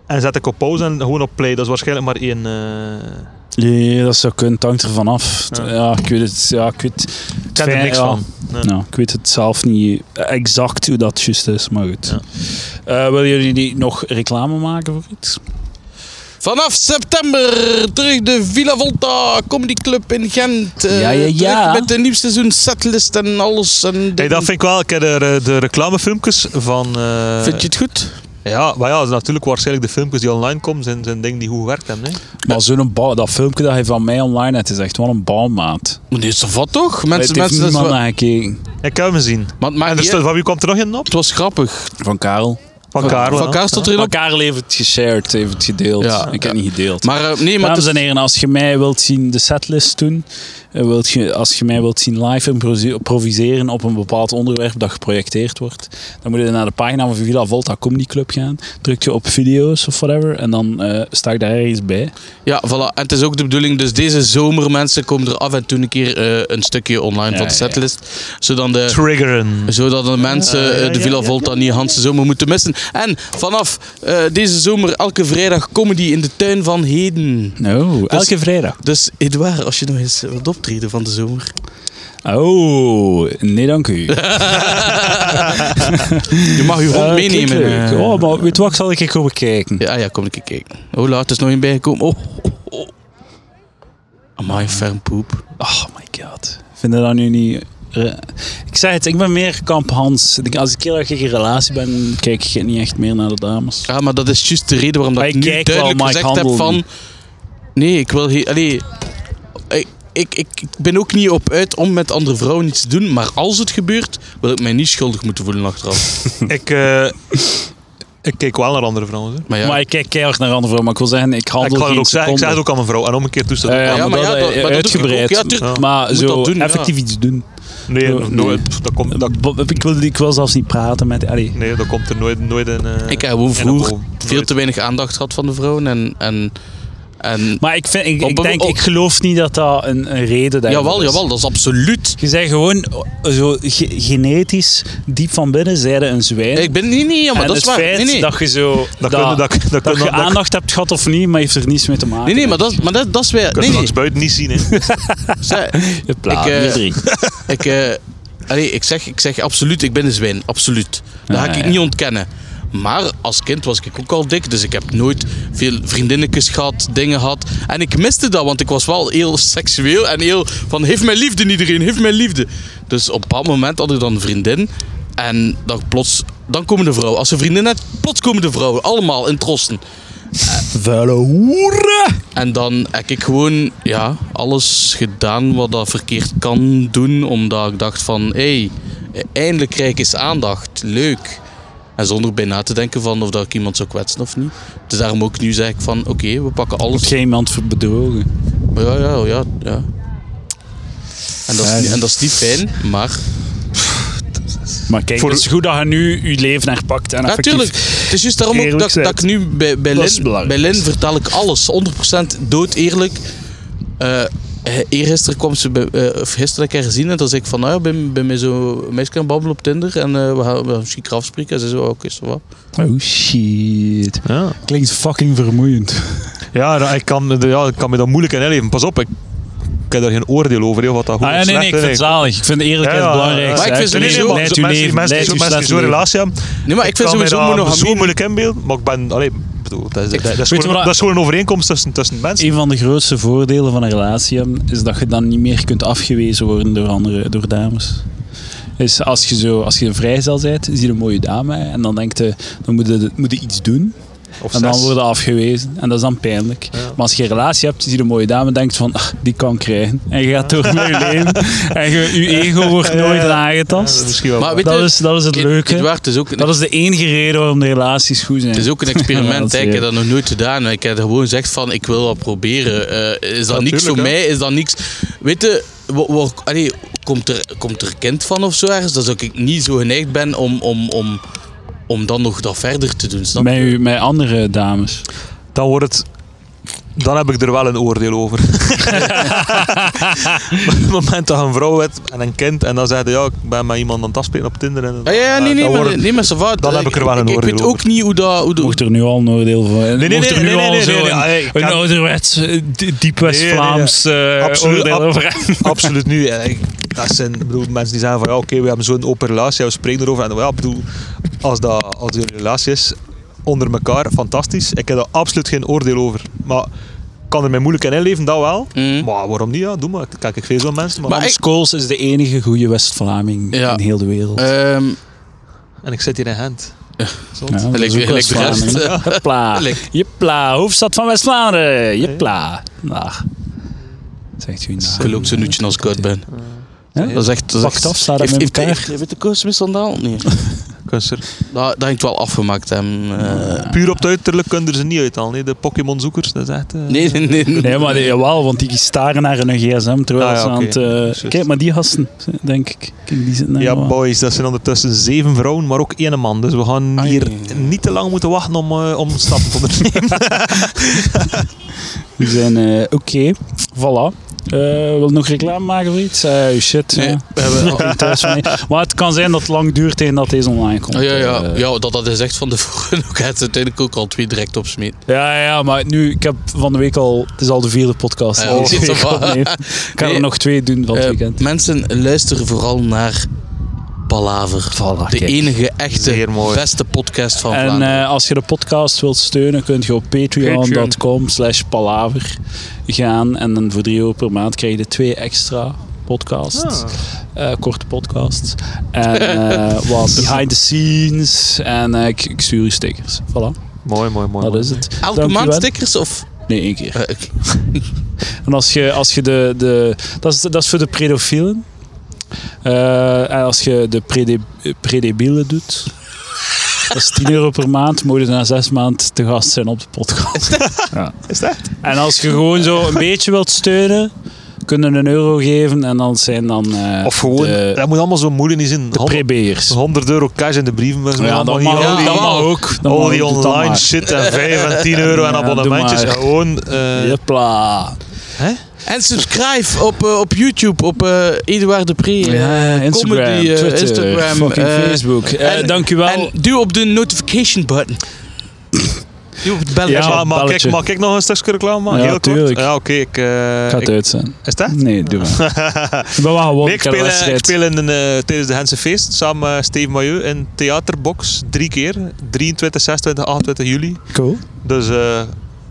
Speaker 3: En zet ik op pauze en gewoon op play. Dat is waarschijnlijk maar één... eh,
Speaker 1: Ja, dat zou kunnen. Het hangt ervan af.
Speaker 3: Ja.
Speaker 1: Ja, ik weet het. Ja, ik weet het.
Speaker 3: ik ken er
Speaker 1: Fijn,
Speaker 3: niks
Speaker 1: ja.
Speaker 3: van. Nee.
Speaker 1: Nou, ik weet het zelf niet exact hoe dat juist is, maar goed.
Speaker 3: Ja.
Speaker 1: Eh, willen jullie die nog reclame maken voor iets?
Speaker 2: Vanaf september terug de Villa Volta Comedy Club in Gent. Eh,
Speaker 1: Ja, ja, ja.
Speaker 2: terug met de nieuw seizoen setlist en alles. En
Speaker 3: Hey, dat vind ik wel. Ik heb de, de reclamefilmpjes van... eh,
Speaker 2: Vind je het goed?
Speaker 3: Ja, maar ja, natuurlijk waarschijnlijk de filmpjes die online komen zijn, zijn dingen die goed gewerkt hebben. Hè.
Speaker 1: Maar zo'n ba- dat filmpje dat hij van mij online had, is echt wel een bouwmaat.
Speaker 2: Maar die is er wat toch?
Speaker 1: Het
Speaker 2: Mensen,
Speaker 1: heeft
Speaker 2: mensen, dat is
Speaker 1: niemand
Speaker 2: wel-
Speaker 1: naar gekeken.
Speaker 3: Ik heb hem gezien.
Speaker 2: Maar het maakt
Speaker 3: En er
Speaker 2: niet
Speaker 3: stond,
Speaker 2: uit.
Speaker 3: van wie kwam er nog in op?
Speaker 2: Het was grappig.
Speaker 1: Van Karel.
Speaker 3: Van Karel.
Speaker 2: Van
Speaker 3: hè?
Speaker 2: Kaas tot erin
Speaker 1: Van
Speaker 2: op.
Speaker 1: Karel heeft het geshared, heeft het gedeeld.
Speaker 2: Ja.
Speaker 1: ik heb
Speaker 2: Ja.
Speaker 1: niet gedeeld.
Speaker 2: Maar eh, nee, maar
Speaker 1: Dames
Speaker 2: het is-
Speaker 1: en heren, als je mij wilt zien de setlist doen, eh, wilt je, als je mij wilt zien live improvise- improviseren op een bepaald onderwerp dat geprojecteerd wordt, dan moet je naar de pagina van Villa Volta Comedy Club gaan. Druk je op video's of whatever en dan eh, sta ik daar ergens bij.
Speaker 2: Ja, voilà. En het is ook de bedoeling, dus deze zomer, mensen, komen er af en toe een keer eh, een stukje online
Speaker 1: Ja,
Speaker 2: van de
Speaker 1: ja, ja.
Speaker 2: setlist. Zodat de,
Speaker 3: Triggeren.
Speaker 2: zodat de mensen
Speaker 3: ja,
Speaker 2: eh,
Speaker 3: ja,
Speaker 2: de Villa
Speaker 3: ja,
Speaker 2: Volta niet Hans de zomer moeten missen. En vanaf eh, deze zomer, elke vrijdag, comedy in de tuin van Heden.
Speaker 1: Nou,
Speaker 2: Oh, elke
Speaker 1: elke vrijdag.
Speaker 2: Dus Edouard, als je nog eens wilt optreden van de zomer.
Speaker 1: Oh, nee dank u.
Speaker 2: Je mag je hond
Speaker 1: Eh, klinkt
Speaker 2: meenemen.
Speaker 1: leuk.
Speaker 2: eh.
Speaker 1: Oh, maar weet je wat, ik zal ik komen kijken.
Speaker 2: Ja, ja, kom een keer kijken. Hoe laat is nog een bijgekomen? Oh, oh, oh. Amai, ferm poep.
Speaker 1: Oh my god. Vinden dat nu niet... eh, Ik zei het, ik ben meer kamp Hans. Ik- Als ik heel erg in een relatie ben, kijk ik niet echt meer naar de dames.
Speaker 2: Ja, maar dat is juist de reden waarom dat
Speaker 1: Maar
Speaker 2: ik
Speaker 1: ik
Speaker 2: nu
Speaker 1: kijk wel
Speaker 2: duidelijk
Speaker 1: Mike
Speaker 2: gezegd heb
Speaker 1: Handel
Speaker 2: van...
Speaker 1: niet.
Speaker 2: Nee, ik wil hier... Allee, ik, ik, ik, ik ben ook niet op uit om met andere vrouwen iets te doen, maar als het gebeurt, wil ik mij niet schuldig moeten voelen achteraf.
Speaker 3: Ik, eh, ik keek wel naar andere vrouwen. Hè.
Speaker 2: Maar ja,
Speaker 1: Maar ik kijk keihard naar andere vrouwen. Maar ik wil zeggen, ik
Speaker 3: Ik,
Speaker 1: handel
Speaker 3: ga het
Speaker 1: geen
Speaker 3: ook zeggen,
Speaker 1: seconde.
Speaker 3: ik zei het ook aan mijn vrouw. En om een keer toestel.
Speaker 1: Eh,
Speaker 2: ja, maar
Speaker 1: maar
Speaker 2: ja,
Speaker 1: dat,
Speaker 2: dat- maar dat doe ik
Speaker 1: uitgebreid.
Speaker 2: ook. Ja, tuurlijk.
Speaker 1: maar
Speaker 2: Moet
Speaker 1: zo
Speaker 2: dat doen, ja.
Speaker 1: effectief iets doen.
Speaker 3: nee,
Speaker 1: eh,
Speaker 3: nog
Speaker 1: nee.
Speaker 3: nooit. Dat komt, dat,
Speaker 1: Bo- Ik wil, ik wil zelfs niet praten met... Allee.
Speaker 3: nee, dat komt er nooit, nooit in. eh,
Speaker 2: ik heb gewoon
Speaker 3: in een
Speaker 2: vroeger
Speaker 3: boom.
Speaker 2: veel
Speaker 3: Nooit.
Speaker 2: te weinig aandacht gehad van de vrouwen en... en, en
Speaker 1: Maar ik, vind, ik,
Speaker 2: Op-
Speaker 1: ik denk,
Speaker 2: op-
Speaker 1: ik geloof niet dat dat een, een reden daarvoor
Speaker 2: jawel,
Speaker 1: is.
Speaker 2: jawel, dat is absoluut...
Speaker 1: Je zei gewoon oh, zo ge- genetisch, diep van binnen, zeiden een zwijn.
Speaker 2: Ik ben... Nee, nee, ja, maar
Speaker 1: en
Speaker 2: dat is
Speaker 1: het
Speaker 2: waar.
Speaker 1: feit
Speaker 2: Nee, nee.
Speaker 1: dat je zo...
Speaker 3: Dat
Speaker 1: Dat,
Speaker 3: kunnen- dat-
Speaker 1: dat,
Speaker 3: dat kunnen-
Speaker 1: je
Speaker 3: dat-
Speaker 1: aandacht hebt gehad of niet, maar heeft er niets mee te maken.
Speaker 2: Nee, nee, maar dat, maar dat, dat is weer...
Speaker 3: Kun
Speaker 2: Nee,
Speaker 3: je
Speaker 2: nee.
Speaker 3: langs buiten niet zien. Hè.
Speaker 2: Zij-
Speaker 1: Je plaat,
Speaker 2: Ik, eh,
Speaker 1: je drie.
Speaker 2: Ik, eh, allee, ik, zeg, ik zeg absoluut, ik ben een zwijn. Absoluut. Dat ga
Speaker 1: Ja,
Speaker 2: ik
Speaker 1: ja.
Speaker 2: niet ontkennen. Maar als kind was ik ook al dik, dus ik heb nooit veel vriendinnetjes gehad, dingen gehad. En ik miste dat, want ik was wel heel seksueel en heel van heeft mijn liefde iedereen, heeft mijn liefde. Dus op een bepaald moment had ik dan een vriendin en dan plots, dan komen de vrouwen. Als ze vriendin had, plots komen de vrouwen, allemaal in trossen.
Speaker 1: Vuile hoeren!
Speaker 2: En dan heb ik gewoon ja, alles gedaan wat dat verkeerd kan doen, omdat ik dacht van, hé, hey, eindelijk krijg ik eens aandacht, leuk. En zonder bij na te denken van of dat ik iemand zou kwetsen of niet. Dus daarom ook nu zeg ik van, oké, we pakken
Speaker 1: Wordt
Speaker 2: alles.
Speaker 1: geen iemand voor bedrogen.
Speaker 2: Ja, ja, ja, ja. En dat, is,
Speaker 1: Ja,
Speaker 2: niet-
Speaker 1: ja.
Speaker 2: en dat is niet fijn, maar...
Speaker 1: Maar kijk,
Speaker 3: Voor-
Speaker 1: het is goed dat je nu je leven herpakt. En effectief-
Speaker 2: Natuurlijk, het is juist daarom ook
Speaker 1: Eerlijk
Speaker 2: dat,
Speaker 1: zijn.
Speaker 2: dat ik nu bij, bij,
Speaker 1: Dat is het
Speaker 2: Lin, bij Lin
Speaker 1: belangrijkste.
Speaker 2: vertel ik alles, 100% dood eerlijk. Eh eergisteren kwam ze, bij, eh, of gisteren heb ik haar gezien en toen zei ik van, nou ja, bij, bij mij zo'n meisje aan het babbelen op Tinder en eh, we, gaan, we gaan misschien een keer afspreken. En ze zei, oh, oké, zo wat.
Speaker 1: Oh shit.
Speaker 3: Ja.
Speaker 1: Klinkt fucking vermoeiend.
Speaker 3: Ja, nou, ik kan, ja, ik kan me dat moeilijk in inleven. Pas op, ik, ik heb daar geen oordeel over, heel wat dat goed
Speaker 1: Ah, ja,
Speaker 3: of
Speaker 1: nee,
Speaker 3: slecht
Speaker 1: nee, ik
Speaker 3: is,
Speaker 1: vind het
Speaker 3: eigenlijk.
Speaker 1: zalig. Ik vind eerlijkheid
Speaker 3: Ja, ja,
Speaker 1: belangrijk.
Speaker 3: ja.
Speaker 2: Maar ik vind
Speaker 3: Nee, nee,
Speaker 2: sowieso-
Speaker 3: maar
Speaker 1: leid
Speaker 3: zo-
Speaker 1: uw
Speaker 3: mensen,
Speaker 1: leven,
Speaker 3: mensen,
Speaker 1: leid
Speaker 3: zo-
Speaker 1: uw
Speaker 3: mensen
Speaker 1: slechte
Speaker 3: die zo'n
Speaker 1: leven.
Speaker 3: relatie hebben,
Speaker 2: Nee, maar ik vind
Speaker 3: kan mij
Speaker 2: sowieso
Speaker 3: dat zo
Speaker 2: monogamie...
Speaker 3: moeilijk inbeelden, maar ik ben, allee, ik bedoel, dat is, dat, is
Speaker 1: je
Speaker 3: gewoon,
Speaker 1: wat-
Speaker 3: dat is gewoon een overeenkomst tussen, tussen mensen.
Speaker 1: Een van de grootste voordelen van een relatie hebben, is dat je dan niet meer kunt afgewezen worden door andere, door dames. Is als je zo, als je vrijgezel bent, zie je een mooie dame en dan denkt je, dan moet je, moet je iets doen.
Speaker 3: Of
Speaker 1: En dan
Speaker 3: zes.
Speaker 1: worden afgewezen. En dat is dan pijnlijk. Maar als je een relatie hebt, zie je een mooie dame en denkt van, "Ah, die kan ik krijgen. En je gaat door met je leven. En je, je ego wordt nooit
Speaker 3: Dat is
Speaker 1: aangetast.
Speaker 3: misschien wel.
Speaker 2: Maar
Speaker 3: waar.
Speaker 2: weet
Speaker 1: Dat
Speaker 2: je,
Speaker 1: is, dat is het
Speaker 2: Ed-
Speaker 1: leuke.
Speaker 2: Edouard, het is ook een,
Speaker 1: Dat is de enige reden waarom de relaties goed zijn.
Speaker 2: het is ook een experiment. hè.
Speaker 1: Ja,
Speaker 2: ik heb dat nog nooit gedaan. Ik heb gewoon gezegd van, ik wil dat proberen. Eh, is dat niks voor
Speaker 3: tuurlijk, hè.
Speaker 2: mij? Is dat niks... Weet je, wo- wo- allee, komt, er, komt er kind van of zo ergens? Dat ik niet zo geneigd ben om, om, om, om dan nog dat verder te doen. Snap je?
Speaker 1: Met, u, met andere dames.
Speaker 3: Dan wordt het... Dan heb ik er wel een oordeel over. Maar op het moment dat je een vrouw hebt en een kind en dan zegt hij, ja, ik ben met iemand aan het afspelen op Tinder. En
Speaker 2: Ah, Ja, ja, ja, nee, nee,
Speaker 3: dan
Speaker 2: maar,
Speaker 3: wordt het-
Speaker 2: nee, maar ça va. eh,
Speaker 3: dan heb ik er wel een
Speaker 2: Ik
Speaker 3: oordeel
Speaker 2: weet
Speaker 3: over.
Speaker 2: ook niet hoe dat... Hoe dat
Speaker 1: Mocht er nu al een oordeel van.
Speaker 3: nee,
Speaker 1: Mocht er
Speaker 3: nee,
Speaker 1: nu
Speaker 3: nee,
Speaker 1: al
Speaker 3: nee,
Speaker 1: zo
Speaker 3: nee, nee,
Speaker 1: een,
Speaker 3: nee, ik
Speaker 1: een
Speaker 3: kan-
Speaker 1: ouderwets, eh, die- diep West-Vlaams eh,
Speaker 3: Absoluut,
Speaker 1: oordeel
Speaker 3: ab-
Speaker 1: over hem.
Speaker 3: Absoluut nu. En ik- dat zijn ik bedoel, mensen die zeggen van ja, oké, we hebben zo'n open relatie, we spreken erover. En ja, ik bedoel, als dat als die relatie is onder elkaar, fantastisch. Ik heb daar absoluut geen oordeel over. Maar ik kan er mij moeilijk in inleven, dat wel.
Speaker 2: Mm.
Speaker 3: Maar waarom niet? Ja, doe maar. Kijk, ik veel zo'n mensen. Maar,
Speaker 2: Maar
Speaker 1: Hans Kools is de enige goede West-Vlaming
Speaker 2: Ja.
Speaker 1: in heel de wereld.
Speaker 2: Ehm,
Speaker 3: En ik zit hier in Gent. Zot.
Speaker 1: Ja, dat is
Speaker 2: lijkt-
Speaker 1: ook
Speaker 2: lijkt de
Speaker 1: West-Vlaming.
Speaker 2: rest, eh.
Speaker 1: Hopla.
Speaker 2: Lijkt-
Speaker 1: Jepla, hoofdstad van West-Vlaanderen. Jepla. Dag. Zegt u nou.
Speaker 2: Ik wil ook zo'n uurtje als ik oud ben.
Speaker 1: Ja?
Speaker 2: Dat is echt... Dat is
Speaker 1: Pakt
Speaker 2: echt-
Speaker 1: af, staat dat
Speaker 2: heeft-
Speaker 1: met
Speaker 2: heeft-
Speaker 1: elkaar?
Speaker 2: Heeft heeft de koers mishandeld? Nee.
Speaker 3: Kunster.
Speaker 2: Dat, dat hangt wel afgemaakt, hem. eh.
Speaker 3: Puur op het uiterlijk kunnen ze er niet uit al. Nee, de Pokémon-zoekers, dat is echt... eh,
Speaker 2: Nee, nee, nee.
Speaker 1: Nee, maar die- jawel, want die staren naar hun gsm terwijl
Speaker 3: Ah, ja,
Speaker 1: ze aan
Speaker 3: oké.
Speaker 1: het... eh,
Speaker 3: Juist.
Speaker 1: kijk, maar die gasten, denk ik. Kijk, die zitten daar
Speaker 3: Ja,
Speaker 1: wel.
Speaker 3: boys, dat zijn ondertussen zeven vrouwen, maar ook één man. Dus we gaan
Speaker 2: Ai.
Speaker 3: hier niet te lang moeten wachten om, eh, om stappen te ondernemen.
Speaker 1: Die zijn... eh, Oké, voilà. Eh, wil je nog reclame maken voor iets? Eh, shit.
Speaker 2: Nee,
Speaker 1: ja.
Speaker 2: we hebben-
Speaker 1: Geen thuis van- Maar het kan zijn dat het lang duurt tegen dat deze online komt.
Speaker 2: Ah, ja, ja.
Speaker 1: Eh,
Speaker 2: ja, dat dat is echt van de vorige ook. Hij had ze uiteindelijk ook al twee direct opsmeet.
Speaker 1: Ja, ja, maar nu, ik heb van de week al, het is al de vierde podcast.
Speaker 2: Ja,
Speaker 1: die
Speaker 2: ik
Speaker 1: ik
Speaker 2: zit ervan.
Speaker 1: opneem. Ik ga
Speaker 2: Nee,
Speaker 1: er nog twee doen van het weekend.
Speaker 2: Eh, mensen, luisteren vooral naar Palaver.
Speaker 1: Voilà,
Speaker 2: de
Speaker 1: kijk.
Speaker 2: enige echte
Speaker 3: Zeer mooi.
Speaker 2: beste podcast van
Speaker 1: En
Speaker 2: Vlaanderen.
Speaker 1: eh, als je de podcast wilt steunen, kun je op patreon.com slash palaver gaan. En dan voor 3 euro per maand krijg je de twee extra
Speaker 2: Ah.
Speaker 1: podcasts. Eh, korte podcasts. En eh, wat behind the scenes. En eh, ik, ik stuur je stickers. Voilà,
Speaker 3: Mooi, mooi, mooi.
Speaker 1: dat is het.
Speaker 2: Elke
Speaker 1: Dank u
Speaker 2: maand
Speaker 1: wel.
Speaker 2: stickers of...
Speaker 1: Nee, één keer.
Speaker 2: Eh, ik-
Speaker 1: En als je, als je de, de dat, is, dat is voor de pedofielen. Eh, en als je de prede- eh, predebielen doet, dat is 10 euro per maand, moet je na zes maanden te gast zijn op de podcast. Ja.
Speaker 3: Is dat?
Speaker 1: En als je gewoon zo een beetje wilt steunen, kunnen een euro geven en dan zijn dan eh,
Speaker 3: Of gewoon,
Speaker 1: de,
Speaker 3: dat moet allemaal zo moeilijk niet zijn.
Speaker 1: de prebeers.
Speaker 3: 100 euro cash in de brievenbus.
Speaker 1: Ja, dat
Speaker 3: allemaal
Speaker 1: mag, ook,
Speaker 2: ja,
Speaker 3: niet al die,
Speaker 1: dat
Speaker 2: ja,
Speaker 1: mag ook. Dat
Speaker 3: al
Speaker 1: mag
Speaker 3: die
Speaker 1: ook, doe dat
Speaker 3: online
Speaker 1: maar.
Speaker 3: shit en 5 en 10 euro en
Speaker 1: Ja,
Speaker 3: abonnementjes.
Speaker 1: doe maar.
Speaker 3: Gewoon, eh,
Speaker 1: Jepla.
Speaker 2: En subscribe op, eh, op YouTube, op eh Eduard de Pre. eh,
Speaker 1: Ja, Instagram,
Speaker 2: comedy, eh,
Speaker 1: Twitter,
Speaker 2: Instagram,
Speaker 1: fucking
Speaker 2: eh,
Speaker 1: Facebook. Eh,
Speaker 2: en-
Speaker 1: dank u wel.
Speaker 2: En duw op de notification button. duw op het belletje.
Speaker 1: Ja,
Speaker 3: maar mag, ik,
Speaker 1: belletje.
Speaker 3: mag ik nog een stukje reclame maken?
Speaker 1: Ja,
Speaker 3: Heel kort.
Speaker 1: tuurlijk.
Speaker 3: Ja, oké. ik, eh,
Speaker 1: Gaat
Speaker 3: ik-
Speaker 1: uit zijn.
Speaker 3: is dat?
Speaker 1: Nee, doe maar. ik ben wel gewoon
Speaker 3: Nee, ik,
Speaker 1: ik heb
Speaker 3: speel,
Speaker 1: een
Speaker 3: eh, ik
Speaker 1: wedstrijd.
Speaker 3: speel in een, eh, tijdens de Hense Feest samen met Steve Mailleu in Theaterbox. Drie keer. 23, 26, 28 juli.
Speaker 1: Cool.
Speaker 3: Dus eh,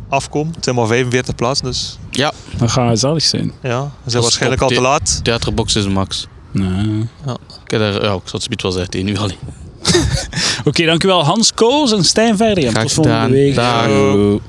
Speaker 3: afkom. Het zijn maar 45 plaatsen. Dus
Speaker 2: Ja,
Speaker 1: Dan gaan we zalig zijn.
Speaker 3: ja, we zijn waarschijnlijk al
Speaker 2: top
Speaker 3: te
Speaker 2: tip.
Speaker 3: laat.
Speaker 2: theaterbox is max.
Speaker 1: Nee.
Speaker 2: Ik, heb daar, ja, ik zat zoiets wel zeggen tegen u, Ali.
Speaker 1: Oké, dankjewel Hans Koos en Stijn Verdiëm.
Speaker 2: Graag
Speaker 1: Tot volgende
Speaker 2: gedaan.
Speaker 1: week.
Speaker 2: Dag.
Speaker 1: Hallo.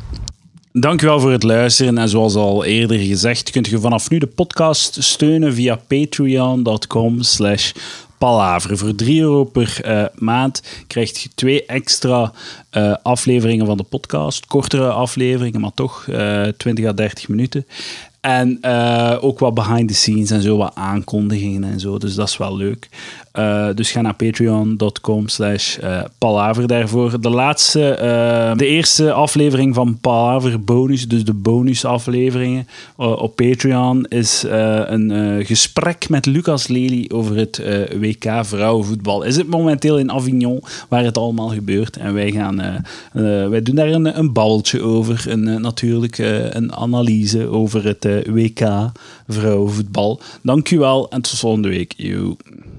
Speaker 1: Dankjewel voor het luisteren. En zoals al eerder gezegd, kunt je vanaf nu de podcast steunen via patreon.com slash palaver. Voor 3 euro per eh, maand krijg je twee extra eh, afleveringen van de podcast. Kortere afleveringen, maar toch eh 20 à 30 minuten. En eh, ook wat behind the scenes en zo, wat aankondigingen en zo. Dus dat is wel leuk. Eh, dus ga naar patreon.com slash eh, palaver daarvoor. De laatste, eh, de eerste aflevering van Palaver Bonus, dus de bonusafleveringen eh, op Patreon, is eh, een eh, gesprek met Lucas Lely over het eh, WK vrouwenvoetbal. Is het momenteel in Avignon waar het allemaal gebeurt. En wij gaan, eh, eh, wij doen daar een, een babbeltje over. Een, eh, natuurlijk eh, een analyse over het eh, WK vrouwenvoetbal. Dank u wel en tot volgende week. Yo.